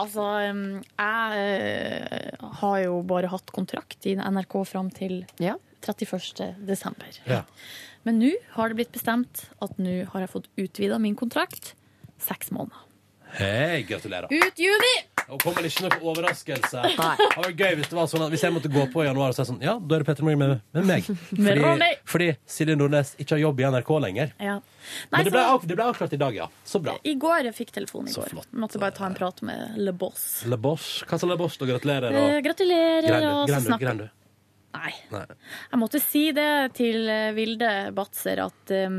Speaker 3: Altså, um, jeg eh, har jo bare hatt kontrakt i NRK fram til 31. desember.
Speaker 2: Ja.
Speaker 3: Men nå har det blitt bestemt at nå har jeg fått utvida min kontrakt seks måneder.
Speaker 2: Hei, gratulerer.
Speaker 3: Ut juni!
Speaker 2: Og kommer det ikke noe overraskelse. Det
Speaker 3: Nei.
Speaker 2: hadde vært gøy hvis det var sånn at hvis jeg måtte gå på i januar og si sånn Ja, da er det Petter Morgen med, med meg.
Speaker 3: <laughs> Med
Speaker 2: Fordi,
Speaker 3: Ronny.
Speaker 2: fordi Silje Nordnes ikke har jobb i NRK lenger.
Speaker 3: Ja. Nei,
Speaker 2: Men det ble,
Speaker 3: så-
Speaker 2: av- det ble avklart i dag, ja. Så bra.
Speaker 3: I går jeg fikk telefonen i går. Måtte bare ta en prat med Le Boss.
Speaker 2: Le Bosch. Hva sa Le Bosch, da? Gratulerer. Og...
Speaker 3: Eh, gratulerer,
Speaker 2: Grendu,
Speaker 3: og så
Speaker 2: Grendu,
Speaker 3: snakker-
Speaker 2: Grendu.
Speaker 3: Nei.
Speaker 2: Nei.
Speaker 3: Jeg måtte si det til eh, Vilde Batzer at um,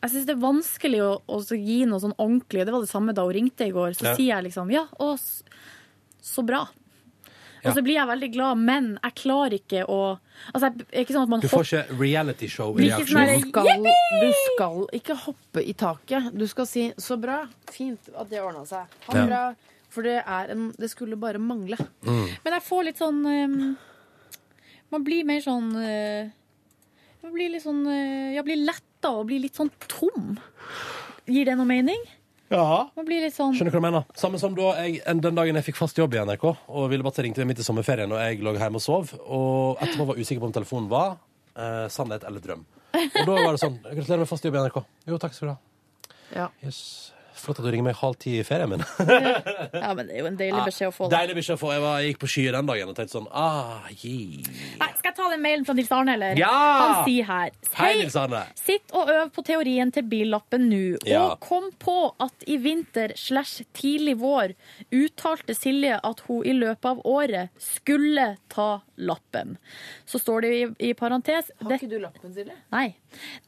Speaker 3: jeg syns det er vanskelig å, å så gi noe sånn ordentlig. Det var det samme da hun ringte i går. Så
Speaker 2: Ja.
Speaker 3: sier jeg liksom ja, og s- så bra.
Speaker 2: Ja.
Speaker 3: Og så blir jeg veldig glad, men jeg klarer ikke å Altså, jeg, det er ikke sånn at man
Speaker 2: Du får ikke realityshow
Speaker 14: du,
Speaker 2: i reaksjonen.
Speaker 14: skal, du skal ikke hoppe i taket. Du skal si 'så bra', fint at det ordna seg. Ha det
Speaker 2: Ja.
Speaker 14: bra. For det, er en, det skulle bare mangle.
Speaker 3: Men jeg får litt sånn ehm, Man blir mer sånn eh, Man blir litt sånn eh, Jeg blir letta og blir litt sånn tom. Gir det noe mening?
Speaker 2: Ja.
Speaker 3: Man blir litt sånn
Speaker 2: Skjønner du hva jeg mener? Samme som da jeg, en- den dagen jeg fikk fast jobb i NRK, og Ville Batse ringte meg midt i sommerferien, og jeg lå hjemme og sov, og etterpå var jeg usikker på om telefonen var eh, sannhet eller drøm. Og da var det sånn Gratulerer med fast jobb i NRK. Jo, takk skal du ha. Yes. Flott at du ringer meg halv ti i ferien min.
Speaker 3: Ja, men det er jo en deilig
Speaker 2: Ah,
Speaker 3: beskjed å få. da.
Speaker 2: Deilig beskjed å få. Jeg, var, jeg gikk på skyer den dagen og tenkte sånn ah, yeah.
Speaker 3: Nei, skal jeg ta den mailen fra Nils Arne, eller?
Speaker 2: Ja!
Speaker 3: Han sier her
Speaker 2: Hei, Nils Arne.
Speaker 3: Sitt og øv på teorien til billappen nå,
Speaker 2: Ja.
Speaker 3: og kom på at i vinter slash tidlig vår uttalte Silje at hun i løpet av året skulle ta lappen. Så står det i, i parentes
Speaker 14: Har ikke du lappen, Silje?
Speaker 3: Nei.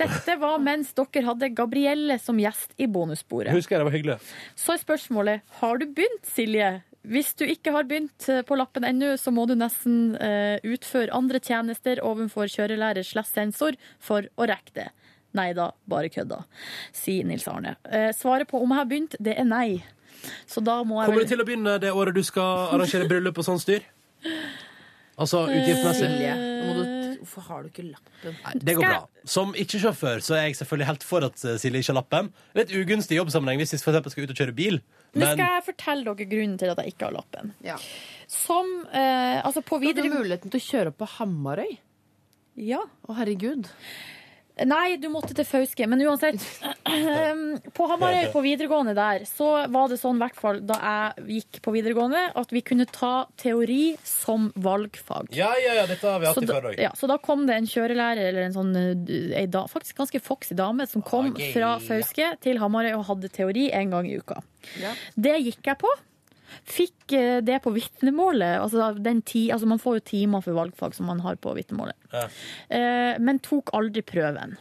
Speaker 3: Dette var mens dere hadde Gabrielle som gjest i bonusbordet.
Speaker 2: Husker jeg det var hyggelig.
Speaker 3: Så er spørsmålet har du begynt, Silje? Hvis du ikke har begynt eh, på lappen ennå, så må du nesten eh, utføre andre tjenester overfor kjørelærer slash sensor for å rekke det. Nei da, bare kødda, sier Nils Arne. Eh, svaret på om jeg har begynt, det er nei. Så da må jeg
Speaker 2: Kommer du til å begynne det året du skal arrangere bryllup og sånn styr? Altså
Speaker 14: Silje,
Speaker 2: utgiftsmessig?
Speaker 14: nå må du, hvorfor har du ikke lappen?
Speaker 2: Det går bra. Som ikke-sjåfør så er jeg selvfølgelig helt for at eh, Silje ikke har lappen. Litt ugunstig i jobbsammenheng hvis vi for eksempel skal ut og kjøre bil.
Speaker 3: Nå
Speaker 2: Men
Speaker 3: skal jeg fortelle dere grunnen til at jeg ikke har lappen. Som eh, Altså, på videre...
Speaker 14: Du hadde muligheten til å kjøre opp på Hamarøy?
Speaker 3: Ja.
Speaker 14: Å, herregud.
Speaker 3: Nei, du måtte til Fauske, men uansett. Um, På Hamarøy på videregående der, så var det sånn, i hvert fall da jeg gikk på videregående, at vi kunne ta teori som valgfag.
Speaker 2: Ja, ja, ja, dette har vi hatt i
Speaker 3: Så da,
Speaker 2: forrige.
Speaker 3: ja, så da kom det en kjørelærer, eller en sånn eh, ei da, faktisk ganske foxy dame, som kom
Speaker 2: Ah, gøy.
Speaker 3: fra Fauske til Hamarøy og hadde teori en gang i uka. Det gikk jeg på. Fikk eh, det på vitnemålet. Altså, den ti, altså man får jo timer for valgfag som man har på vitnemålet.
Speaker 2: Ja.
Speaker 3: Eh, men tok aldri prøven.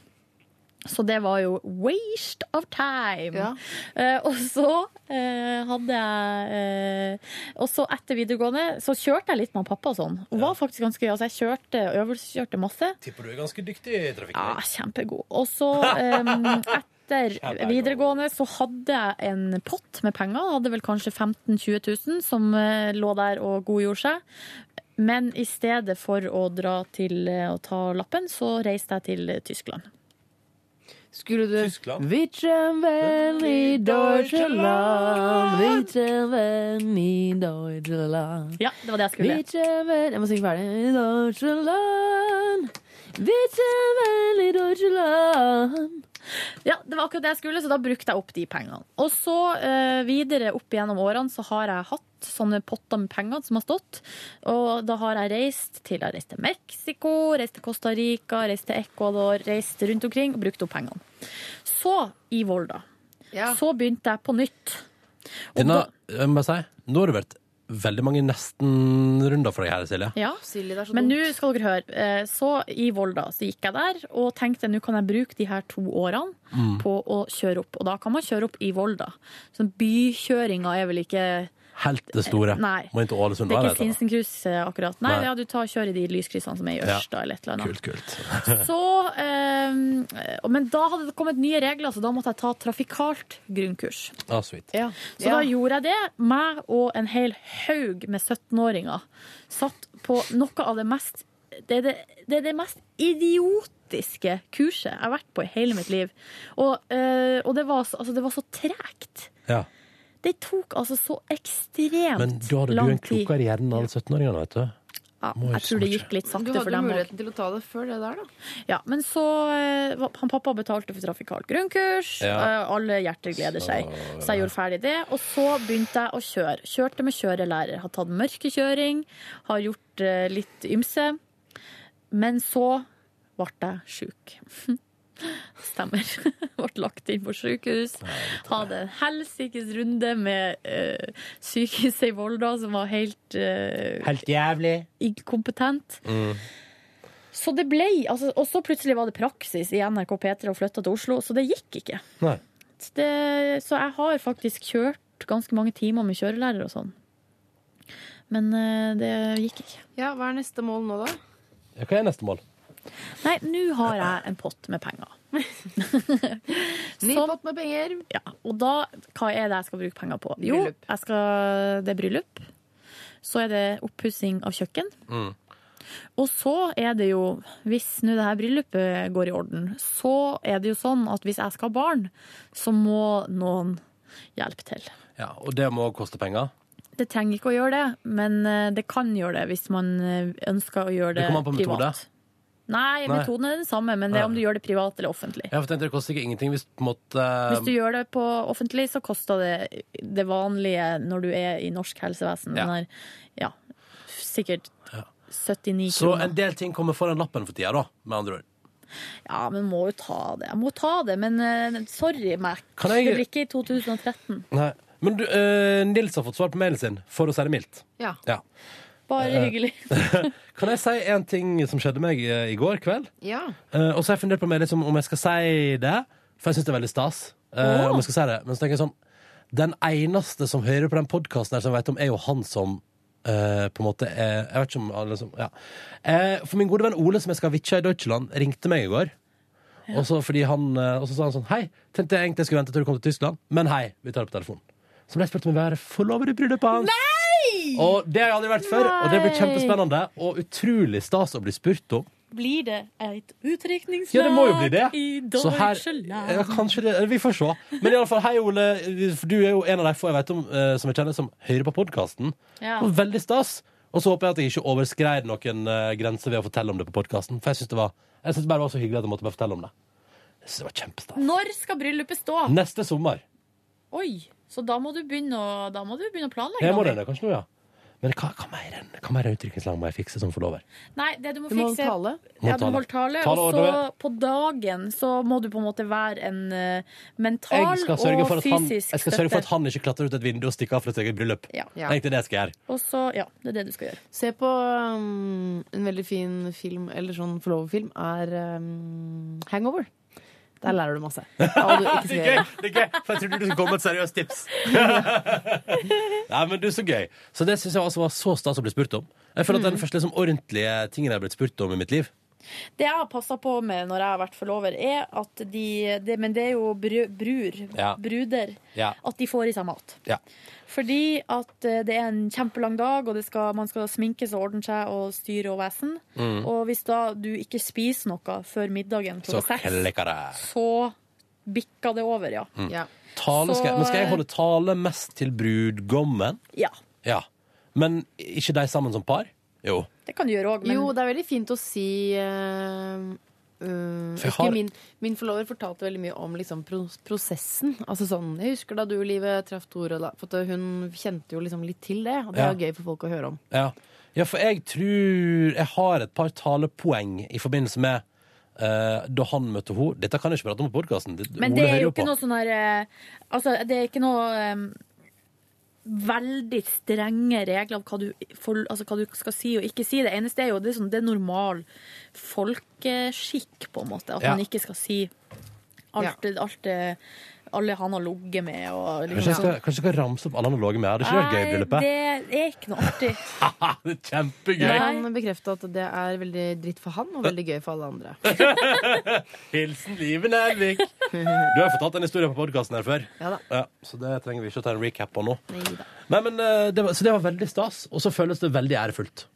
Speaker 3: Så det var jo waste of time. Eh, og så eh, hadde jeg eh, Og så etter videregående så kjørte jeg litt med pappa og sånn. Og var faktisk ganske, altså Jeg kjørte, øvelseskjørte masse.
Speaker 2: Tipper du er ganske dyktig i trafikken.
Speaker 3: Ja, kjempegod. Og <laughs> så em, etter videregående så hadde jeg en pott med penger. Jeg Hadde vel kanskje 15 000-20 000 som eh, lå der og godgjorde seg. Men i stedet for å dra til eh, å ta lappen, så reiste jeg til eh, Tyskland.
Speaker 14: Skulle du Vi trenger i Deutschland. Vi trenger i Deutschland.
Speaker 3: Ja, det var det jeg skulle.
Speaker 14: Vi trenger Jeg må synge ferdig. I Deutschland. Vi trenger i Deutschland.
Speaker 3: Ja, det var akkurat det jeg skulle, så da brukte jeg opp de pengene. Og så eh, videre opp gjennom årene så har jeg hatt sånne potter med penger som har stått. Og da har jeg reist til, jeg har reist til Mexico, reist til Costa Rica, reist til Ecuador, reist rundt omkring og brukt opp pengene. Så, i Volda, så begynte jeg på nytt.
Speaker 2: Denne, jeg må si, nå har det vært veldig mange nesten-runder for deg her, Silje.
Speaker 3: Ja. Men nå skal dere høre. Eh, Så i Volda så gikk jeg der og tenkte nå kan jeg bruke de her to årene
Speaker 2: Mm.
Speaker 3: på å kjøre opp. Og da kan man kjøre opp i Volda. Så bykjøringa er vel ikke
Speaker 2: helt det store.
Speaker 3: Nei.
Speaker 2: Må inn til Ålesund
Speaker 3: Det er
Speaker 2: da,
Speaker 3: ikke
Speaker 2: eller?
Speaker 3: Sinsenkryss eh, akkurat. Nei,
Speaker 2: Nei.
Speaker 3: ja, du tar kjører i de lyskryssene som er i
Speaker 2: Ja.
Speaker 3: Ørsta eller et eller annet.
Speaker 2: Kult, kult.
Speaker 3: Så, eh, og- men da hadde det kommet nye regler, så da måtte jeg ta trafikalt grunnkurs.
Speaker 2: Ah, sweet.
Speaker 3: Så da gjorde jeg det. Meg og en hel haug med 17-åringer satt på noe av det mest det, er det, det er det mest idiotiske kurset jeg har vært på i hele mitt liv. Og, eh, og det, var, så- altså, det var så tregt.
Speaker 2: Ja.
Speaker 3: Det tok altså så ekstremt
Speaker 2: Men da hadde du
Speaker 3: lang
Speaker 2: en
Speaker 3: tid.
Speaker 2: klokere hjerne enn alle 17-åringene, vet du.
Speaker 3: Ja,
Speaker 2: Må jo
Speaker 3: jeg tror det gikk litt
Speaker 4: Du
Speaker 3: sakte for
Speaker 4: hadde
Speaker 3: dem òg.
Speaker 4: muligheten til å ta det før det der, da.
Speaker 3: Ja, men så eh, var- han Pappa betalte for trafikalt grunnkurs.
Speaker 4: Ja.
Speaker 3: eh, Alle hjerter gleder seg.
Speaker 4: Så-
Speaker 3: Så jeg gjorde ferdig det. Og så begynte jeg å kjøre. Kjørte med kjørelærer. Har tatt mørkekjøring. Har gjort eh, litt ymse. Men så ble jeg sjuk. <laughs> Stemmer. <laughs> Ble lagt inn på sykehus. Hadde en helsikes runde med eh, sykehuset i Volda som var helt eh,
Speaker 2: Helt jævlig.
Speaker 3: inkompetent.
Speaker 2: Mm.
Speaker 3: Så det ble, altså, og så plutselig var det praksis i NRK P3 og flytta til Oslo, så det gikk ikke.
Speaker 2: Nei.
Speaker 3: Så Det, så jeg har faktisk kjørt ganske mange timer med kjørelærer og sånn. Men eh, det gikk ikke.
Speaker 4: Ja, Hva er neste mål nå, da?
Speaker 2: Ja, Hva er neste mål?
Speaker 3: Nei, nå har jeg en pott med penger.
Speaker 4: Ny pott med penger.
Speaker 3: Ja, og da, hva er det jeg skal bruke penger på? Jo,
Speaker 4: Bryllup.
Speaker 3: jeg skal, det er bryllup. Så er det oppussing av kjøkken.
Speaker 2: Mm.
Speaker 3: Og så er det jo, hvis nå det her bryllupet går i orden, så er det jo sånn at hvis jeg skal ha barn, så må noen hjelpe til.
Speaker 2: Ja, og det må koste penger.
Speaker 3: Det trenger ikke å gjøre det, men eh, det kan gjøre det hvis man eh, ønsker å gjøre
Speaker 2: Det
Speaker 3: det,
Speaker 2: kommer an på metode.
Speaker 3: privat. Nei,
Speaker 2: Nei.
Speaker 3: metoden er den samme, men det er om du gjør det privat eller offentlig.
Speaker 2: Jeg tenkte det koster ikke ingenting hvis på en måte
Speaker 3: Hvis du gjør det på offentlig, så koster det det vanlige når du er i norsk helsevesen.
Speaker 2: Ja.
Speaker 3: Den der, ja, sikkert
Speaker 2: Ja.
Speaker 3: 79
Speaker 2: Så
Speaker 3: kroner.
Speaker 2: en del ting kommer foran lappen for tida, da, med andre ord.
Speaker 3: Ja, men må jo ta det. Jeg må ta det, men eh, sorry, Mac.
Speaker 2: Kan jeg-
Speaker 3: Det blir ikke i 2013.
Speaker 2: Nei. Men du, eh, Nils har fått svar på mailen sin, for å si det mildt.
Speaker 3: Ja.
Speaker 2: Ja.
Speaker 3: Bare
Speaker 2: Eh, <laughs>
Speaker 3: hyggelig.
Speaker 2: Kan jeg si en ting som skjedde meg eh, i går kveld?
Speaker 4: Ja.
Speaker 2: Eh, og så har jeg fundert på meg liksom, om jeg skal si det, for jeg syns det er veldig stas. eh,
Speaker 4: Åh.
Speaker 2: Om jeg skal si det. Men så tenker jeg sånn Den eneste som hører på den podkasten her, som jeg vet om, er jo han som eh, på en måte er Jeg vet ikke om alle som Ja. Eh, for min gode venn Ole, som jeg skal vitche i Deutschland, ringte meg i går. Og, så fordi han, eh, og så sa han sånn Hei, tenkte jeg egentlig jeg skulle vente til du kom til Tyskland, men hei, vi tar det på telefonen. Så ble jeg spurt om jeg vil være forlover i bryllupet hans. Og det har jeg aldri vært før, og det blir
Speaker 3: Nei!
Speaker 2: kjempespennende og utrolig stas å bli spurt om.
Speaker 3: Blir det et utdrikningslag
Speaker 2: Ja, det må jo bli det.
Speaker 3: i
Speaker 2: Så her-
Speaker 3: Deutsche Land?
Speaker 2: ja, kanskje det. eller Vi får se. Men i alle fall, hei, Ole. For du er jo en av de få jeg vet om eh, som jeg kjenner som hører på podkasten.
Speaker 3: Ja.
Speaker 2: Veldig stas. Og så håper jeg at jeg ikke overskreid noen eh, grenser ved å fortelle om det på podkasten. For jeg syns det, var- jeg synes det bare var så hyggelig at jeg måtte bare fortelle om det. Jeg synes det var kjempestas.
Speaker 3: Når skal bryllupet stå?
Speaker 2: Neste sommer.
Speaker 3: Oi, så da må du begynne å, da må du begynne å planlegge.
Speaker 2: Jeg må
Speaker 3: Daniel.
Speaker 2: det, kanskje nå, ja. Men hva, hva mer enn hva mer enn utdrikningslag må jeg fikse som forlover?
Speaker 3: Nei, det du må
Speaker 4: Du må
Speaker 3: fikse
Speaker 4: tale.
Speaker 3: Ja,
Speaker 2: Må
Speaker 3: du må
Speaker 2: tale.
Speaker 3: holde tale.
Speaker 2: Tale
Speaker 3: Og
Speaker 2: ordner
Speaker 3: så på dagen så må du på en måte være en eh, mental
Speaker 2: Jeg skal sørge for
Speaker 3: og
Speaker 2: at han,
Speaker 3: fysisk
Speaker 2: jeg skal sørge for at
Speaker 3: støtte.
Speaker 2: han ikke klatrer ut et vindu og stikker av fra sitt eget bryllup.
Speaker 3: Ja.
Speaker 2: Jeg tenkte det skal jeg gjøre.
Speaker 3: Og så, ja, det er det du skal gjøre.
Speaker 4: Se på um, en veldig fin film, eller sånn forloverfilm, er um, Hangover. Der lærer du
Speaker 2: <laughs>
Speaker 4: masse. Hva du ikke skal
Speaker 2: det er gøy,
Speaker 4: gjøre.
Speaker 2: det er gøy, for jeg trodde du skulle komme med et seriøst tips. <laughs> Nei, men du, så gøy. Så det syns jeg altså var så stas å bli spurt om. Jeg føler at det er den første liksom, ordentlige tingen jeg har blitt spurt om i mitt liv.
Speaker 3: Det jeg har passa på med når jeg har vært forlover, er at de det, Men det er jo bru, brur,
Speaker 2: Ja.
Speaker 3: bruder.
Speaker 2: Ja.
Speaker 3: At de får i seg mat.
Speaker 2: Ja.
Speaker 3: Fordi at eh, det er en kjempelang dag, og det skal, man skal sminkes og ordne seg og styre og vesen.
Speaker 2: Mm.
Speaker 3: Og hvis da du ikke spiser noe før middagen
Speaker 2: Så
Speaker 3: klokka seks,
Speaker 2: klikker det.
Speaker 3: så bikker det over, ja.
Speaker 2: Mm. Tale skal, jeg- men skal jeg holde tale mest til brudgommen?
Speaker 3: Ja,
Speaker 2: Ja. Men ikke de sammen som par? Jo.
Speaker 3: det kan du gjøre òg, men
Speaker 4: Jo, det er veldig fint å si um, um,
Speaker 2: For jeg
Speaker 4: husker
Speaker 2: har-
Speaker 4: min, min forlover fortalte veldig mye om liksom, pro prosessen. Altså sånn, Jeg husker da du, Livet, traff Tore. Da, for at hun kjente jo liksom litt til det, og det
Speaker 2: Ja.
Speaker 4: er gøy for folk å høre om.
Speaker 2: Ja. ja, for jeg tror jeg har et par talepoeng i forbindelse med eh, da han møtte henne. Dette kan jeg ikke prate om på podkasten.
Speaker 3: Men det er jo ikke noe sånn her eh, Altså, det er ikke noe eh, veldig strenge regler om hva du, for, altså, hva du skal si og ikke si. Det eneste er jo det er, sånn, det er normal folkeskikk, på en måte, at
Speaker 2: Ja.
Speaker 3: man ikke skal si Alt, alt, eh, alle han har ligget med og
Speaker 2: Kanskje jeg skal,
Speaker 3: sånn.
Speaker 2: kanskje jeg skal ramse opp alle han har ligget med? Hadde ikke det vært gøy i bryllupet? <laughs>
Speaker 3: Nei, det er ikke noe artig.
Speaker 2: Haha, det er kjempegøy!
Speaker 4: Han bekrefter at det er veldig dritt for han, og veldig gøy for alle andre.
Speaker 2: Hilsen Live Nelvik. Du har fortalt en historie på podkasten her før.
Speaker 4: Ja da.
Speaker 2: så det trenger vi ikke å ta en recap på nå. Nei, men, eh, det var, så det var veldig stas, og så føles det veldig ærefullt.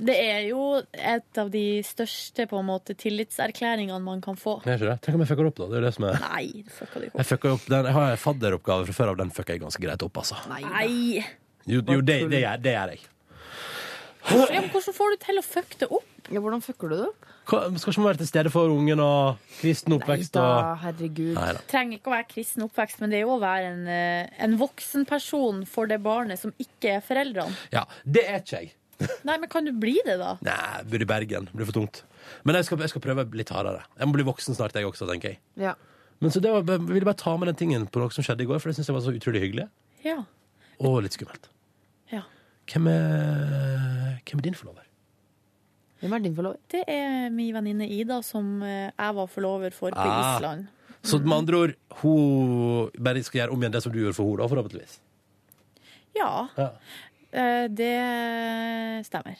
Speaker 3: Det er jo et av de største på en måte, tillitserklæringene man kan få.
Speaker 2: Men jeg er ikke det? Tenk om jeg fucker opp, da. Det er jo det som er
Speaker 3: Nei, det fucka du ikke
Speaker 2: Jeg, fucker jo opp den, jeg har en fadderoppgave fra før av, den fucker jeg ganske greit opp, altså.
Speaker 3: opp. Nei.
Speaker 2: Jo, jo det, det, gjør, det gjør jeg.
Speaker 3: Hvordan, ja, men hvordan får du til å fucke det opp?
Speaker 4: hvordan fucker du det opp?
Speaker 2: Hva, skal ikke man være til stede for ungen og kristen oppvekst
Speaker 4: da,
Speaker 2: og
Speaker 4: herregud.
Speaker 2: Nei da.
Speaker 3: trenger ikke å være kristen oppvekst, men det er jo å være en, eh, en voksen person for det barnet som ikke er foreldrene.
Speaker 2: Ja, det er ikke jeg.
Speaker 3: Nei, men kan du bli det, da?
Speaker 2: Nei, jeg bor i Bergen. Det blir for tungt. Men jeg skal, jeg skal prøve litt hardere. Jeg må bli voksen snart, jeg også, tenker jeg.
Speaker 4: Ja.
Speaker 2: Men så det var, jeg ville bare ta med den tingen på noe som skjedde i går, for det syns jeg var så utrolig hyggelig.
Speaker 3: Ja.
Speaker 2: Og litt skummelt.
Speaker 3: Ja.
Speaker 2: Hvem er, hvem er din forlover?
Speaker 4: Hvem er din forlover?
Speaker 3: Det er min venninne Ida, som eh, jeg var forlover for på
Speaker 2: Ah.
Speaker 3: Island.
Speaker 2: Så med andre ord, hun bare skal gjøre om igjen det som du gjorde for henne, da, forhåpentligvis.
Speaker 3: Ja,
Speaker 2: Ja.
Speaker 3: eh, det stemmer.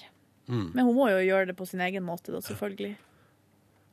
Speaker 2: Mm.
Speaker 3: Men hun må jo gjøre det på sin egen måte, da, selvfølgelig.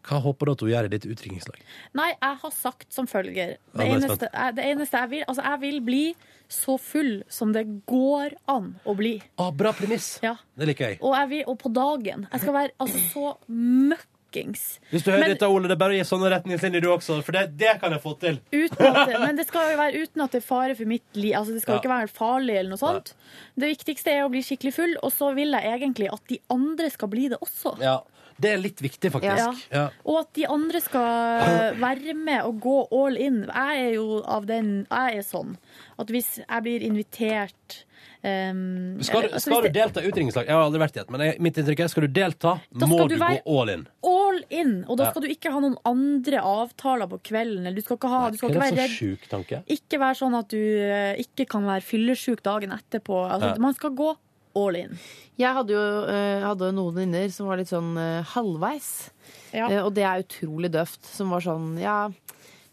Speaker 2: Hva håper du at hun gjør i ditt utringningslag?
Speaker 3: Nei, jeg har sagt som følger
Speaker 2: Ja,
Speaker 3: Det
Speaker 2: nå er jeg
Speaker 3: eneste,
Speaker 2: spent.
Speaker 3: jeg, det eneste jeg vil Altså, jeg vil bli så full som det går an å bli.
Speaker 2: Ah, bra premiss.
Speaker 3: Ja.
Speaker 2: Det liker jeg.
Speaker 3: Og, jeg vil, og på dagen. Jeg skal være altså, så møkkings.
Speaker 2: Hvis du hører
Speaker 3: Men-
Speaker 2: dette, Ole, det er bare å gi sånne retningslinjer du også, for det, det kan jeg få til.
Speaker 3: Uten at, men det skal jo være uten at det er fare for mitt liv. Altså, det skal
Speaker 2: Ja.
Speaker 3: jo ikke være farlig eller noe sånt. Det viktigste er å bli skikkelig full, og så vil jeg egentlig at de andre skal bli det også.
Speaker 2: Ja. Det er litt viktig, faktisk. Ja.
Speaker 3: Og at de andre skal være med og gå all in. Jeg er jo av den Jeg er sånn at hvis jeg blir invitert ehm,
Speaker 2: Skal,
Speaker 3: eller-
Speaker 2: du-
Speaker 3: altså,
Speaker 2: skal du
Speaker 3: hvis det-
Speaker 2: delta i utringningslag? Jeg har aldri vært i et, men jeg, mitt inntrykk er skal du delta,
Speaker 3: Da
Speaker 2: må
Speaker 3: skal
Speaker 2: du
Speaker 3: du
Speaker 2: gå
Speaker 3: være-
Speaker 2: all in.
Speaker 3: All in! Og da
Speaker 2: Ja.
Speaker 3: skal du ikke ha noen andre avtaler på kvelden. Eller du skal ikke, ha, Ah, du skal
Speaker 2: Hva
Speaker 3: ikke
Speaker 2: er
Speaker 3: være
Speaker 2: det
Speaker 3: redd
Speaker 2: så sjuk tanke?
Speaker 3: Ikke vær sånn at du eh, ikke kan være fyllesyk dagen etterpå. Altså,
Speaker 4: Ja.
Speaker 3: Man skal gå all in.
Speaker 4: Jeg hadde jo, eh, hadde jo noen venninner som var litt sånn eh, halvveis. Eh, og det er utrolig døvt. Som var sånn ja,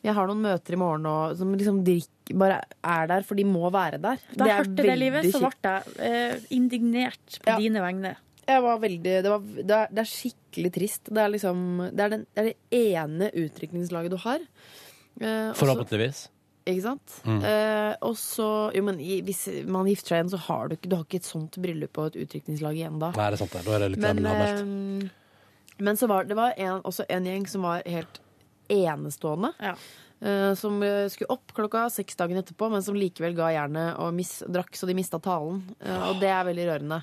Speaker 4: jeg har noen møter i morgen og Som liksom drikk, bare er der, for de må være der.
Speaker 3: Da jeg hørte det livet, så ble
Speaker 4: kjipt.
Speaker 3: jeg eh, indignert på dine vegne.
Speaker 4: jeg var veldig, det, var, det, er, det er skikkelig trist. Det er liksom Det er, den, det, er det ene utrykningslaget du har. Eh,
Speaker 3: altså-
Speaker 4: og så-
Speaker 2: Forhåpentligvis.
Speaker 4: Ikke sant?
Speaker 2: Mm.
Speaker 4: Eh, og så Jo, men i, hvis man gifter seg igjen, så har du ikke, du har ikke et sånt bryllup og et utrykningslag igjen da.
Speaker 2: Nei, det er sant det. Da er det litt
Speaker 4: men,
Speaker 2: gammelt.
Speaker 4: eh, men så var det var en, også en gjeng som var helt enestående. eh, som eh, skulle opp klokka seks dagen etterpå, men som likevel ga jernet og mis, drakk så de mista talen. Eh, og det er veldig rørende.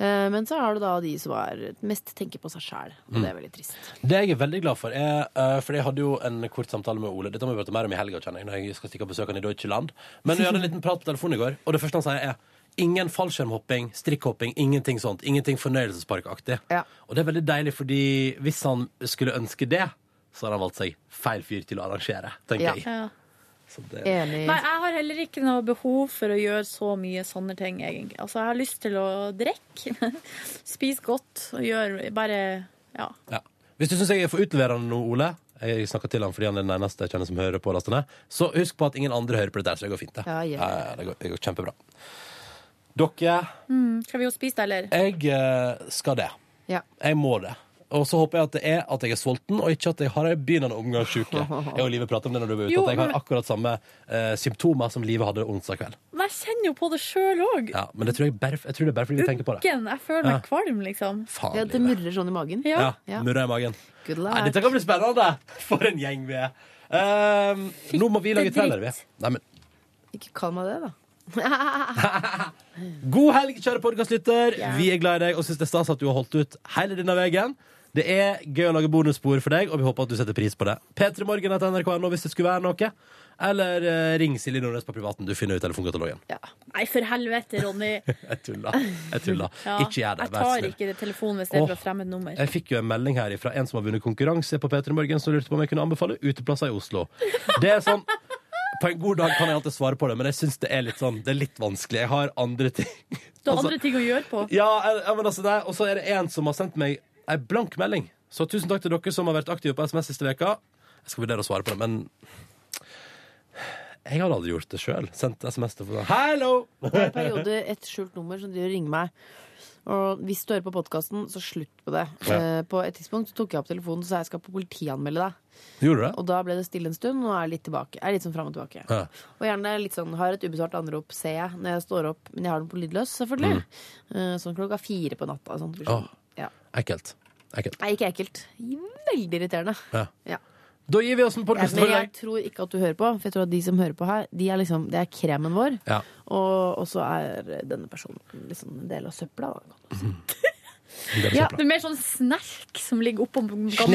Speaker 4: Eh, men så har du da de som er mest tenker på seg sjæl, og det er
Speaker 2: Mm.
Speaker 4: veldig trist.
Speaker 2: Det jeg er veldig glad for, er eh, For jeg hadde jo en kort samtale med Ole. Dette må vi prate mer om i helga, kjenner jeg, når jeg skal stikke og besøke han i Deutschland. Men vi hadde en liten prat på telefonen i går, og det første han sier, er ingen fallskjermhopping, strikkhopping, ingenting sånt. Ingenting fornøyelsesparkaktig. Og det er veldig deilig, fordi hvis han skulle ønske det, så har han valgt seg feil fyr til å arrangere, tenker jeg.
Speaker 3: Ja.
Speaker 2: Så det,
Speaker 3: Nei, jeg har heller ikke noe behov for å gjøre så mye sånne ting, egentlig. Altså, jeg har lyst til å drikke, <laughs> spise godt og gjøre bare Ja.
Speaker 2: Ja. Hvis du syns jeg er for utleverende nå, Ole Jeg snakker til han fordi han er den eneste jeg kjenner som hører på lastene. Så husk på at ingen andre hører på dette, her, så det går fint. Det,
Speaker 3: Ja, ja.
Speaker 2: det, går, det går kjempebra. Dere,
Speaker 3: Mm, skal vi jo spise det, eller?
Speaker 2: jeg eh, skal det.
Speaker 4: Ja.
Speaker 2: Jeg må det. Og så håper jeg at det er at jeg er sulten, og ikke at jeg har ei begynnende omgangssjuke. Jeg og Live prater om det når du var ute,
Speaker 3: Jo,
Speaker 2: at jeg har
Speaker 3: men-
Speaker 2: akkurat samme eh, symptomer som Live hadde onsdag kveld.
Speaker 3: Men jeg kjenner jo på det sjøl òg.
Speaker 2: Ja, men det tror jeg, bare, jeg tror det er bare fordi vi tenker på det.
Speaker 3: Jeg føler meg kvalm, liksom.
Speaker 2: Faen,
Speaker 4: Ja, det murrer sånn i magen.
Speaker 2: Ja, murra i magen.
Speaker 4: Good luck.
Speaker 2: Nei, dette kan bli spennende! For en gjeng vi er. Ehm, nå må vi lage trailer, vi. Nei, men,
Speaker 4: Ikke kall meg <laughs> det, da.
Speaker 2: god helg, kjære podkastlytter. Vi er glad i deg og syns det er stas at du har holdt ut hele denne veien. Det er gøy å lage bonusspor for deg, og vi håper at du setter pris på det. P3morgen etter nrk.no hvis det skulle være noe. Eller eh, ring Silje Nordnes på privaten. Du finner jo telefonkatalogen.
Speaker 3: Nei, for helvete, Ronny.
Speaker 2: <laughs> Jeg tuller. Jeg tuller.
Speaker 3: Ja,
Speaker 2: Ikke gjør det.
Speaker 3: Jeg
Speaker 2: Vær
Speaker 3: tar
Speaker 2: snill.
Speaker 3: ikke det telefonen hvis det er
Speaker 2: Åh. Eh,
Speaker 3: fra fremmed nummer.
Speaker 2: Jeg fikk jo en melding her fra en som har vunnet konkurranse på P3 Morgen, som lurte på om jeg kunne anbefale uteplasser i Oslo. Det er sånn På en god dag kan jeg alltid svare på det, men jeg syns det er litt sånn Det er litt vanskelig. Jeg har andre ting.
Speaker 3: Du har
Speaker 2: Altså-
Speaker 3: andre ting å gjøre på.
Speaker 2: Ja, jeg- ja, men altså det, Og så er det en som har sendt meg ei blank melding. Så tusen takk til dere som har vært aktive på SMS siste veka Jeg skal vurdere å svare på det, men jeg hadde aldri gjort det sjøl. Sendt SMS til folk. Hello!
Speaker 4: Det er en periode et skjult nummer som driver og ringer meg. Og hvis du hører på podkasten, så slutt på det.
Speaker 2: Ja.
Speaker 4: Eh, På et tidspunkt så tok jeg opp telefonen og sa jeg skal på politianmelde deg.
Speaker 2: Gjorde du det?
Speaker 4: Og da ble det stille en stund, og er litt tilbake. Er litt sånn fram og tilbake.
Speaker 2: Ja.
Speaker 4: Og gjerne litt sånn har et ubesvart anrop, ser jeg, når jeg står opp. Men jeg har den på lydløs, selvfølgelig. Eh, Sånn klokka fire på natta. Sånn,
Speaker 2: Mm. Åh.
Speaker 4: ja.
Speaker 2: Ekkelt. Ekkelt.
Speaker 4: Nei, ikke ekkelt. Veldig
Speaker 2: <laughs>
Speaker 4: irriterende.
Speaker 2: Ja.
Speaker 4: Ja.
Speaker 2: Da gir vi oss en
Speaker 4: Jeg,
Speaker 2: podkast
Speaker 4: men jeg tror ikke at du hører på, for jeg tror at de som hører på her, de er liksom, det er kremen vår.
Speaker 2: Ja.
Speaker 4: Og, og så er denne personen liksom en del av søpla. Da.
Speaker 3: Ja, det er mer sånn snerk som ligger oppå gammel
Speaker 2: Snerk.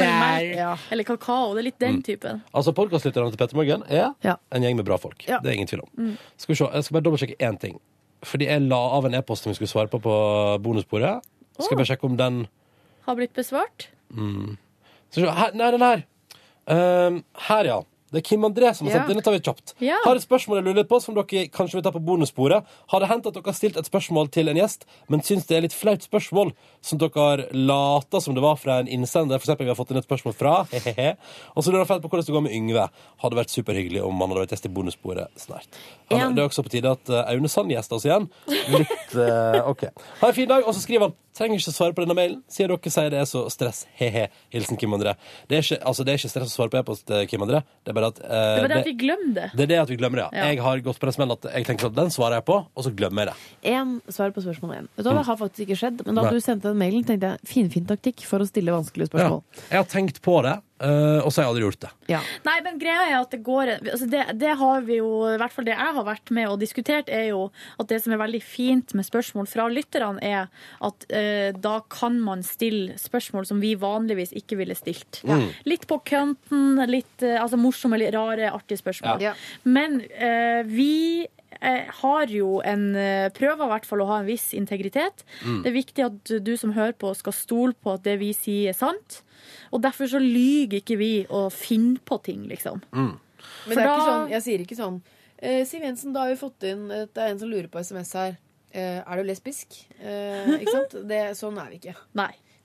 Speaker 3: melk eller kakao. Det er litt den typen.
Speaker 2: Altså, Podkastlytterne til Petter Morgen er en gjeng med bra folk.
Speaker 3: Ja.
Speaker 2: Det er ingen tvil om.
Speaker 3: Mm.
Speaker 2: Skal vi se, Jeg skal bare dobbeltsjekke én ting. Fordi jeg la av en e-post som vi skulle svare på på bonusbordet. Skal jeg bare sjekke om den
Speaker 3: Har blitt besvart.
Speaker 2: mm. Skal vi se, her, Nei, den her. Ehm, her, ja. Det er Kim André som har
Speaker 3: Ja.
Speaker 2: sendt. Denne tar vi kjapt.
Speaker 3: Ja.
Speaker 2: Har et spørsmål jeg lurer litt på, som dere kanskje vil ta på bonussporet. Har det hendt at dere har stilt et spørsmål til en gjest, men syns det er litt flaut spørsmål, som dere later som det var fra en innsender? For eksempel, vi har fått inn et spørsmål fra hehehe. Og så lurer han fælt på hvordan det går med Yngve. Hadde vært superhyggelig om han hadde vært gjest i bonussporet snart. Han,
Speaker 19: En-
Speaker 2: det er også på tide at eh, Aune Sand gjester oss igjen. Litt
Speaker 3: <laughs>
Speaker 2: eh, OK. Ha en fin dag. Og så skriver han trenger ikke svare på denne mailen, siden dere sier det er så stress. He-he. Hilsen Kim André. Det er ikke, altså, det er ikke stress å svare på e-post, eh, Kim André. Det er bare at eh,
Speaker 3: Det var det at vi glemte det.
Speaker 2: det er det at vi glemmer det, ja.
Speaker 3: Ja.
Speaker 2: Jeg har gått på den smellen at jeg tenker at den svarer jeg på, og så glemmer jeg det.
Speaker 4: En svar på spørsmål én. Vet du, hva, det har faktisk ikke skjedd, men da
Speaker 2: Nei.
Speaker 4: du sendte den mailen, tenkte jeg finfin taktikk for å stille vanskelige spørsmål.
Speaker 2: Jeg har tenkt på det, eh, og så har jeg aldri gjort det.
Speaker 3: Nei, men greia er at det går altså det, det har vi jo, i hvert fall det jeg har vært med og diskutert, er jo at det som er veldig fint med spørsmål fra lytterne, er at eh, da kan man stille spørsmål som vi vanligvis ikke ville stilt.
Speaker 20: Mm.
Speaker 3: Litt på kønten, litt eh, altså morsomme, litt rare, artige spørsmål.
Speaker 20: Ja. Ja.
Speaker 3: Men eh, vi eh, har jo en eh, prøver i hvert fall å ha en viss integritet.
Speaker 20: Mm.
Speaker 3: Det er viktig at du som hører på skal stole på at det vi sier er sant. Og derfor så lyger ikke vi og finner på ting, liksom.
Speaker 4: Men
Speaker 3: For
Speaker 4: det er ikke
Speaker 3: da-
Speaker 4: sånn, jeg sier ikke sånn eh, Siv Jensen, da har vi fått inn eh, Det er en som lurer på SMS her. Eh, er du lesbisk? Eh, ikke sant? Det, sånn er vi ikke.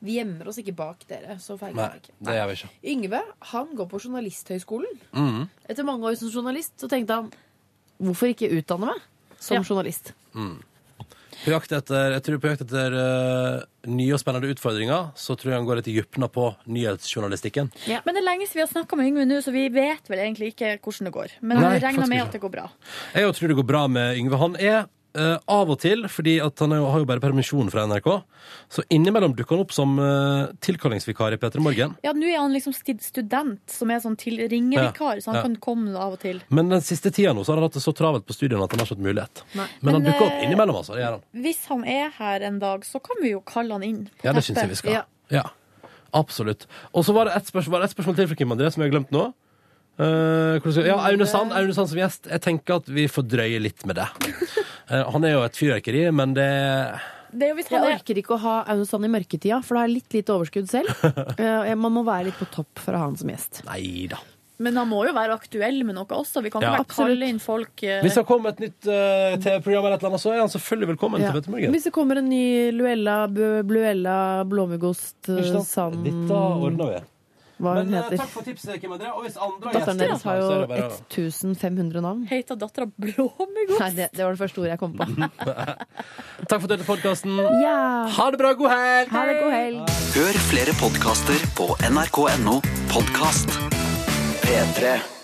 Speaker 4: Vi gjemmer oss ikke bak dere. Så feil
Speaker 2: Nei,
Speaker 4: er vi ikke.
Speaker 2: det gjør vi ikke.
Speaker 4: Yngve han går på Journalisthøgskolen.
Speaker 2: Mm.
Speaker 4: Etter mange år som journalist så tenkte han hvorfor ikke utdanne meg som journalist?
Speaker 2: Mm. På jakt etter, jeg tror på jakt etter eh, nye og spennende utfordringer, så tror jeg han går litt i dypna på nyhetsjournalistikken.
Speaker 3: Men det er lenge siden vi har snakka med Yngve nå, så vi vet vel egentlig ikke hvordan det går. Men
Speaker 2: Nei,
Speaker 3: vi regner
Speaker 2: faktisk
Speaker 3: med
Speaker 2: ikke.
Speaker 3: at det går bra.
Speaker 2: Jeg jo tror det går bra med Yngve. Han er eh, av og til, fordi at han er, jo- har jo bare permisjon fra NRK, så innimellom dukker han opp som eh, tilkallingsvikar i P3 Morgen.
Speaker 3: Ja, nå er han liksom sti- student, som er sånn til ringevikar,
Speaker 2: Ja.
Speaker 3: så han
Speaker 2: Ja.
Speaker 3: kan komme av og til.
Speaker 2: Men den siste tida nå så har han hatt det så travelt på studiene at han har ikke hatt mulighet.
Speaker 3: Nei.
Speaker 2: Men, han
Speaker 3: Men,
Speaker 2: dukker opp
Speaker 3: eh,
Speaker 2: innimellom, altså. Det gjør han.
Speaker 3: Hvis han er her en dag, så kan vi jo kalle han inn. på
Speaker 2: Ja, det
Speaker 3: teppet.
Speaker 2: syns jeg vi skal. Ja. Absolutt. Og så var det ett spørsmål, var det et spørsmål til fra Kim André som jeg har glemt nå. Eh, hvordan skal- ja, Aune Sand, Aune Sand som gjest. Jeg tenker at vi får drøye litt
Speaker 4: <laughs>
Speaker 2: med det. Eh, han er jo et fyrverkeri, men det
Speaker 4: jeg orker ikke å ha Aune Sand i mørketida, for da har jeg litt lite overskudd
Speaker 2: <laughs>
Speaker 4: selv. Eh, man må være litt på topp for å ha han som gjest.
Speaker 2: Nei da.
Speaker 3: Men han må jo være aktuell med noe også. Vi kan ikke
Speaker 2: Ja.
Speaker 3: bare kalle inn folk eh,
Speaker 2: Hvis det kommer et nytt eh, TV-program, eller et eller annet, så er han selvfølgelig velkommen.
Speaker 4: Ja.
Speaker 2: til Petermorgen.
Speaker 4: Hvis det kommer en ny Luella, Bu- Bluella, blåmuggost, eh,
Speaker 2: Ikke sant?
Speaker 4: sand
Speaker 2: Dette ordner vi.
Speaker 4: Hva hun
Speaker 2: Men eh,
Speaker 4: heter.
Speaker 2: takk for tipset, Kim André. Og hvis andre
Speaker 4: Datteren
Speaker 2: gjester
Speaker 4: deres har
Speaker 2: så er
Speaker 4: jo
Speaker 2: det bare å-
Speaker 4: 1500 navn.
Speaker 3: Heter dattera Blåmuggost?
Speaker 4: Nei, det, det var det første ordet jeg kom på.
Speaker 2: <laughs> Takk for at du hørte podkasten.
Speaker 4: Ja.
Speaker 2: Ha det bra. God helg.
Speaker 4: Ha det, god helg.
Speaker 1: Hør flere podkaster på nrk.no podkast P3.